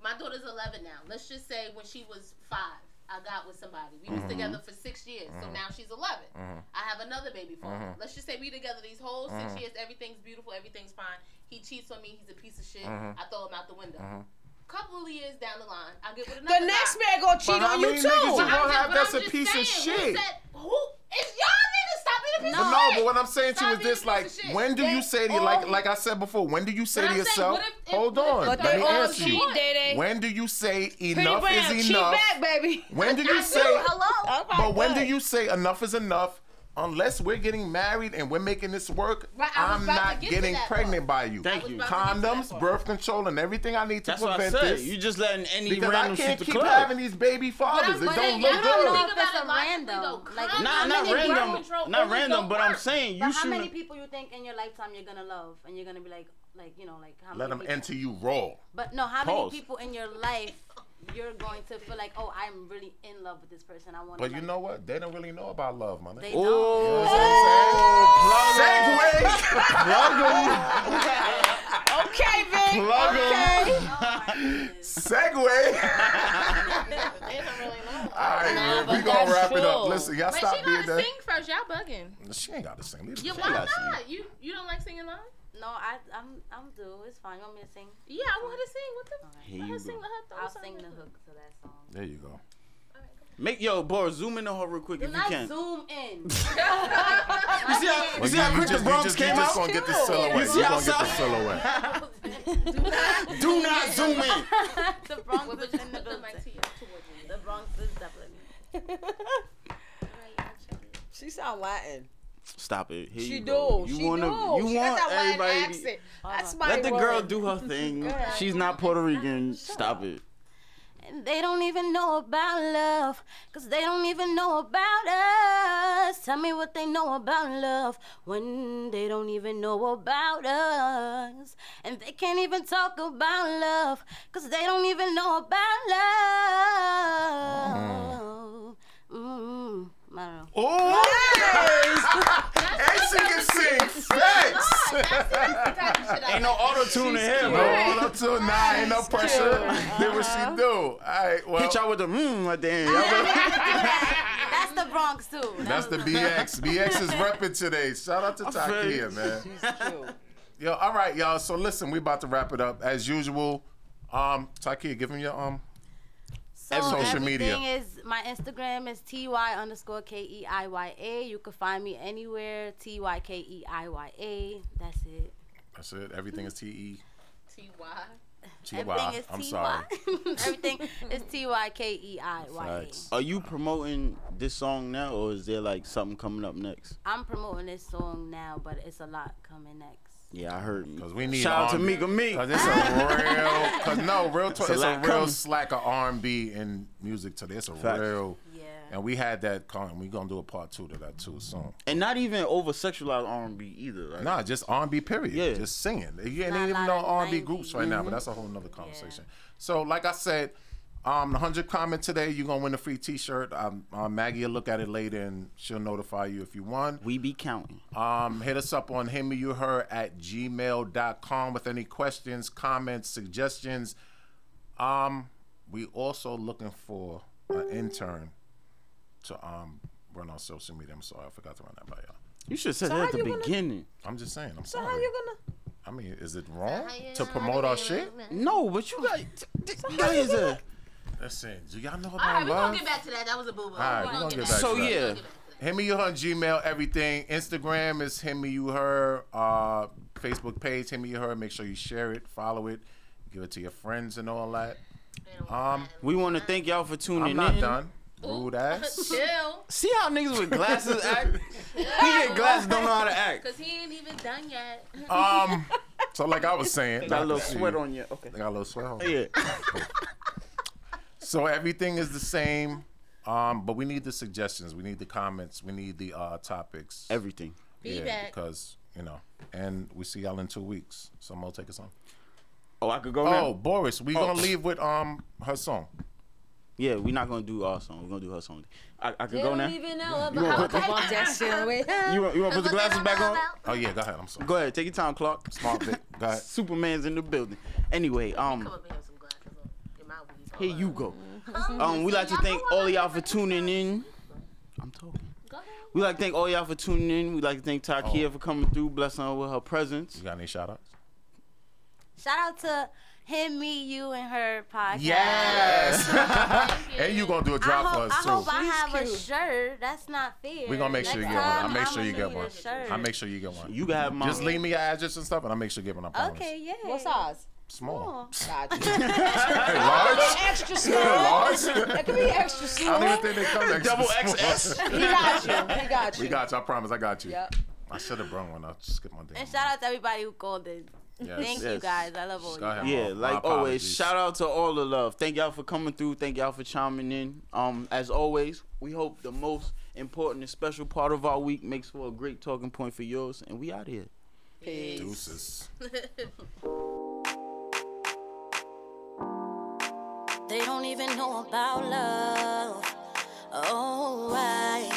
my daughter's 11 now. Let's just say when she was five, I got with somebody. We was
Mm-hmm.
Mhm.
together for six years, so
Mhm.
now she's 11.
Mhm.
I have another baby father.
Mm-hmm.
Mhm.
Let's just say we together these whole 6
Mhm.
years. Everything's beautiful. Everything's fine. He cheats on me. He's a piece of shit.
Mm-hmm.
Mhm.
I throw him out the window
Mhm.
couple of years down the line, I get with
The
another.
next
guy.
man gonna cheat
But how
on you
many
too.
niggas you gonna
I'm just-
have
but
that's
I'm
a
just
piece of
saying,
shit?
Who, said, who is y'all niggas stop being a piece
But
of
no,
shit?
but what I'm saying to you is this: like,
piece of shit.
when do
They
you say to you, like,
all-
like I said before, when do you say
But
to
I'm saying,
yourself,
what if- if-
"Hold
what if
on,
the
let
third
me
one
ask
cheat,
you"?
Diddy?
When do you say
Pretty
enough
Brown,
is
cheat
enough?
back, baby.
When do
I
you
do.
say?
Hello? Okay,
but when do
good.
you say enough is enough? Unless we're getting married and we're making this work,
Right, I was
I'm
about to
not
get to
getting
that
pregnant by you.
Thank I was you. about to get to that
Condoms, birth control, and everything I need to
That's what I
prevent
said.
this.
You just letting any
because
random
I
shoot
can't
the
keep
club.
having these baby fathers. It
but
don't
you
look
don't know
good.
if it's a random. Like,
Nah,
how
not
many
random.
people-
Not Only random, don't but I'm work. saying you
But how
shouldn't-
many people you think in your lifetime you're gonna love and you're gonna be like, like you know, like how
Let
many
them
people?
enter you raw.
But no, how
Pause.
many people in your life you're going to feel like, oh, I'm really in love with this person. I want.
But you know what? They don't really know about love, man.
They
You know
don't.
what I'm saying?
Oh,
Segue.
okay, Vic.
Plug 'em.
okay.
Segue. man. we gonna wrap it up. Listen, y'all
Wait,
stop
she
being
gotta
that.
sing first. Y'all bugging.
She ain't got to sing. Leave
Yeah,
she
why
gotta sing.
not? You you don't like singing live?
No, I, I'm, I'm due. It's fine. You want me to sing?
Yeah, I want her to sing. What the?
Here
Let her
you
sing.
go.
Let her throw
I'll
something.
sing the hook to that song.
There you go. Make yo, Boris, zoom into her real quick if you
Let's
can.
zoom in.
You see how, you see how quick the Bronx came out?
gonna get the silhouette.
You
You
see how
gonna get the silhouette.
Do not zoom in.
the Bronx is in the building. The Bronx is definitely.
She sound Latin.
Stop it. Here
She
you go.
do.
You
She
wanna,
do.
You
She got
want
that Latin
everybody. to-
accent. That's my
Let the
word.
girl do her thing.
Girl.
She's not Puerto Rican. Stop it.
And they don't even know about love, cause they don't even know about us. Tell me what they know about love when they don't even know about us. And they can't even talk about love, cause they don't even know about love. Mm. I don't know.
Oh!
and she can sing facts.
ain't no auto tune in here,
No
bro.
auto tune. Nah, ain't no pressure. Did what she do. All right, well.
Hit y'all with the mmm at the end.
That's the Bronx too.
That's the BX. BX is repping today. Shout out to
I'm afraid
Takia, man. Yo, all right, y'all. So listen, we about to wrap it up as usual. Um, Takia, give him your um
So
social
everything
media.
is my Instagram is ty underscore k e i y a. You can find me anywhere t y k e i y a. That's it.
That's it. Everything is T E
T Y.
T Y. I'm sorry.
everything is t y k e i y a.
Are you promoting this song now, or is there like something coming up next?
I'm promoting this song now, but it's a lot coming next.
Yeah, I heard. Because we
need
shout out to
R&B.
Mika Meek.
Cause it's a real, cause no, real
It's
talk.
a
It's a,
lot
real
coming.
slack of R and B in music today. It's a
Facts.
real. Yeah. And we had that con. We gonna do a part two to that too soon.
and not even over sexualized R and B either. Like,
Nah, just R and B period. Yeah. Just singing. You ain't even know R and B groups right now, but
Mhm.
that's a whole nother conversation. So, like I said, um, the hundred comment today, you're gonna win a free T-shirt. Um, uh, Maggie will look at it later and she'll notify you if you won.
We be counting.
Um, hit us up on him you her at gmail.com with any questions, comments, suggestions. Um, we also looking for an intern to um run our social media. I'm sorry, I forgot to run that by y'all.
You should have said
So
that
how
at the
you gonna-
beginning.
I'm just saying. I'm
So
sorry.
how you gonna?
I mean, is it wrong to promote our shit?
No, but you got. uh,
That
is a.
Listen, do y'all know
All
about
right, we're
love?
gonna get back to that. That was a boo boo.
All right, we're gonna get back.
So,
to that.
yeah.
Hit me you her on Gmail, everything. Instagram is hit me you her. Uh, Facebook page, hit me you her. Make sure you share it, follow it, give it to your friends and all that. Um,
we want to thank y'all for tuning
I'm not
in.
done. Rude ass.
Chill.
See how niggas with glasses act? He get glasses, don't know how to act.
Cause he ain't even done yet.
Um, so like I was saying,
Got a
I
little
can see-
sweat on you. Okay.
I got a little sweat on.
Yeah.
so everything is the same, um, but we need the suggestions, we need the comments, we need the uh, topics.
Everything.
Yeah,
Feedback.
because you know, and we see y'all in two weeks. So I'm gonna take us on.
Oh, I could go
oh,
now?
Boris, we
Oh.
gonna leave with um her song.
Yeah, we're not gonna do our song. We're gonna do her song. I, I could
They
go
don't
now.
even know
You wanna
about
put the-
Walk that shit away.
You want, you want to put the glasses back on?
Oh yeah, go ahead. I'm sorry.
Go ahead, take your time, Clark.
Smart Vic. Go ahead.
Superman's in the building. Anyway, um, here you go. Um, we like to thank all of y'all for tuning in. I'm talking. We like to thank all y'all for tuning in. We like to thank Takia for coming through, blessing her with her presence.
You got any shout outs?
Shout out to him, me, you, and her podcast.
Yes. and you gonna do a drop
I
for
hope, I,
us too.
hope I have a shirt. That's not fair.
We're gonna make sure you
Next
get one. I'll
time,
make
I'ma
sure you get
need
one.
a shirt.
I'll make sure you get one.
You can have mine.
Just leave me your address and stuff, and I'll make sure you get one. I promise.
Okay, yeah.
What size?
Small.
Large? Extra small.
Large?
It could be extra small.
I don't even think they come extra
Double
small.
XS.
He got you. He got you.
We got you. I promise. I got you.
Yep.
I should have brought one. I'll skip my day.
And shout out to everybody who called in.
Yes.
Thank you
Yes.
guys. I love all you.
Go ahead.
Yeah,
My- my
like always,
apologies.
shout out to all the love. Thank y'all for coming through. Thank y'all for chiming in. Um, as always, we hope the most important and special part of our week makes for a great talking point for yours. And we out here.
Deuces.
They don't even know about love. Oh, why?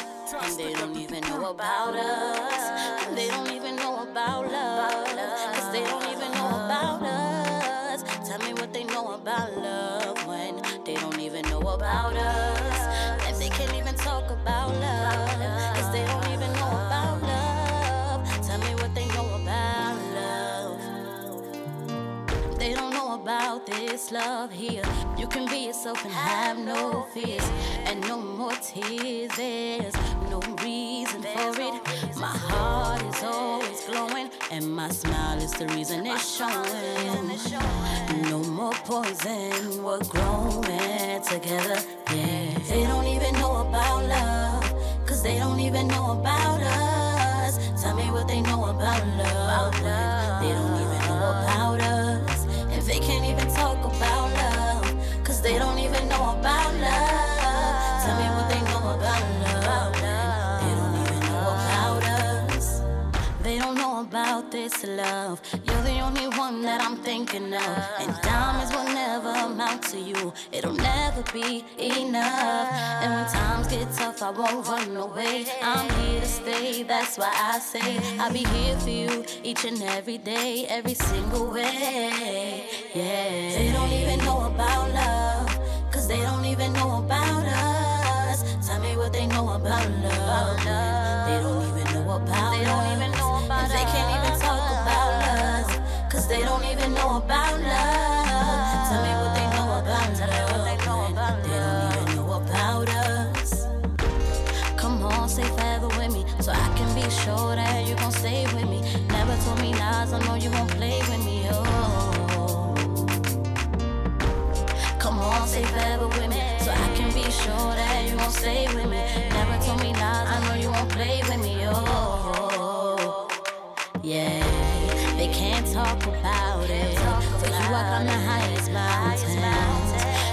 And they don't even know about us. And They don't even know about love. Cause they don't even know about us. Tell me what they know about love when they don't even know about us. And they can't about this love here. You can be yourself and have no fears and no more tears. There's no reason for it. My heart is always glowing and my smile is the reason it's showing. No more poison. We're growing together. Yeah. They don't even know about love, cause they don't even know about us. Tell me what they know about love. They don't even know about us. And they can't even talk about love, cause they don't even know about love. Tell me what they know about love. They don't even know about us. They don't know about this love. You're the only one that I'm thinking of. And diamonds will never amount to you. It'll never be enough. And when times get tough, I won't run away. I'm here to stay, that's why I say I'll be here for you each and every day, every single way. Yeah. They don't even know about love, cause they don't even know about us. Tell me what they know about love. They don't even know about They don't even know about us. They can't even talk about us. Cause they don't even know about love. Tell me what they know about love. They don't even know about us. Come on, say forever with me. So I can be sure that you gon' stay with me. Never told me lies, I know you won't play with me. Oh. Come on, stay forever with me. So I can be sure that you gon' stay with me. Never told me lies, I know you won't play with me. Oh, yeah. They can't talk about it. For you, I climb the highest mountains.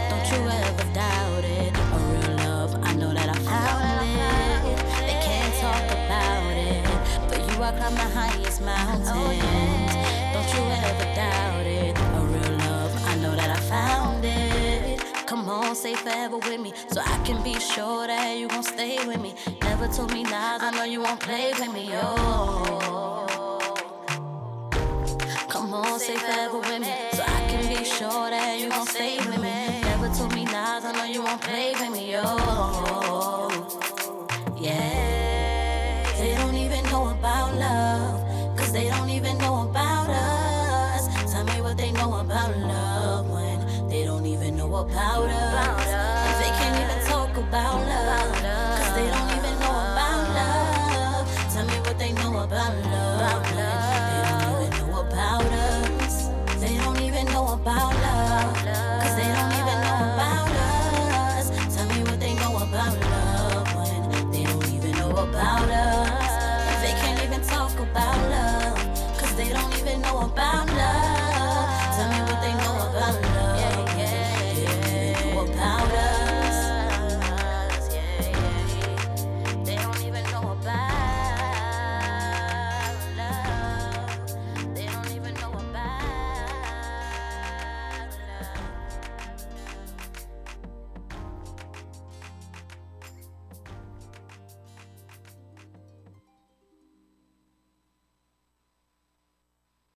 Don't you ever doubt it. A real love, I know that I found it. They can't talk about it. But you, I climb the highest mountains. Don't you ever doubt it. A real love, I know that I found it. Come on, stay forever with me, so I can be sure that you gon' stay with me. Never told me lies, I know you won't play with me. Oh, come on, stay forever with me, so I can be sure that you gon' stay with me. Never told me lies, I know you won't play with me. Oh, yeah. They don't even know about love, cause they don't even know about us. Tell me what they know about love when they don't even know about us. And they can't even talk about love, cause they don't even know about love. Tell me what they know about love. when They don't even know about us. They don't even know about